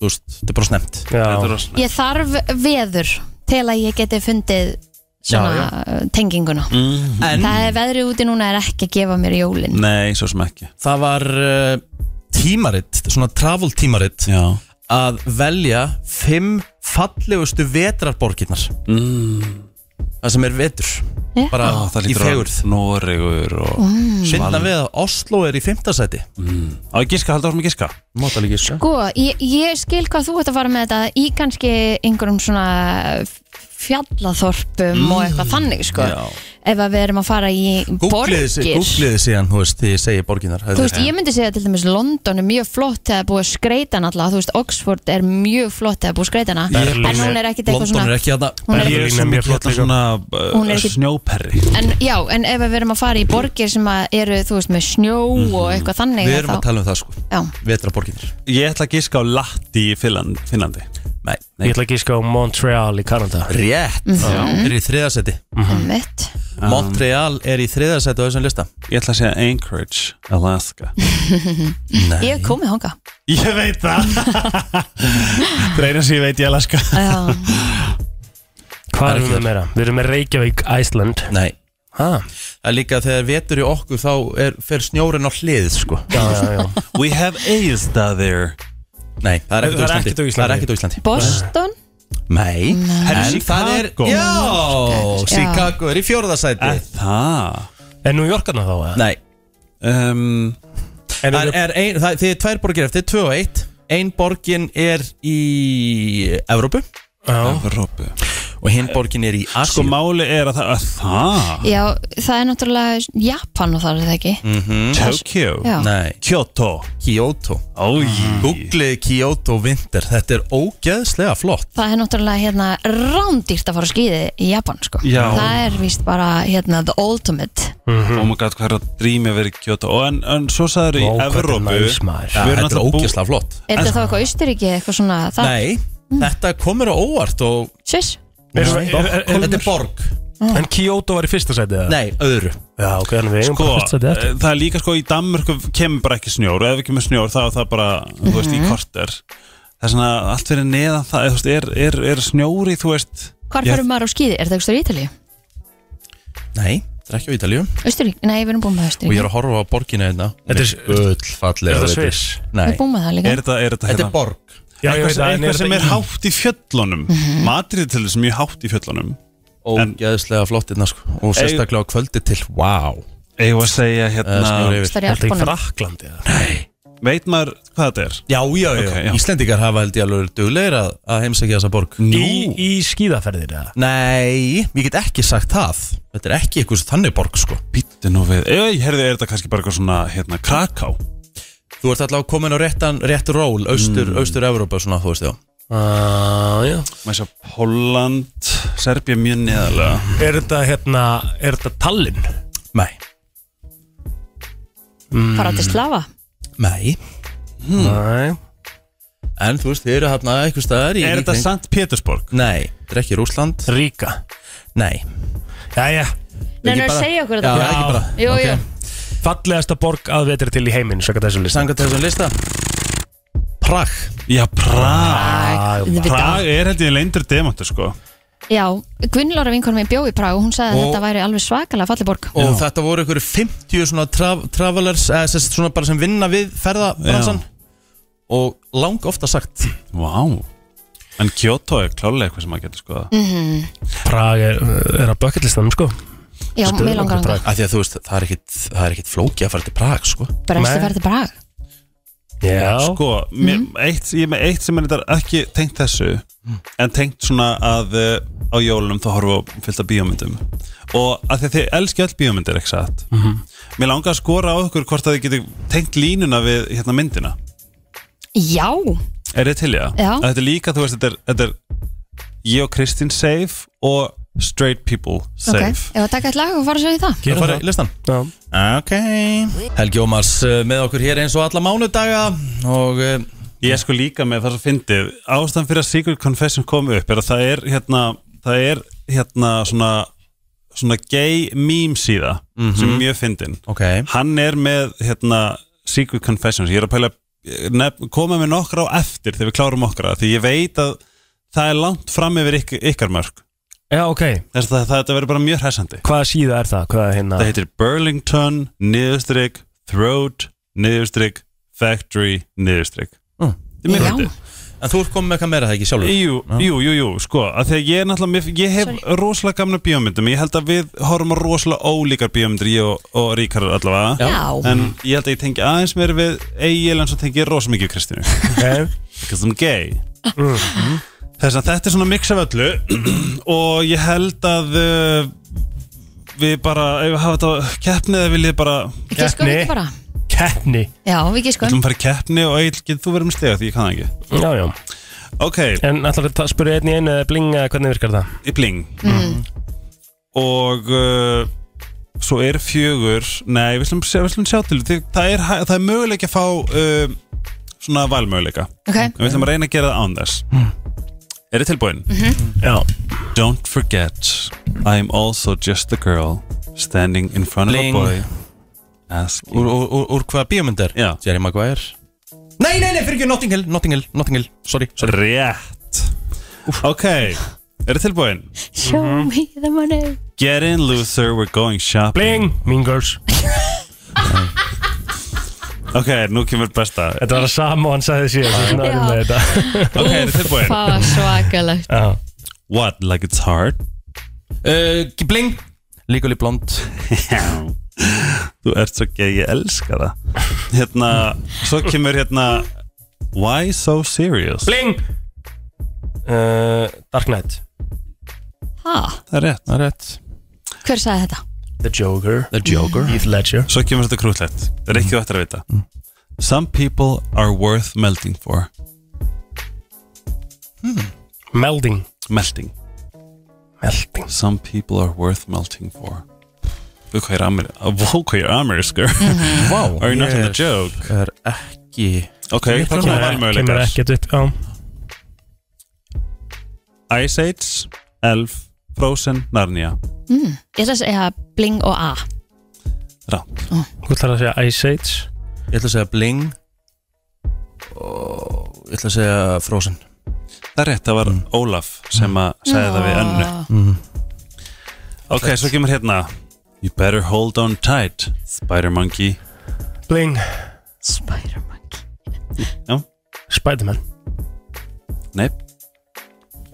S1: þú veist, þetta er bara snemt
S3: Já,
S2: Ég þarf veður til að ég geti fundið svona
S1: Já, Mm.
S2: uh, tenginguna
S1: En
S2: Það er veðrið úti núna er ekki að gefa mér jólin
S6: Nei, svo sem ekki
S1: það var uh, tímaritt, svona travel tímaritt
S6: Já,
S1: að velja fimm fallegustu vetrarborginnar mm. Ah, það sem er vetur
S2: Já.
S1: bara
S6: Ó, það
S1: í
S6: lítur
S1: fegurð
S6: að Noregur og mm.
S1: Finna við að Oslo er í fymtasæti
S6: Á ég giska, haldur áfram að giska
S1: Mátalega ekki sko
S2: Sko, ég, ég skil hvað þú ert að fara með þetta í kannski einhverjum svona fjallaþorpum og
S1: Mm.
S2: eitthvað þannig sko
S6: Já.
S2: ef að við erum að fara í borgir
S1: Googliði síðan, þú veist, því ég segi borginar
S2: Þú veist, ég myndi segja til dæmis London er mjög flott þegar búið að skreita hana alltaf, þú veist, Oxford er mjög flott þegar búið að skreita hana,
S3: Berlín
S2: en hún er ekkit eitthvað
S1: London er
S2: svona
S1: ekki að það
S2: Hún er-
S3: Berlín er mjög flott líka.
S6: svona
S2: Hún er
S6: uh,
S2: ekki-
S6: snjóperri
S2: En já, en ef við erum að fara í borgir sem að eru, þú veist, með snjó og eitthvað þannig
S1: Mhm. Við erum
S2: þá-
S1: að tala um það sko
S2: Já,
S1: Vetrarborginar
S6: Ég ætla að giska á Latti í Finland, Finnlandi
S1: Nei,
S3: ég ætla að gíska á Montreal í Kanada
S1: Rétt Það er í þriðasæti
S2: um mitt
S1: Ah. Montreal er í þriðasæti á þessum lista
S6: Ég ætla að segja Anchorage, Alaska
S2: Ég hef komið honga
S6: Ég veit (laughs) það Dreina sem ég veit í Alaska
S1: (laughs)
S2: Já,
S3: Hvað
S1: Berlín.
S3: erum við með meira? Við erum með Reykjavík, Iceland
S1: Nei
S3: Ha,
S1: Það er líka þegar vetur í okkur þá er, fer snjórin á hlið sko
S3: já, já, já
S6: We have Aista there
S1: Nei, það er ekkert
S3: Það er
S1: á
S3: ekkert á
S1: Íslandi
S3: Íslandi.
S1: Það er ekkert á Íslandi
S2: Boston
S1: Nei, en það er
S6: Chicago.
S1: Já, Chicago er í fjórðasæti
S6: Er Það
S3: En New Yorkana þá, eða?
S1: Nei,
S6: um,
S3: En
S1: Það
S3: eru-
S1: er ein, það, þið er tvær borgir eftir, tvö og eitt Ein borgin er í Evrópu
S3: Já,
S6: Evrópu
S1: og hinn borgin er í Asi
S6: Sko máli er að það að Það
S2: Já, það er náttúrulega Japan og það er það ekki
S6: Mm. Tokyo
S2: Já,
S1: Mm, Nei,
S6: Kyoto
S1: Kyoto
S6: Ói
S1: Googlið Kyoto Winter Þetta er ógeðslega flott
S2: það er náttúrulega hérna rándýrt að fara að skýði í Japan sko
S6: Já.
S2: Það er víst bara hérna the ultimate
S6: Oh my god, hvað er að drými að vera í Kyoto Og en, en svo sagður í
S3: Vá, hvað þetta er
S6: Evrópu
S3: næs, maður.
S6: Við erum
S1: Þetta er
S6: náttúrulega bú-
S1: ógeðslega flott
S2: Er þetta þá eitthvað Austuríki eitthvað svona það?
S1: Nei, þetta komur á óvart og
S2: Sviss?
S3: er- er- er- er-
S1: Þetta er borg
S3: Ah. en Kyoto var í fyrsta sæti, eða?
S1: Nei, öðru
S3: Já, ok, en við eigum
S6: Sko,
S3: bara fyrsta sæti eftir
S6: það er líka sko í Danmörku kemur bara ekki snjór og ef ekki með snjór þá er það bara, þú veist, í korter það er svona allt fyrir neðan það þú veist, er, er, er snjóri, þú veist
S2: Hvar
S6: Ég-
S2: fyrir maður á skýði? Er þetta eitthvað í Ítalíu?
S1: Nei, þetta er ekki á Ítalíu
S2: Austuríki? Nei, við erum búin
S1: Og
S2: með
S1: ég
S2: Austuríki
S1: er að horfa á borgina hérna
S3: Þetta er-
S1: öll fallega
S3: Er þetta Sviss?
S1: Nei,
S2: Við erum búin með það líka
S6: er þetta, er þetta,
S1: þetta er
S6: hérna,
S1: borg
S3: Já, ég
S6: eitthvað,
S3: veit að en
S6: eitthvað sem
S3: þetta
S6: er
S3: í-
S6: hátt í Mhm. fjöllunum Madrid til þess mjög hátt í fjöllunum
S1: Ógeðslega flott hérna sko Og sérstaklega á kvöldi til, wow
S6: eigum við að segja
S1: Það er snjór
S6: hérna,
S1: yfir
S2: Það er
S3: Er þetta í
S2: Japanum
S3: Fraklandi, eða?
S6: veit maður hvað þetta er
S1: Já, já, já,
S6: Ok, já.
S1: Íslendingar hafa held ég alveg duglegir að, að heimsækja þessa borg
S3: Í, í skíðaferðir, eða?
S1: Nei, ég get ekki sagt það Þetta er ekki eitthvað þannig borg sko
S6: býttu nú við, ei, herði, er þetta kannski bara eitthvað svona, hérna, Kraká
S1: Þú ert allavega komin á réttan, rétt ról Austur, mm. austur Evrópa svona, þú veist já
S3: Ah, já
S6: maður sér Holland, Serbia mjög neðalega
S3: Er þetta, hérna, er þetta Tallinn?
S1: Nei, Mm.
S2: Fara til Slava
S1: nei
S3: Nei
S1: En þú veist, þið eru hérna eitthvað staðar í
S6: er þetta St. Petersburg?
S1: Nei, þetta er ekki Rúsland
S3: Ríka
S1: Nei
S3: Jæja,
S2: Nei,
S1: Ekki
S2: nei,
S1: bara-
S2: segja okkur
S1: Já,
S2: þetta
S1: ekki bara
S2: Jú,
S1: Ok.
S2: jú.
S3: fallegasta borg að vetri til í heiminn Svaka þessu list
S1: Samkvæmt þessum lista Prag
S6: Já, Prag
S3: Æ,
S2: Æ,
S6: Prag er held ég leindur demantur sko
S2: Já, Gunnlóra vinkonum minn bjó í Prag og hún sagði að
S1: Og-
S2: þetta væri alveg svakalega falli borg
S1: Og þetta voru ykkur 50 svona tra travelers eða sérst svona bara sem vinna við ferðabransan Og lang ofta sagt
S6: Vá En Kyoto er klálega eitthvað sem maður getur skoða
S3: Prag er, er að bucketlistanum sko
S2: Já,
S3: Stuðlar
S2: mér langar
S3: til Prag.
S2: hann
S1: Af því að þú veist, það er ekkit, það er ekkit flóki að fara til Prag sko
S2: Bresti
S3: Nei.
S2: færi til Prag
S3: Já,
S6: Sko, mér, eitt, ég er með eitt sem er þetta ekki tengt þessu En tengt svona að uh, á jólunum þá horfa á fullt af bíómyndum Og að því að þið elski öll bíómyndir, ekki satt Mér langar að skora á okkur hvort að þið getur tengt línuna við hérna myndina
S2: Já,
S6: Er þið til í það?
S2: Já.
S6: Að Þetta er líka, þú veist, þetta er, þetta er Ég og Kristín safe og straight people
S2: ok
S6: safe
S2: Ef að taka eitt lag og fara sér í það
S1: Það
S3: gerum
S1: fara í
S3: það
S1: listan
S3: Já.
S1: Ok Helgi Ómars uh, með okkur hér eins og alla mánudaga og uh,
S6: Ég er sko líka með það sem fyndið Ástæðan fyrir að Secret Confession kom upp er að það er hérna það er hérna svona svona gay meme síða sem er mjög fyndin
S1: ok
S6: Hann er með hérna Secret Confessions, ég er að pæla nef, koma með nokkra á eftir þegar við klárum okkra því ég veit að það er langt fram yfir yk, ykkar mörg
S3: Já, ok,
S6: þess að það, þetta verður bara mjög hressandi
S3: hvaða síða er það? Hvað er hérna?
S6: það heitir Burlington, niðurstrygg Throat, niðurstrygg Factory, niðurstrygg þetta er mjög
S2: Já.
S6: fyndið.
S1: En þú ert komið með eitthvað meira það ekki sjálfur
S6: Jú, jú, jú, jú, sko að Þegar ég er náttúrulega, mér- ég hef rosalega gamna bíómyndum Ég held að við horfum á rosalega ólíkar bíómyndir Ég og, og Ríkar allavega
S2: Já,
S6: En ég held að ég tengi aðeins mér við Egil en svo tengi ég rosa mikið við Kristínu (laughs)
S3: Ok,
S6: Because I'm gay Mhm. Þess að þetta er svona mix af öllu (clears throat) Og ég held að uh, Við bara, ef við hafa þetta keppni eða viljið bara Við
S2: ekki sko
S3: Keppni.
S2: ekki bara
S3: keppni
S2: Já, við ekki sko
S6: ætlum að fara í keppni og Egil, getur þú verið með stega því ég kann það ekki
S3: Já, já,
S6: Ok,
S3: en ætlar að spyrja einn í einu eða blinga hvernig virkar það?
S6: í bling og uh, svo er fjögur nei, við slum, við slum sjá til því, það, er, hæ- það er möguleik að fá uh, svona valmöguleika
S2: Ok,
S6: en við slum að reyna að gera það án þess er þið tilbúin?
S3: Já,
S6: Don't forget I'm also just a girl standing in front
S1: Bling.
S6: of a boy asking
S1: Úr, úr, úr, úr hvaða bíómynd er?
S6: Já.
S1: Jerry Maguire Nei, nei, nei, fyrir ekki Notting Hill, Notting Hill, Notting Hill Sorry, sorry
S6: rétt ok, er þið tilbúin?
S2: show me the money
S6: Get in loser, we're going shopping
S3: bling, mean girls
S6: ok, nú kemur besta
S3: Þetta var það sama og hann sagði síðan svo svona erum við þetta
S6: ok, er þið tilbúin?
S2: Það var svakalegt
S3: Já,
S6: What, like it's hard?
S1: uh, Bling Legally Blonde
S6: Þú ert svo gay, ég elska það Hérna, svo kemur hérna Why so serious?
S3: bling uh, Dark Knight
S2: Ha,
S6: Það er rétt
S1: Það er rétt
S2: hver sagði þetta?
S3: The Joker
S1: The Joker
S3: Heath Ledger
S6: Svo kemur þetta krútlegt, það
S1: Mm.
S6: er ekki þú ættir að vita Some people are worth melting for
S3: Melding
S6: Melting
S3: Melding
S6: Some people are worth melting for Vá, hvað ég er amer- Vá, hvað ég er amerískur
S1: Mhm. Wow
S6: Are you not in the joke?
S1: Er ekki
S6: Ok, það kemur
S3: Eh, Kemur
S6: valmöguleikar
S3: ekkert upp, já
S6: Ice Age, Elf, Frozen, Narnia
S2: Ég ætla að segja bling og a
S6: Rátt
S3: Hvað þarf að segja Ice Age
S1: Ég ætla að segja Bling og ég ætla að segja Frozen
S6: Það er rétt, það var Ólaf sem að segja það við önnu Ok, svo kemur hérna You better hold on tight Spider monkey
S3: Bling
S2: Spiderman
S3: Spiderman
S6: Nei,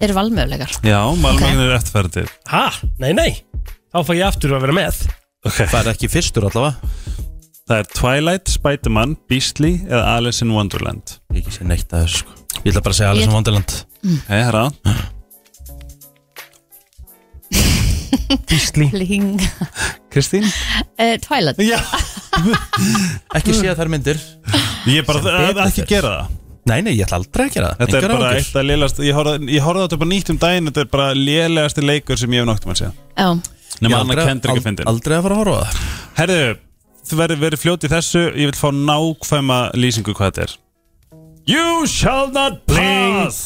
S2: Eru valmöðulegar
S6: já, malmögin er eftirferðið
S3: Ha? Nei, nei Þá fæ ég aftur að vera með
S6: Ok,
S1: Það er ekki fyrstur allavega
S6: það er Twilight, Spider-Man, Beastly eða Alice in Wonderland
S1: Ég ekki segja neitt að þessu sko Ég ætla bara að segja
S2: Ég-
S1: Alice in Wonderland
S6: Ok, hérna
S3: Beastly
S2: Bling
S6: Kristín?
S2: uh, Twilight
S6: Já,
S1: Ekki segja þær myndir
S6: ég bara,
S1: Sem
S6: að,
S1: betur
S6: ekki
S1: fer.
S6: gera það
S1: Nei, nei, ég ætla aldrei að gera það
S6: Þetta er
S1: Engar
S6: bara
S1: áhyggjur.
S6: eitt að lélast Ég horfði ég horfði á þetta bara nýtt um daginn Þetta er bara lélegasti leikur sem ég hef náttum að segja
S2: Já,
S1: Ég
S6: Nefnum
S1: aldrei-
S6: annað kendur ekki
S1: ald-
S6: að fyndin
S1: Aldrei að fara að horfa á það
S6: Herðu, þú verður verið fljót í þessu Ég vil fá nákvæma lýsingu hvað þetta er You shall not pass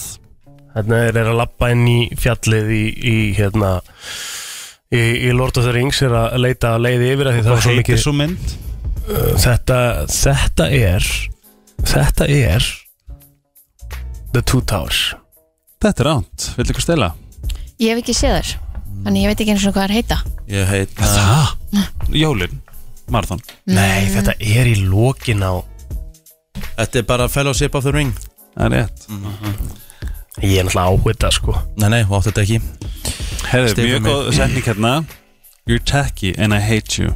S3: Hérna þeir eru að lappa inn í fjallið í, í hérna í, í Lord of the Rings er að leita að leiði yfir að því það
S6: Hvað
S3: var svo
S6: heitir
S3: mikið
S6: svo mynd?
S3: þetta, þetta er þetta er The Two Towers
S6: Þetta er ránt, viltu ykkur stela?
S2: ég hef ekki séð þær Þannig ég veit ekki eins og hvað er heita
S1: Ég heit
S6: Það? Jólin, marathon
S3: Nei, þetta er í lokin á
S1: Þetta er bara Fellowship of the Ring
S6: Það er rétt
S3: Ég er náttúrulega áhuga sko
S1: Nei, nei, hún átti þetta ekki
S6: Herðu,
S1: Stefán
S6: mjög
S1: minn.
S6: góð setning hérna You're tacky and I hate you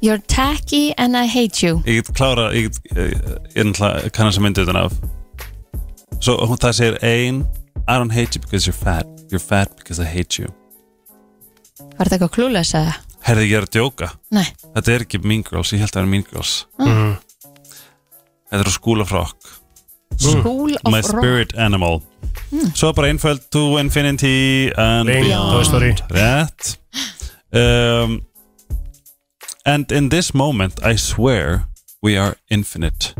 S2: You're tacky and I hate you
S6: Ég get klára, ég get eh, Ég er náttúrulega kannast að myndu þetta af Svo hún- það segir ein I don't hate you because you're fat You're fat because I hate you
S2: Var þetta eitthvað klúlega að segja?
S6: Herðu, ég er að djóka
S2: Nei,
S6: Þetta er ekki Mean Girls, ég held að það er Mean Girls Þetta er á School of Rock
S2: School of
S6: My
S2: Rock
S6: Spirit Animal Svo bara einföld To Infinity and
S3: Bling, Toy Story
S6: Rétt um, And in this moment I swear we are infinite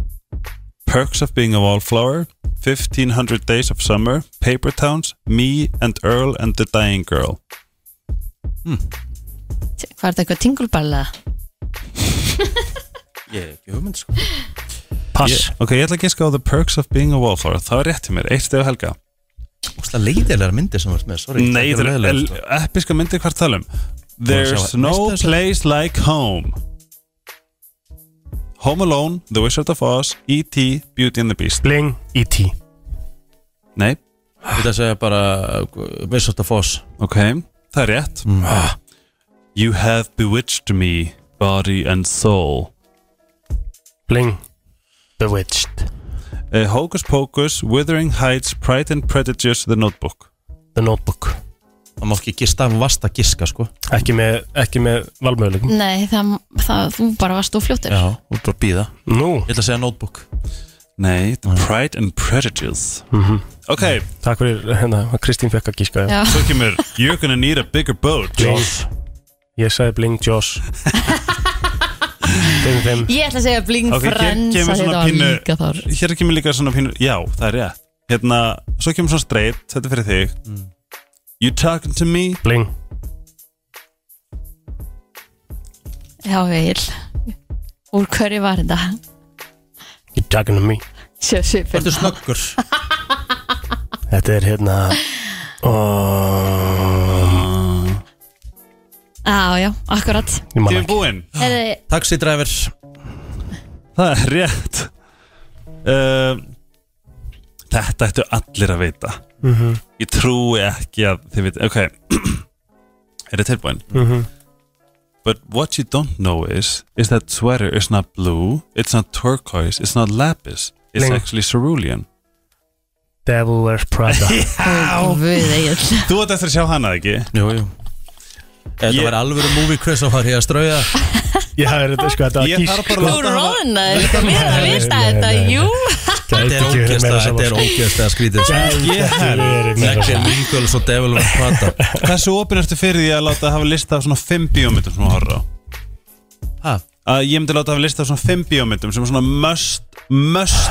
S6: Perks of being a wallflower 1500 days of summer Paper towns Me and Earl and the dying girl
S2: Var þetta eitthvað tingulball eða?
S1: Ég hef ekki hugmynd sko
S3: Pass
S6: Ok, ég ætla að giska á The Perks of Being a Wallflower Það var rétt til mér, eitt stef helga
S1: Úsla leiðilegar myndir sem þú ert með, sorry
S6: Nei,
S1: Þetta
S6: þetta
S1: eru
S6: er
S1: leiðilegar, sko.
S6: episka myndir hvað talum There's
S1: sjá-
S6: no
S1: Veistu þessu?
S6: place like home Home Alone, The Wizard of Oz E.T., Beauty and the Beast
S3: Bling E E.T.
S6: Nei,
S1: Ég ætla að segja bara Vissort of Oz
S6: ok, það er rétt
S1: Mm.
S6: Ah. You have bewitched me Body and soul
S3: Bling Bewitched
S6: uh, Hocus Pocus, Withering Heights Pride and Prejudice, The Notebook
S3: The Notebook
S1: Það má ekki gista, vast að giska sko
S3: Ekki með, ekki með valmöðuleikum
S2: Nei, það, það, þú bara varst þú fljótur
S1: Já, þú ert bara að býða Ég
S3: Nú,
S1: ætla að segja notebook
S6: Nei, The
S1: Mm.
S6: Pride and Prejudice
S1: Mhm.
S6: Ok,
S3: takk fyrir hérna, hvað Kristín fekk að gíska
S2: Já.
S6: svo kemur You're gonna need a bigger boat
S3: Joss Ég sagði Bling Joss Þeim þeim
S2: Ég ætla að segja bling
S6: Ok,
S2: okay,
S6: hér
S2: frans
S6: kemur
S2: að
S6: svona
S2: þetta var
S6: pínu-
S2: líka þar
S6: Hér kemur líka svona pínur Já, það er rétt Hérna, svo kemur svona straight Þetta er fyrir þig You talking to me
S3: Bling
S2: Já, veil Úr hverju var þetta?
S3: You talking to me
S2: Sjá svipin
S1: Þetta er snöggur
S3: Þetta er hérna oh,
S2: Já, já, akkurat
S3: Ég man
S6: Tími
S3: ekki
S6: búinn
S2: Heyrðu,
S1: Taxi driver
S6: Það er rétt uh, Þetta ættu allir að vita -hmm. Ég trúi ekki að þið vita Ok (clears throat) Er þetta tilbúin?
S3: Mhm.
S6: But what you don't know is Is that sweater is not blue It's not turquoise It's not lapis It's
S3: Lengur.
S6: actually cerulean
S3: Devil Wears Prada
S2: Guð, Egill.
S6: Þú ert eftir að sjá hana ekki?
S1: Jú, jú Ef þetta
S6: Ég-
S1: væri alvöru movie quiz þá var ég að strauja
S3: Ég hafði þetta sko Þetta
S6: Ég
S3: var
S6: þarf
S3: gísk
S6: bara að
S2: Þú
S6: láta hana-
S2: rónaðir, sko, mér að vita
S3: Nei, nei,
S2: þetta,
S3: nei, nei.
S2: jú
S1: Þetta er
S3: sko.
S1: ógjast þetta er ógjast að skrítið Jackson
S3: ógjöst
S1: Nichols og Devil Wears Prada
S6: Hversu opinn ertu fyrir því að láta hafa lista af svona 5 bíómyndum sem þú horfa á?
S1: Ha?
S6: Að ég myndi láta hafa lista af svona 5 bíómyndum sem er svona must, must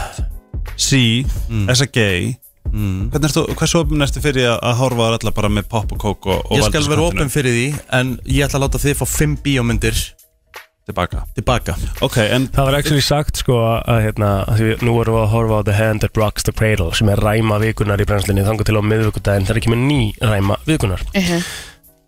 S6: see as a gay mm. ertu, Hversu opinn ertu fyrir því að, að horfa á þær allar bara með pop og kók og, og
S1: Ég skal
S6: valda
S1: vera
S6: skottinu
S1: opinn fyrir því En ég ætla að láta þið fá 5 bíómyndir
S6: tilbaka
S1: tilbaka
S6: Ok, en
S3: Það var actually sagt sko að hérna, að því, nú vorum við að horfa á The Hand That Rocks the Cradle sem er ræma vikunar í brennslinni þangar til á miðvikudaginn þegar kemur ný ræma vikunar
S2: Uh-huh.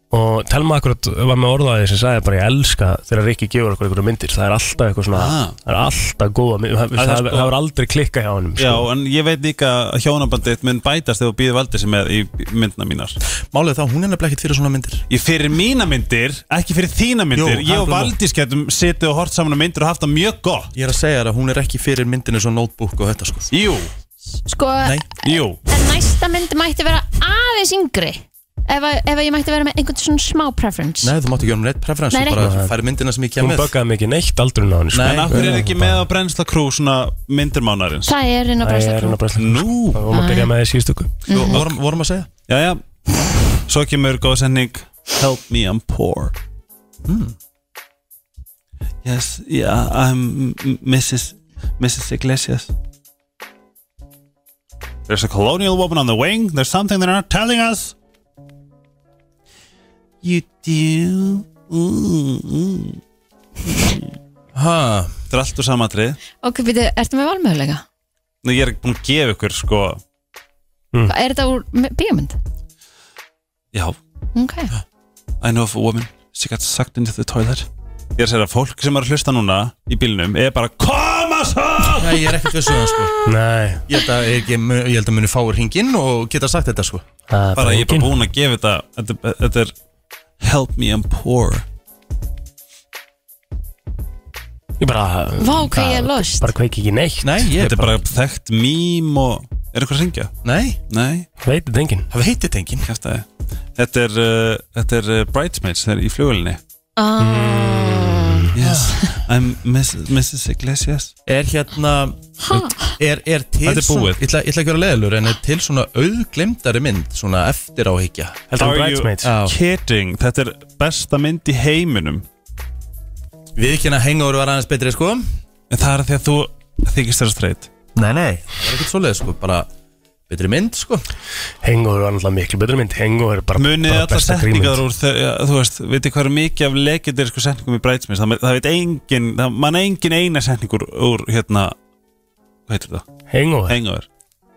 S3: og Telma akkurat var með orðaði sem sagði bara ég elska þegar Rikki gefur okkur einhverju myndir það er alltaf eitthvað svona
S6: Ah.
S3: það er alltaf góða myndir það,
S6: er
S3: það,
S6: sko-
S3: það var aldrei klikka hjá honum
S6: Já,
S3: sko.
S6: en ég veit líka að hjónabandið minn bætast þegar þú býður valdið sem er í myndina mínar
S1: Málið þá, hún er nefnilega ekkert fyrir svona myndir
S6: Ég fyrir mína myndir, ekki fyrir þína myndir
S1: Jú,
S6: Ég
S1: það er
S6: og
S1: blóma.
S6: Valdís getum setið og hort saman á myndir og haft það mjög gott
S1: Ég er að segja þér að hún er ekki fyrir myndinu svo notebook og þetta sko
S6: Jú,
S2: Sko,
S1: Nei,
S6: jú
S2: en næsta mynd mætti vera aðeins yngri Ef, að- ef að ég mætti vera með einhvern svona smá preference
S1: nei þú mátt ekki gera um neitt preference
S2: Nei,
S1: Þú
S2: nei.
S1: bara færi myndina sem ég kem
S3: hún
S1: með
S3: böggaði mikið neitt aldrun á henni sko.
S1: Nei.
S6: En af hverju er þið ekki með á Brensla Crew svona myndir mánarins?
S2: Það er inn á
S3: það er
S2: brennstakrum
S3: hennar bara slið
S6: Nú
S3: og maður byrja með því síðustöku
S1: Svo vorum, vorum að segja
S6: Jæja, svo kemur góð sending Help me, I'm poor Hmm. Yes, yeah, I'm Mrs. Mrs. Iglesias There's a colonial woman on the wing There's something they're not telling us You do mm, mm.
S1: Ha,
S6: Þetta er allt úr samatrið
S2: Ok, býtu, ertu með valmöðuleika?
S6: Nú ég er ekki búin að gefa ykkur sko
S2: Er þetta úr m- bíómynd?
S6: Já,
S2: Ok,
S6: I know of a woman She got sucked into the toilet Ég er að segja að fólk sem er að hlusta núna í bílnum er bara KOMA SÓ
S1: nei, ég er ekkert vissu um það sko
S3: nei,
S1: Ég held að, ég, ég held að muni fáur hringinn og geta sagt þetta sko
S3: það er
S6: Bara ég er bara
S3: engin.
S6: búin að gefa þetta Þetta, þetta er Help me I'm poor
S3: ég bara
S2: vá, hvað ég er
S3: það-
S2: lost
S3: bara kveiki ekki neitt
S1: Nei, ég
S6: Þetta er bara þekkt mím og Er eitthvað að syngja?
S1: Nei,
S6: Nei,
S3: veit þetta enginn
S1: það heitir tengin
S6: kæftæði Þetta er, uh, þetta er uh, Bridesmaids Þeir í flugulinni
S2: Ah,
S6: Yes, I'm Mrs. Mrs. Iglesias
S1: Er hérna,
S2: Ha,
S1: er, er til
S6: Þetta er
S1: svona-
S6: búið.
S1: Ég ætla ég ætla ekki að vera leðilur en er til svona auðglemdari mynd Svona eftir áhyggja
S3: heldur
S6: Are
S3: hann
S6: you- Ah.
S3: Bridesmaids
S1: Já.
S6: Kidding, þetta er besta mynd í heiminum
S1: Við ekki hérna hengur var aðeins betri sko
S6: En það er af því að þú þykist þér að streit
S1: Nei, nei Það var ekkert svoleið sko, bara betri mynd sko
S3: Hangover var náttúrulega miklu betur mynd Hangover er bara,
S6: munið
S3: bara
S6: allar setningar úr þau, ja, þú veist, veitir hvað er mikið af legendarísku setningum í Bridesmaids það, það veit engin, það man engin eina setningur úr hérna hvað heitir það,
S3: Hangover
S6: hengur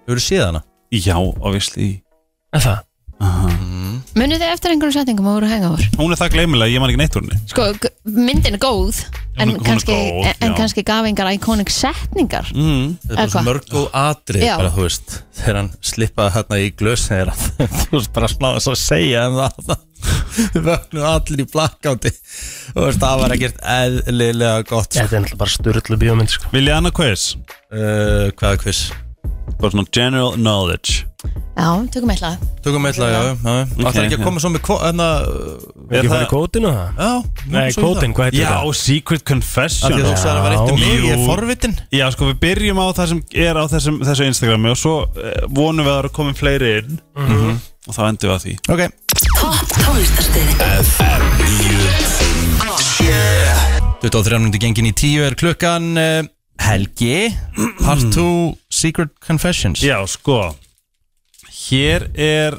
S1: Hefur þú séð hana?
S6: já, obviously
S3: Er það?
S2: munið þið eftir einhverjum setningum að voru hengáður
S6: hún er það gleymilega, ég man ekki neitt úr henni
S2: sko, g- myndin er góð en,
S6: hún er
S2: kannski,
S6: góð,
S2: en, en
S6: já.
S2: kannski gaf engar iconic setningar
S6: mm.
S1: Það er bara
S2: Eða
S1: svo
S2: hvað?
S1: mörg og atri
S2: Já.
S1: bara, þú veist, þegar hann slippaði hérna í glös þegar að- (laughs) þú veist bara snáði svo að segja en það það vöknuð allir í blakkáti þú veist það var ekkert eðlilega gott
S3: Þetta er náttúrulega bara styrlu bíómynd sko.
S6: vil ég annað quiz?
S1: uh, Hvaða quiz?
S6: bara svona general knowledge
S2: já, tökum eitthvað
S1: Tökum eitthvað, já, já, já okay, Það er ekki að koma svo með kvo, enna, uh,
S3: Ekki
S6: Er það-
S3: farið kótin og það?
S1: Já,
S3: Nei, kótin, hvað heitir
S6: já,
S3: það?
S1: Það
S6: secret
S1: er
S6: confession
S1: þú sagði að það var eitt um
S6: Já.
S1: mig, ég er forvitin
S6: já, sko, við byrjum á það sem er á þessum, þessu Instagrami og svo eh, vonum við að það eru komin fleiri inn
S3: Mhm.
S6: og þá endum við að því
S1: Ok,
S8: Topp tónlistarstöðin
S1: 23 minúti gengin í 10 er klukkan uh, Helgi Part 2 Secret Confessions
S6: Já, sko Hér er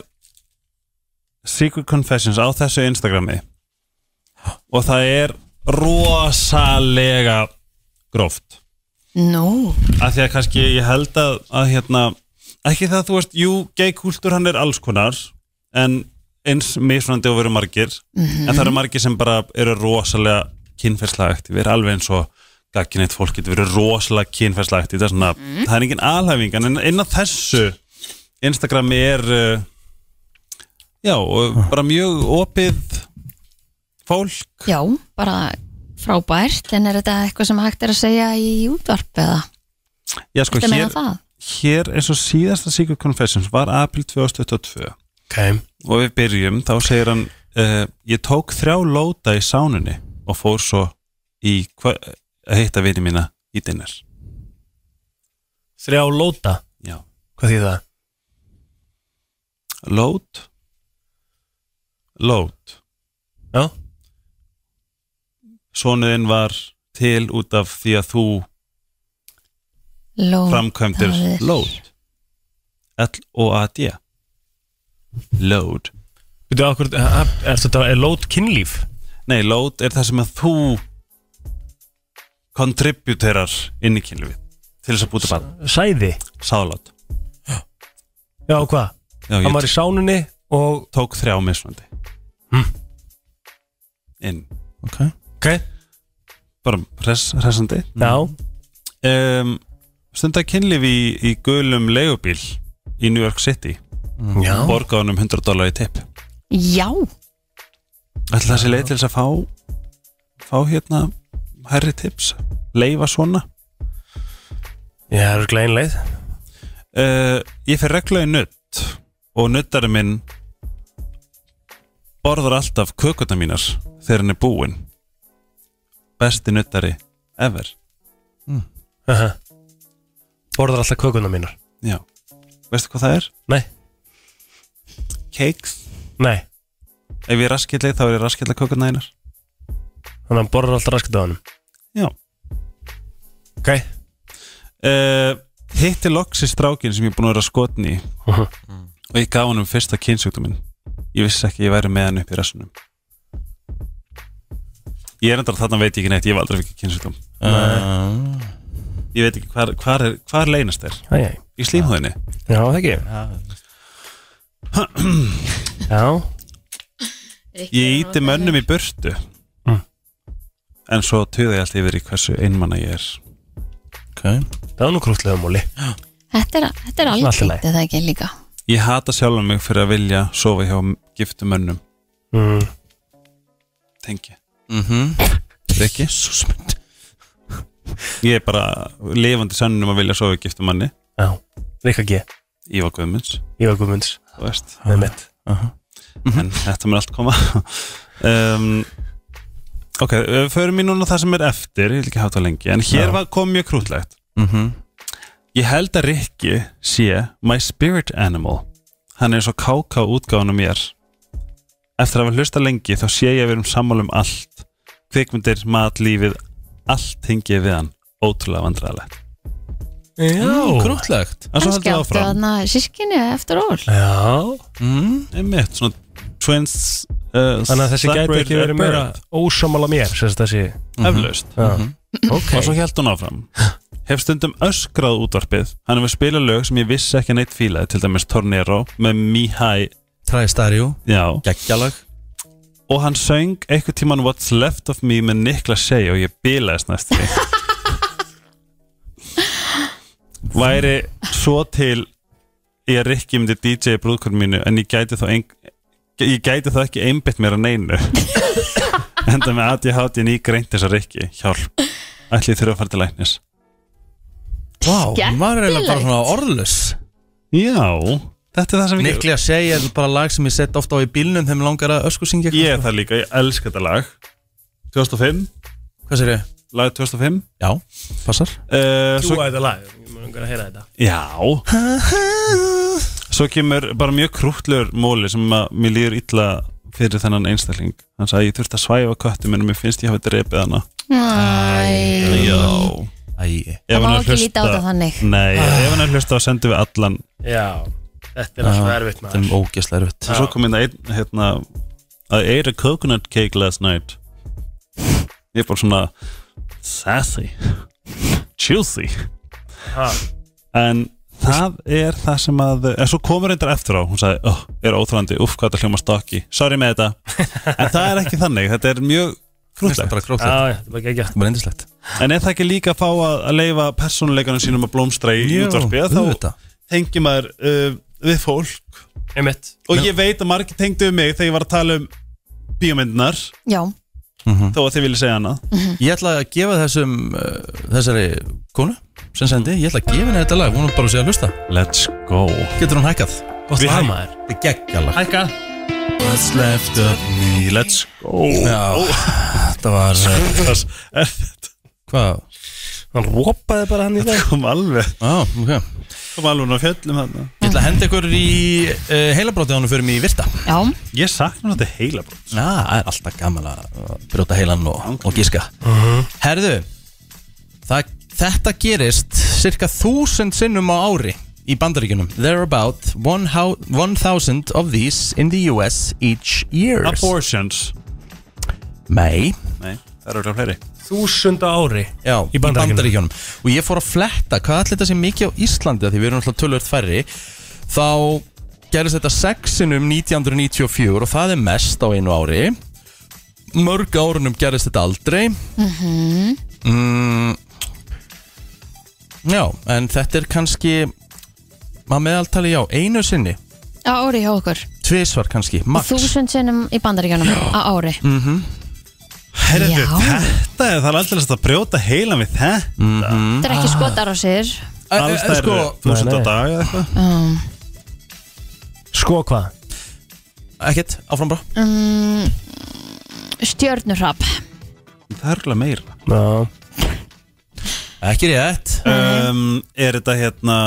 S6: Secret Confessions á þessu Instagrami og það er rosalega gróft
S2: nú,
S6: af því að kannski ég held að, að hérna, ekki það að þú veist jú, gay-kultúr hann er alls konar en eins mismunandi og veru margir en
S2: Mhm.
S6: það eru margir sem bara eru rosalega kynferðslega aktífir alveg eins og gagginett fólk getur verið rosalega kynferðslega aktíf það er, svona,
S2: Mhm.
S6: það er engin alhæfing en inn á þessu Instagrami er uh, já, og bara mjög opið fólk
S2: já, bara frábært, en er þetta eitthvað sem hægt er að segja í útvarp eða,
S6: já, sko,
S2: þetta meina
S6: hér,
S2: það
S6: hér eins og síðasta Secret Confessions var april 2022
S3: Okay.
S6: og við byrjum, þá segir hann uh, ég tók þrjá lóta í sánunni og fór svo í hva- að hitta vini mína í dinner
S3: Þrjá lóta,
S6: já,
S3: hvað þýð það?
S6: lót lót
S3: Já.
S6: sonuðinn var til út af því að þú
S2: Ló,
S6: framkvæmdir
S2: það er-
S6: lót L-O-A-D lót
S3: Veitu, af hverju- er, er þetta er lót kynlíf?
S6: nei, lót er það sem að þú kontributerar inn í kynlífið til þess að búta bara
S3: Sæði?
S6: sáðlót
S3: Já, hvað?
S6: Já,
S3: Hann
S6: ég
S3: var í sánunni og
S6: tók þrjá mismunandi inn
S3: okay.
S6: bara res, resandi
S3: Já,
S6: um, stundar kynlíf í, í gulum leigubíl í New York City
S3: já.
S6: borgaðunum 100 dólar í tipp
S2: Já,
S6: ætla það sé leið til þess að fá fá hérna herri tips leifa svona
S3: Já, það er glæðin leið
S6: uh, ég fer regla í nutt og nuttari minn borðar alltaf kökuna mínar þegar hann er búinn besti nuttari ever
S3: uh Borðar alltaf kökuna mínar
S6: Já, veistu hvað það er?
S3: Nei,
S6: Cakes
S3: nei,
S6: Ef ég er raskillig þá er ég raskillig kökuna einar
S3: þannig að hann borðar alltaf raskat á hann
S6: Já
S3: Ok,
S6: uh, Hitti loksi strákin sem ég er búin að vera skotin í
S3: Mhm.
S6: Og ég gaf honum fyrsta kynsjúkdóminn Ég vissi ekki að ég væri með hann upp í rassunum Ég er endar þarna veit ég ekki neitt Ég hef aldrei fikið kynsjúkdóm Eh, Ég veit ekki hvar, hvar, er, hvar leynast þér
S3: æj, æj,
S6: Í slímhóðinni
S3: já það ekki (clears throat) Já,
S6: Ég íti mönnum í burtu
S3: Mm.
S6: En svo tuða ég allt yfir í hversu einmanna ég er
S3: það var nú krútlega múli
S2: þetta er, þetta er
S3: Svona allt í lagi.
S2: algengt, er það ekki líka
S6: Ég hata sjálfan mig fyrir að vilja sofa hjá giftum mönnum
S3: mm.
S6: tengi
S1: Mhm.
S6: Rikki Ég er bara lifandi sönnum að vilja sofa hjá giftum manni
S3: Já, Rikka G,
S6: Ívar Guðmunds
S3: Ívar Guðmunds
S6: þú veist.
S3: með mitt
S6: en þetta mér allt koma um, Ok, við förum í núna það sem er eftir ég vil ekki hafa það lengi, en hér var, kom mjög krútlegt
S1: Mhm.
S6: Ég held að Rikki sé my spirit animal Hann er svo káká útgáðan um mér Eftir að hafa hlusta lengi þá sé ég að við erum sammála um allt Kvikmyndir, mat, lífið Allt hengið við hann Ótrúlega vandræðilegt
S1: Mm,
S3: Já,
S1: Krútlegt
S6: En svo
S2: Kannski
S6: heldur það
S2: áttu
S6: áfram
S2: þarna sískinni eftir ól
S3: já
S6: Einmitt, svona twins uh,
S3: Þannig að þessi gæti
S6: separated
S3: ekki verið
S6: at
S3: meira
S6: birth.
S3: ósamála mér sem sagt þessi Mhm.
S6: Eflaust
S3: Já. Ok,
S6: Og svo held hún áfram Hef stundum öskrað útvarpið Hann hefur spilað lög sem ég vissi ekki að neitt fílaði Til dæmis Tornero með Mihai
S9: Træði starjú
S6: Já
S1: Gekkjalag
S6: Og hann söng eitthvað tíman What's Left of Me með Niklas Shea Og ég bilaðist næst því Væri svo til Ég rikki myndi DJ brúðkvörn mínu En ég gæti þá ein, Ég gæti þá ekki einbytt mér að neinu Enda með að ég hátti Ný greint þess að rikki Hjálp Ætli ég þurfa að fara til læknis
S9: Vá, hún var eiginlega bara svona orðlus
S6: Já, þetta er það sem ég
S9: Nikli að segja er bara lag sem ég sett ofta á í bílnum þegar mig langar að ösku syngja
S6: Ég er það líka, ég elska þetta lag 2005,
S9: Hvað sér ég?
S6: lag 2005
S9: Já, passar
S6: uh,
S3: Svo
S6: svo,
S3: að þetta lag, ég mér langar að heyra þetta
S6: Já Svo kemur bara mjög krúttlur móli sem að mér líður illa fyrir þennan einstakling Hann sagði ég þurfti að svæfa köttu minn og mér finnst ég hafi drepið hana
S2: Æ,
S6: Já
S9: Æ,
S6: Ef
S2: það má
S6: hann er
S2: ekki líta á það
S6: hlusta
S2: þannig
S6: Nei, ef hann er hlusta þá sendum við allan
S3: Já, þetta er alltaf erfitt
S1: Það er
S3: maður
S1: ógeðslega erfitt
S6: Svo kom hérna einn hérna I ate a coconut cake last night Ég er bara svona Sassy Juicy
S3: Ha.
S6: En það er það sem að En svo komur reyndar eftir á Hún sagði, oh, er óþrandi, uff, hvað það hljóma stokki Sorry með þetta En það er ekki þannig, þetta er mjög
S1: Krútlegt Bara
S3: Já,
S1: krútlegt
S3: já, þetta er bara gegja
S1: Bara endislegt
S6: En er það ekki líka að fá að, að leifa persónuleikanum sínum að blómstra í útvarpi að Þá
S1: auðvitað.
S6: tengi maður uh, við fólk
S3: Einmitt
S6: Og ég veit að margir tengdu um mig Þegar ég var að tala um bíómyndinar
S2: Já,
S6: Þó að þið vilja segja annað
S1: Ég ætla að gefa þessum uh, Þessari konu sem sendi Ég ætla að gefa henni þetta lag Hún er bara að segja að hlusta
S6: Let's go
S1: Getur hún hækkað
S3: Gott lag maður
S1: Þetta er geggjalag
S3: Hækka
S9: What's left of me
S6: Let's go
S9: Já, þetta var eh,
S1: Hvað?
S3: Hann rópaði bara hann í dag
S6: Kom alveg
S1: Á, ok
S6: Kom alveg hún á fjöllum þarna
S1: Ég ætla að henda ykkur í uh, heilabrótið ánum fyrir mig í virta
S2: já,
S6: Ég sakna þetta heila brot
S1: Já, það er alltaf gaman að brjóta heilan og, og gíska Herðu það, Þetta gerist cirka þúsund sinnum á ári í bandaríkunum There are about one hou- 1000 of these in the US each year
S6: Abortions
S1: Nei
S6: Nei, það eru ekki fleiri
S3: Þúsunda ári
S1: Já,
S3: Í Bandaríkjunum.
S1: Og ég fór að fletta, hvað allir þetta sé mikið á Íslandi af Því við erum alltaf tölvöld færri Þá gerist þetta sexinum 1994 og það er mest á einu ári Mörg árunum gerist þetta aldrei
S3: Mhm.
S1: mm, Já, en þetta er kannski maður meðaltali já, einu sinni
S2: á ári hjá okkur
S1: Tvisvar kannski, max
S2: Þúsund sinnum í bandaríkjánum á ári
S6: Herðu,
S2: Já.
S6: þetta er það er alltaf að brjóta heila við þetta
S2: Þetta er ekki skotar á sér
S1: Æ, æ, æ,
S6: Alls það
S1: sko,
S6: eru þúsund á
S3: Nei, nei.
S6: dag eða eitthvað
S2: um,
S3: Sko hvað
S1: Ekkert, áfram bara
S2: um, Stjörnurrapp
S6: Það er alveg meira
S3: Já
S1: Ekki rétt
S6: um, Er þetta hérna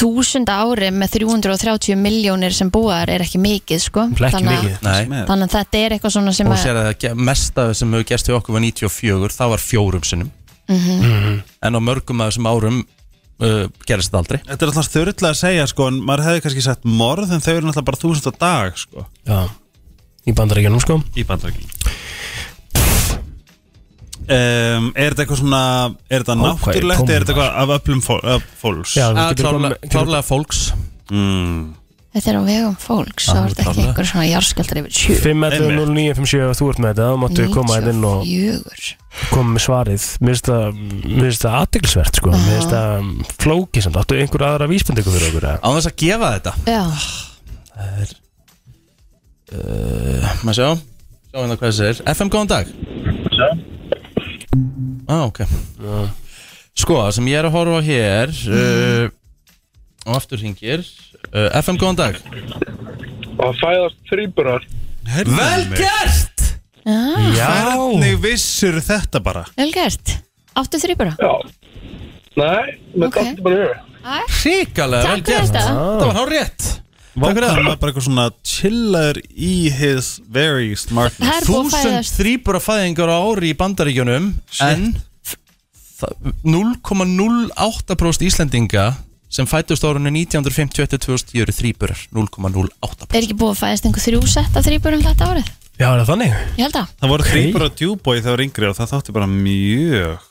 S2: Þúsund ári með 330 miljónir sem búar er ekki mikið sko
S3: Plekki
S2: Þannig að-
S3: mikið
S1: Nei
S6: sem er?
S2: Þannig að þetta er eitthvað svona sem
S1: og
S2: að
S1: sér að það ge- mesta sem hefur gerst hjá okkur var 94, það var fjórum sinnum
S3: Mhm.
S1: en á mörgum af þessum árum uh, gerist það aldrei
S6: Þetta er alltaf þurrlega að segja sko En maður hefði kannski sagt morð En þau eru náttúrulega bara þúsund á dag sko
S3: Já Í bandaríkjunum sko
S6: Í bandrækjum Um, er þetta eitthvað svona er þetta
S3: Ákvæði
S6: náttúrulegt
S3: tómum
S6: er þetta eitthvað af öflum fól, af fólks
S3: Já,
S1: Að
S3: þú Ah, getur komið
S1: klárlega,
S3: með- getur-
S1: klárlega fólks
S6: mm.
S2: þetta er á vegum fólks þá er þetta ekki
S1: klárlega.
S2: einhver svona jarskjaldar yfir sjö
S3: 5.09.57 ef þú ert með þetta þá máttu koma hérna inn og
S2: 94.
S3: koma með svarið Mér finnst það- mér finnst það aðdeglisvert sko Mér finnst það um, flókið samt Áttu einhver aðra vísbendingu fyrir okkur eða?
S1: á þess að gefa þetta
S2: Já,
S1: maður sjá, sjá hérna hvað þessi er FM góðan dag á ah, ok sko, það sem ég er að horfa á hér
S3: Mhm.
S1: uh, og aftur hringir uh, FM góðan dag
S7: Og fæðast þrýburar
S1: vel gert
S6: Hvernig vissur þetta bara?
S2: vel gert Áttu þrýbura
S7: Já Nei,
S2: Ok.
S7: með dætti bara yfir
S1: ríkalega vel
S2: Takk fyrir
S1: gert
S2: þetta
S1: það var hár rétt
S6: Vá, Það var bara eitthvað svona chiller í his very smartness
S2: Það er búið að
S1: þúsund
S2: fæðast
S1: þrýbura fæðingar á ári í bandaríkjunum en það- 0,08% Íslendinga sem fættust árunni 1950-2010 eru þrýburar 0,08%
S2: Er ekki búið að fæðast einhver þrjú sett af þrýburum þetta árið?
S3: Já, er það þannig?
S2: Ég held að
S6: Það voru
S3: Ok.
S6: okay. þrýbur á djúbói þegar yngri og það þótti bara mjög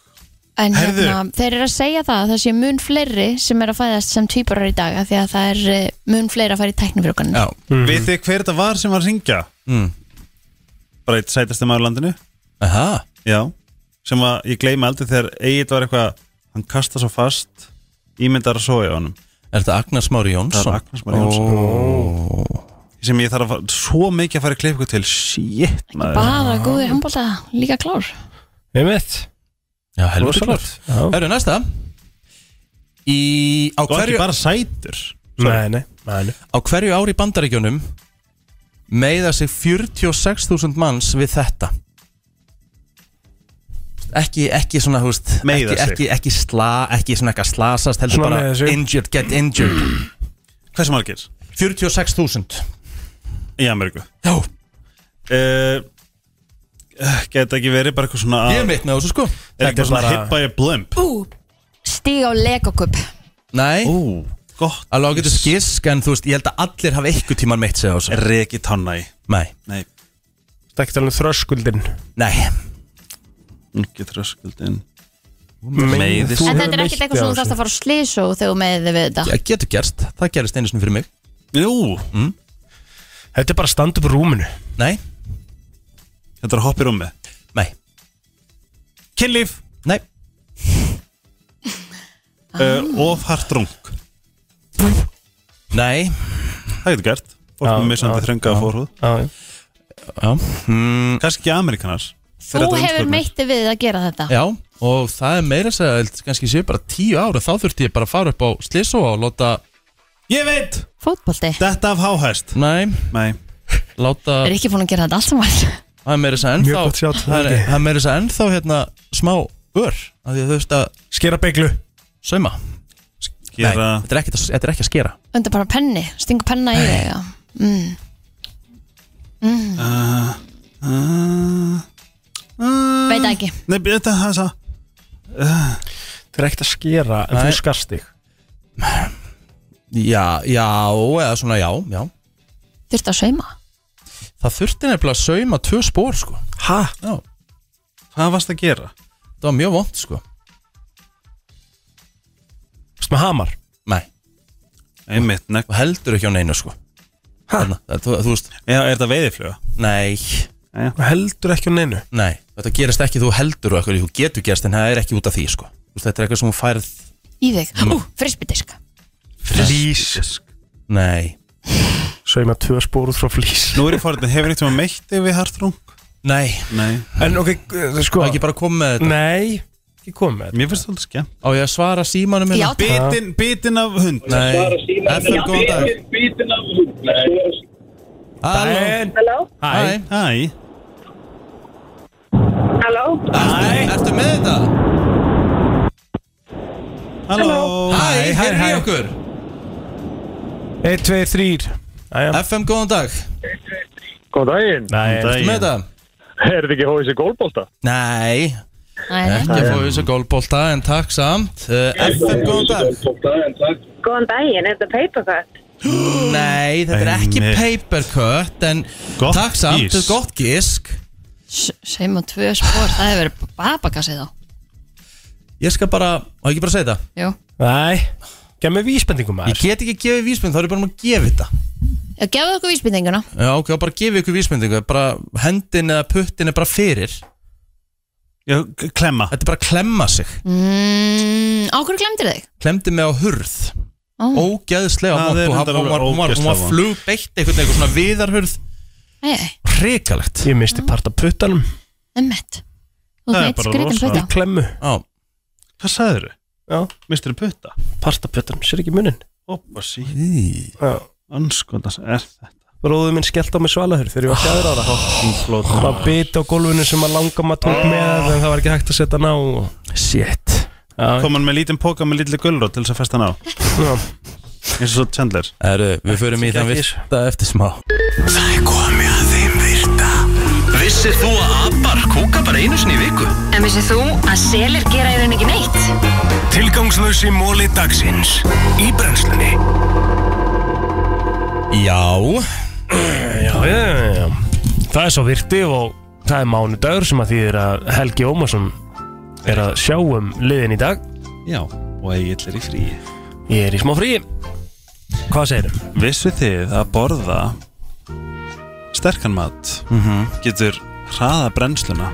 S2: En
S6: Herðu.
S2: hérna, þeir eru að segja það að það sé mun fleiri sem eru að fæðast sem tvíburar í dag af því að það er eh, mun fleiri að fara í tæknifrjókan
S1: Já,
S3: Mhm.
S6: Við þið hver þetta var sem var að ringja?
S1: Mm.
S6: Bara eitt sætasti maður í landinu
S1: aha
S6: Já Sem að ég gleymi aldrei þegar Egil var eitthvað Hann kasta svo fast Ímyndar að soga á honum
S1: Er þetta Agnar Smári
S6: Það
S1: Jónsson?
S6: er Agnes Marí Jónsson Sem ég þarf að fara svo mikið að fara í klippu til Shit maður
S2: Bara góðir handbólta, líka klár
S3: Við mitt
S1: Já, helviti
S3: Rosalegt.
S1: klart
S3: Já.
S1: Hörru, næsta Í, á,
S6: Þú er
S1: hverju,
S6: ekki bara sætur
S3: Nei, nei, nei, nei.
S1: á hverju ári í bandaríkjunum meiða sig 46.000 manns við þetta ekki, ekki svona, þú veist
S6: Meiða
S1: ekki,
S6: sig.
S1: ekki, ekki sla, ekki svona eitthvað slasast heldur
S3: Svona meiða
S1: bara
S3: sig.
S1: injured, get injured
S6: Hversu margir?
S1: 46.000
S6: Í Ameríku
S1: Já,
S6: uh, eh, Gæti ekki verið bara eitthvað svona
S1: ég er mitt með þessu sko
S6: Er
S3: Þetta
S6: ekki
S3: er
S6: bara svona
S3: bara-
S6: hit by a blimp
S2: Bú, stíg á legokup
S1: Nei,
S6: Ú, gott
S1: alveg ágættu skisk en þú veist, ég held að allir hafa eitthvað tíman meitt sig á þessu
S6: Reki tanna í
S1: Nei,
S6: Nei,
S3: Það er ekki talað um þröskuldin
S1: nei,
S6: ekki þröskuldin
S3: Meiðist.
S2: En
S6: Þú
S2: þetta
S3: hefur
S2: er ekkert
S3: meitt
S2: eitthvað
S3: þig á
S2: sem þú
S3: þessu.
S2: þarfst að fara á slísu þegar þú meðið við þetta
S1: það getur gerst það gerist einu sinni fyrir mig
S6: Jú,
S3: Þetta er bara stand upp rúminu
S1: Nei,
S6: þetta er að hoppa í rúmi
S1: nei,
S6: Kynlíf
S1: nei
S6: uh, Of hart rung
S1: Nei
S6: Það getur gert Fólk
S3: Já,
S6: með misandi
S3: já,
S6: þrönga að fórhúð
S3: Já, já
S1: Já, mm,
S6: Kannski ekki amerikanars
S2: Þú hefur meittið við að gera þetta
S1: já og það er meira að segja held kannski séu bara tíu ára þá þurfti ég bara að fara upp á Slisso og láta,
S6: Ég veit,
S2: Fótbolti
S6: þetta af háhæst
S1: nei,
S6: Nei,
S1: láta
S2: Er ekki búin að gera þetta allt saman (laughs)
S1: það er meira að segja
S3: Mjög
S1: ennþá
S3: gott sjátt,
S1: það er,
S3: Helgi.
S1: það er meira að segja ennþá hérna smá ör af því að þú veist að
S3: Skera beglu
S1: sauma Nei,
S6: gera
S1: þetta er, ekki, þetta er ekki að skera
S2: Undir bara penni, stingu penna í þig já. Mm.
S3: Uh,
S2: Veit það ekki
S6: Nei, þetta er það
S3: Það er ekkert að skera en
S1: Nei.
S3: þú skarst þig
S1: Já, já, eða svona já, já
S2: Þurfti að sauma
S1: Það þurfti nefnilega að sauma tvö spór sko
S3: Hæ?
S1: Já,
S6: Hvað varst að gera?
S1: það var mjög vond sko
S3: Vist með hamar
S1: Nei,
S6: Einmitt, nek
S1: og heldur ekki á neinu sko Þarna, það, þú, þú veist,
S6: Já, er þetta veiðifluga?
S1: nei
S3: Og heldur ekki á neinu
S1: Nei, þetta gerist ekki þú heldur og eitthvað, þú getur gerst en það er ekki út af því sko. Þú veist, Þetta er eitthvað sem þú færð
S2: í þig Ú, frisbydisk
S3: Flís
S1: Nei,
S3: Sveima tvö spór út frá flís
S6: Nú er ég fórðin, hefur eitthvað meitt yfir hartrung?
S1: nei,
S6: Nei
S3: En ok, uh, sko
S1: það er ekki bara komið með þetta
S3: Nei, ekki komið
S6: Mér finnst þetta skemmt
S1: Á ég að svara símanum
S2: Já,
S1: hérna?
S6: Bitin, bitin af hund
S1: Nei, FN,
S7: hérna.
S1: góðan dag
S7: Bítin af hús
S1: Halló,
S3: Halló Hæ
S1: hæ,
S6: Æ,
S1: ertu- ertu með þetta?
S6: halló
S1: Hæ,
S3: hæ,
S1: hér er
S3: hæ.
S1: í okkur
S3: 1, 2, 3 Æja
S1: FM, góðan dag,
S7: Góð daginn,
S3: Nei,
S1: ertu með þetta?
S7: er þetta ekki hóðis í gólbólta?
S1: Nei,
S2: Nei,
S1: ekki að fá þessu gólbólta en takk samt Uh, FM, góðan dag
S10: Góðan daginn, er þetta papercut?
S1: Nei, þetta er ekki
S6: Einmitt.
S1: papercut en
S6: Gott
S1: takk samt,
S6: gísk.
S1: gott gísk
S2: Seima tvö spór, það hefur verið babakassi þá
S1: Ég skal bara, á ekki bara að segja þetta
S2: Jú,
S3: Nei Gæm með vísbendingum
S1: Ég
S3: maður
S1: get ekki gefið vísbending, þá er ég bara um að gefa þetta
S2: já, gefðu okkur vísbendinguna
S1: Já, ok, þá bara gefið ykkur vísbendingu Bara hendin eða puttin er bara fyrir Þetta
S6: Já, klemma
S1: er bara að klemma sig
S2: mm, Á hverju glemdir þig?
S1: Klemdi mig á hurð
S2: Ó.
S1: Ógeðslega
S6: Það
S1: vont
S6: er
S1: og
S6: reyndar
S1: hún var, hún var, hún var
S6: ógeðslega
S1: flugbeitt einhvern veginn svona viðarhurð
S2: Nei, nei,
S1: Hrikalegt
S3: Ég misti part af puttanum
S2: emmett Þú ert
S6: Það er
S2: meitt
S6: bara
S2: skritin
S6: rosa.
S2: hluta
S3: Klemmu
S1: Já,
S6: Hvað sagður þau?
S3: Já
S6: Mistur þau putta?
S3: Part af puttanum Sér ekki munin
S6: Oppa sí
S3: Já
S6: Anskotans er þetta
S3: Bróður minn skellt á mig svalahur Þegar ég var fjæður ára
S6: Flót
S3: Það biti á gólfinu sem að langa maður tók með En það var ekki hægt að setja hann á og-
S1: shit
S3: Já,
S6: Kom hann með lítinn póka með lítið gulrót til þess að festa hann á
S3: já.
S6: eins og svo Chandler
S1: Erðu, við förum í þann
S3: ekki.
S1: virta eftir smá
S5: Það er komið að þeim virta Vissir þú að abar kúka bara einu sinni í viku?
S8: En Vissið þú að selir gera í rauninni ekki neitt?
S5: Tilgangslösi móli dagsins Í brennslunni
S1: Já
S3: Já, já, já, já Það er svo virti og það er mánudagur sem að þýðir að Helgi Ómarsson er að sjá um liðin í dag
S6: Já, og Egil er í fríi
S3: Ég er í smá fríi Hvað segirðu?
S6: Vissu þið að borða sterkan mat
S1: Mhm.
S6: getur hraða brennsluna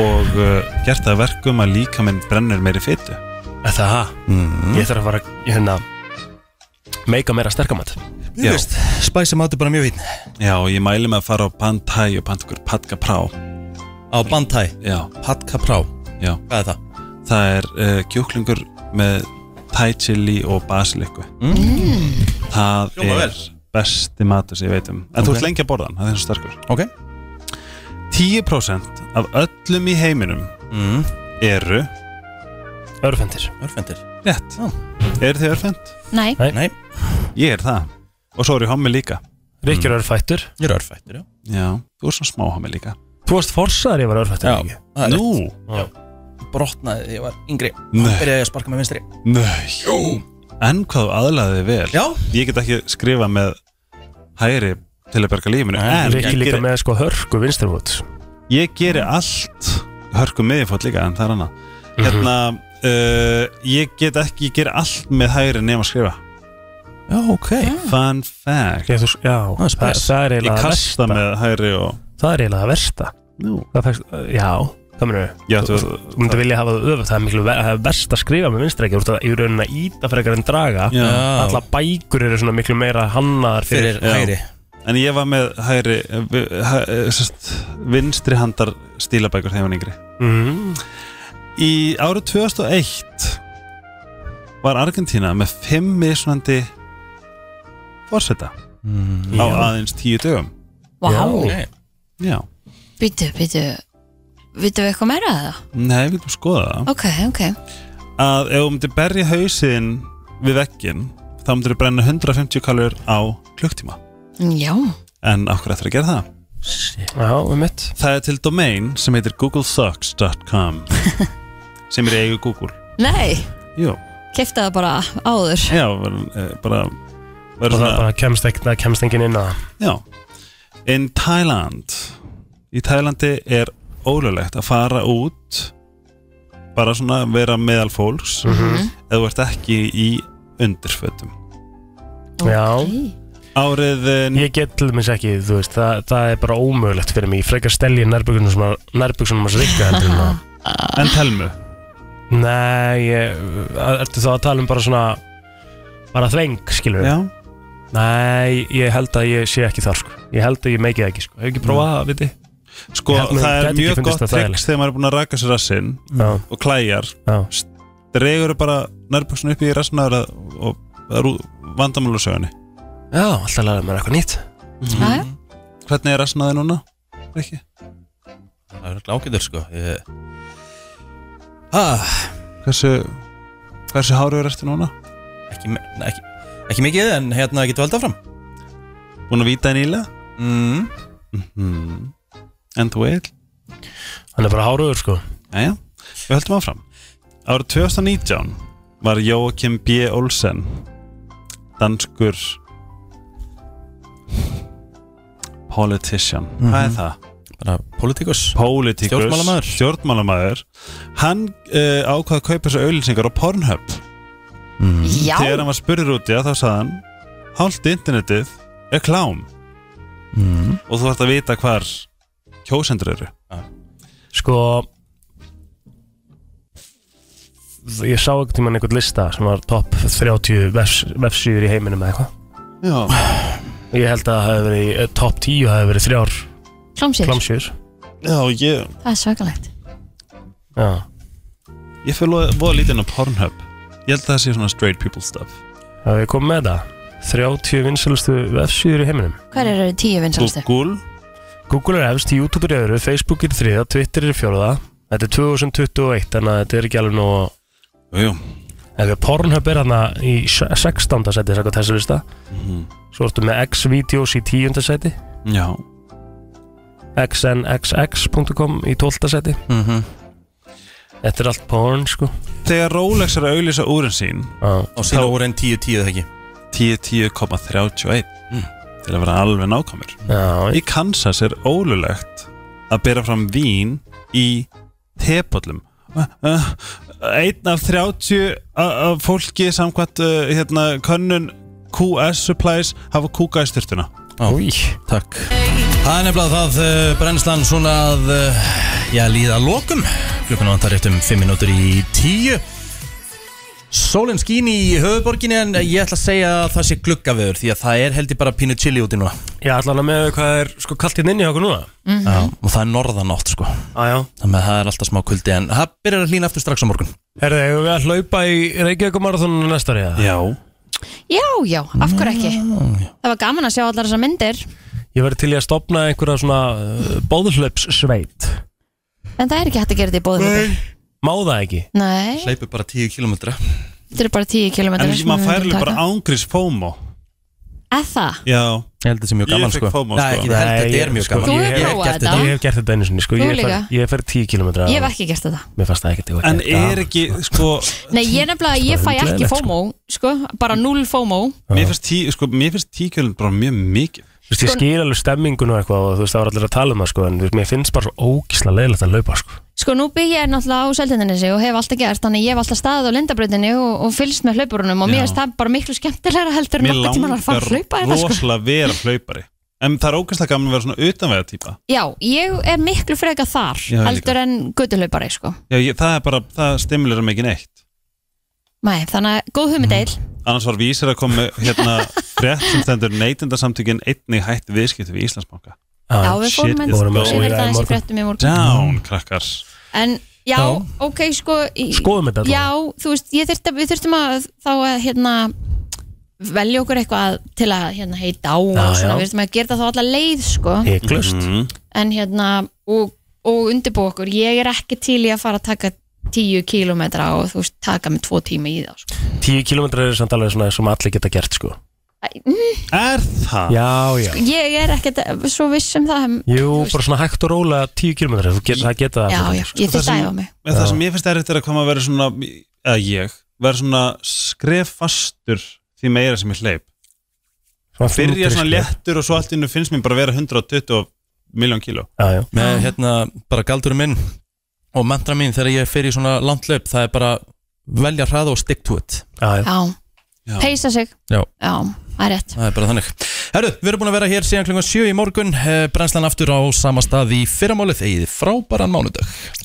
S6: og uh, gert það að verkum að líka minn brennur meiri fytu
S3: Er Það það? Ég þarf að fara að, hérna meika meira sterkamat
S1: Þú veist, spæsa mat er bara mjög fín
S6: Já, og ég mæli með að fara á Pantai og panta ykkur Patka Prá
S1: Á Bantai,
S6: Já,
S1: Patka Prá
S6: já,
S1: Hvað er það?
S6: það er uh, kjúklingur með Thai chili og basiliku Það
S1: Mm. Hljómar
S6: er
S1: vel.
S6: besti matur sem ég veit um En þú
S1: Ok.
S6: ert lengi að borða hann, það er svo sterkur
S1: Ok
S6: 10% af öllum í heiminum
S1: mm.
S6: eru
S3: Örfendir
S1: Örfendir
S6: Rétt
S1: Já.
S6: Eru þið örfend?
S2: Nei,
S1: Nei,
S6: Ég er það Og svo er ég hommi líka
S3: Rikki er örfættur
S1: ég er örfættur, já
S6: Já Þú er svona smá hommi líka
S3: Þú varst forsaðar ég var örfættur
S1: Já, það er rétt.
S6: Nú
S1: brotnaði þegar ég var yngri
S6: Nei.
S1: Byrjaði ég að sparka með vinstri
S6: Nei Jú En hvað þú aðlaðið vel
S1: Já.
S6: Ég get ekki skrifað með hægri til að berga lífinu En
S3: Rikki
S6: ég
S3: líka
S6: geri,
S3: með sko hörku vinstrifót
S6: ég geri allt Hörku miðfót líka en það er annað Hérna uh, Ég get ekki, ég geri allt með hægri nema að skrifa
S1: Já, ok
S6: Fun fact
S3: Já, þú- já,
S1: Það er
S3: það,
S1: spes.
S3: það er
S6: Ég
S3: eiginlega
S6: kasta
S3: versta.
S6: með hægri og
S3: Það er eiginlega það versta
S6: Nú
S3: Það fækst, já, það mennur
S6: Já, þú-
S3: Þú myndir vilja hafa það öfugt, það er miklu ver, það er verst að skrifa með vinstri ekki, þú ert að í rauninni að íta frekar en draga
S6: Já.
S3: Alla bækur eru svona miklu meira hannaðar fyrir,
S1: Fyrir hægri
S6: En ég var með hægri vi- hæ, eh, sest, vinstri handar stílabækur þegar ég var yngri
S3: mm,
S6: Í árið 2001 var Argentína með fimm mismunandi fórseta á
S3: já,
S6: aðeins tíu dögum
S2: vá,
S3: Já.
S6: Já,
S2: býtu, býtu Vittu við eitthvað meira að það?
S6: nei, við getum skoða það
S2: Ok, ok
S6: að ef þú myndir berja hausinn við vegginn þá myndir þú brenna 150 kalur á klukktíma
S2: Mm, Já,
S6: en okkur eftir að gera það
S3: já, um mitt
S6: Það er til domain sem heitir googlesucks.com sem er í eigu Google
S2: nei,
S6: Jú
S2: kefta það bara áður
S6: Já, verður, eh, bara,
S3: Og
S6: verður
S3: það
S6: svona,
S3: bara kemst, ekki, það kemst enginn inn að
S6: Já In Thailand Í Þælandi er ólulegt að fara út bara svona vera meðal fólks mm eða þú ert ekki í undirfötum
S3: Já.
S2: Ok.
S6: Mm. Árið eh,
S3: Ég get til minns ekki, þú veist, það, það er bara ómögulegt fyrir mig Ég frekar stelji nærbyggunum sem að nærbyggunum að rikka heldur en (laughs) að
S6: en telmu
S3: Nei, ég, ertu þá að tala um bara svona bara þveng, skilur
S6: Já,
S3: Nei, ég held að ég sé ekki þar sko Ég held að ég meiki það ekki sko Hefur ekki prófað það, viti?
S6: sko
S3: Ég held að
S6: það
S3: gæti
S6: er
S3: ekki
S6: mjög
S3: fundist
S6: gott
S3: það
S6: triks þegar maður er búin að raka sér rassinn
S3: Já,
S6: og klæjar
S3: já
S6: dregur bara nærbuksun upp í rassnaður og það eru vandamálu sögunni
S3: Já, alltaf lærið mér eitthvað nýtt
S2: Jæja.
S6: Hvernig er rassnaði núna? Ekki?
S1: Það er ágætur sko ég... ah,
S6: Hversu, hversu háruður ertu núna?
S1: ekki, me- nei, ekki, ekki mikið en hérna getur við alltaf fram
S6: Búin að víta nýlega?
S1: mm.
S6: Mm. En þú eil?
S3: Hann er bara háruður sko
S6: Jæja, við höldum áfram Árið 2019 var Jóakim B. Olsen danskur politician Hvað
S1: Mhm.
S6: er það?
S1: Bara politikus
S6: Politikus
S1: Stjórnmálamaður.
S6: Stjórnmálamaður. Hann uh, ákvað að kaupa þessu auðlýsingar á Pornhub
S2: Já,
S6: Þegar hann var spurður út í það þá sagði hann Hálft internetið er klám Og þú ætti að vita hvar kjósendur eru
S3: Sko Ég sá ekkert tímann einhvern lista sem var topp 30 vefs, vefsýður í heiminum eða eitthvað
S6: Já
S3: Ég held að það hefði verið eh, topp 10 hefði verið þrjár
S2: klámsýr,
S3: klamsýður
S6: Já, ég
S2: það er svakalegt
S3: Já,
S6: Ég fyrir loð, voða lítið inn á Pornhub Ég held að það sé svona straight people stuff
S3: hefði ég komið með það 30 vinsalustu vefsýður í heiminum
S2: Hver eru tíu vinsalstu?
S6: Google
S3: Google er efst, YouTube er í öðru, Facebook er í þriða, Twitter er í fjóruða Þetta er 2021, þannig að þetta er ekki alveg nú
S6: Jú, jú
S3: Ef við Pornhub er hana í se- 16. seti Sækvað þessu lista Svo ertu með X-Videos í 10. seti
S6: Já
S3: xnxx.com í 12. seti Þetta er allt porn sko
S6: Þegar Rolex er að auðlýsa úrin sín
S3: ah.
S1: Og sína úrin 10-10 eða ekki
S6: 10-10,31 Til að vera alveg nákvæmur
S3: Já,
S6: Í Kansas er ólulegt að bera fram vín í tepallum Einn af 30 a- af fólki samkvæmt uh, hérna, könnun QS Supplies hafa kúka í styrtuna
S3: Új,
S1: takk Það er nefnilega það uh, brennslan svona að uh, já, líða að lokum Klukkan vantar eftir um 5 minútur í 10 Sólinn skín í höfuborginni en ég ætla að segja að það sé gluggaveður því að það er heldur bara pínu chili úti núna
S3: Ég ætla alveg með hvað er sko kalt hérna inni hjá okkur núna
S1: já, og það er norðanátt sko
S3: Æjá
S1: þannig að það er alltaf smá kuldi en það byrjar að hlýna aftur strax á morgun
S3: Herðu, hefur við að hlaupa í Reykjavíkumarathoninu næsta ári eða?
S6: Já
S2: Já, já, af hverju ekki Það var gaman að sjá allar þessar myndir
S3: Ég verði til í að stopna einhverja svona uh, bóðhlaups-sveit
S2: En það er ekki hægt að gera þetta í bóðum
S3: Má það ekki?
S2: Nei,
S1: Hleypur bara 10 km
S2: þetta eru bara 10 km
S6: En maður fær alveg bara ángriðs FOMO
S2: Eða,
S6: Já,
S1: Ég held þetta sé mjög
S6: Ég
S1: gaman
S6: fékk
S1: sko
S6: FOMO,
S1: Nei,
S6: sko.
S1: ekki, ég held þetta er
S3: Nei,
S1: mjög
S3: sko,
S1: gaman
S2: Þú
S1: Ég
S2: hefur
S1: hef
S2: prófað
S1: gert
S2: þetta?
S1: þetta
S3: Ég hef gert þetta einu sinni sko
S2: Þú
S3: Ég
S2: líka?
S3: fer- ég fer 10 km
S2: ég hef ekki gert þetta
S3: Mér fannst það ekkert eitthvað
S6: en
S3: geðgaman.
S6: er ekki, sko
S2: Nei, ég nefnilega, ég fæ
S3: hundleiðilegt,
S2: ekki
S3: sko.
S2: FOMO sko, bara 0 FOMO
S6: Mér finnst tí, sko, mér finnst tíkjölinn bara mjög mikið
S3: Þú veist, ég
S2: Sko-
S3: skil alveg stemmingun og eitthvað og þú veist, það var allir að tala um það sko en þú veist, mér finnst bara svo ógísla leiðilegt að laupa sko
S2: Sko, nú bygg ég náttúrulega á Seltindinesi og hef alltaf gert, þannig ég hef alltaf staðið á lindabröðinni og, og fylgst með hlaupurunum og mér
S6: Já.
S2: finnst það bara miklu skemmtilega heldur en
S6: Mér
S2: nokkuð tíma að fara að hlaupa
S6: langar
S2: þetta sko.
S6: rosalega að vera hlaupari En það er ógæslega gaman að vera svona utanvega típa
S2: Já, ég er miklu freka þar
S6: Já, ég
S2: heldur en guttuhlaupari sko.
S6: Já, ég, það er bara, það stimulir mig ekki neitt
S2: Nei, þannig að góð hugmyndeil
S6: Annars var vísir að koma með, hérna frétt sem stendur neytendasamtökin einnig hætti viðskipti við Íslandsbanka
S2: Já, Ah, við
S6: shit
S2: fórum
S6: is
S2: eins
S3: going
S2: og sem
S3: on.
S2: er það eins E í fréttum í morgun
S6: Down, krakkar
S2: En já, ok, sko í-
S3: Skoðum þetta
S2: Já, þú veist, ég þyrfti, við þurftum að þá að hérna velja okkur eitthvað til að hérna heita á
S3: Já,
S2: og svona,
S3: já.
S2: við þurftum að gera það þá alla leið sko,
S3: Hygglust mm.
S2: en hérna og, og undirbú okkur, ég er ekki til í að fara að taka tíu kílómetra og þú veist, taka mig tvo tíma í það sko.
S3: 10 km er samt alveg svona sem allir geta gert sko
S6: Er það?
S3: Já, já
S2: Ég er ekkert svo viss um það
S3: Jú, bara svona hægt og róla 10 km þú get, það geta það
S2: Já,
S3: allir.
S2: já, ég þyrfti að æfa mig
S6: En það sem ég finnst erfitt er að koma að vera svona eða ég, vera svona skreffastur því meira sem ég hleyp
S3: svona
S6: Byrja
S3: þrjú
S6: svona
S3: drykk.
S6: léttur og svo allt innur finnst mér bara vera 120 miljón kíló
S3: Já, já,
S1: með hérna bara galdurinn minn og mantra mín þegar ég fer í svona langt löp það er bara velja hraða og stick to it
S3: já, já.
S2: Já,
S6: Já.
S2: peisa sig
S1: Já.
S2: það er rétt
S1: það er bara þannig Herru, við erum búin að vera hér síðan klungan 7 í morgun Eh, brennslan aftur á sama stað í fyrramálið eigið frábæran mánudag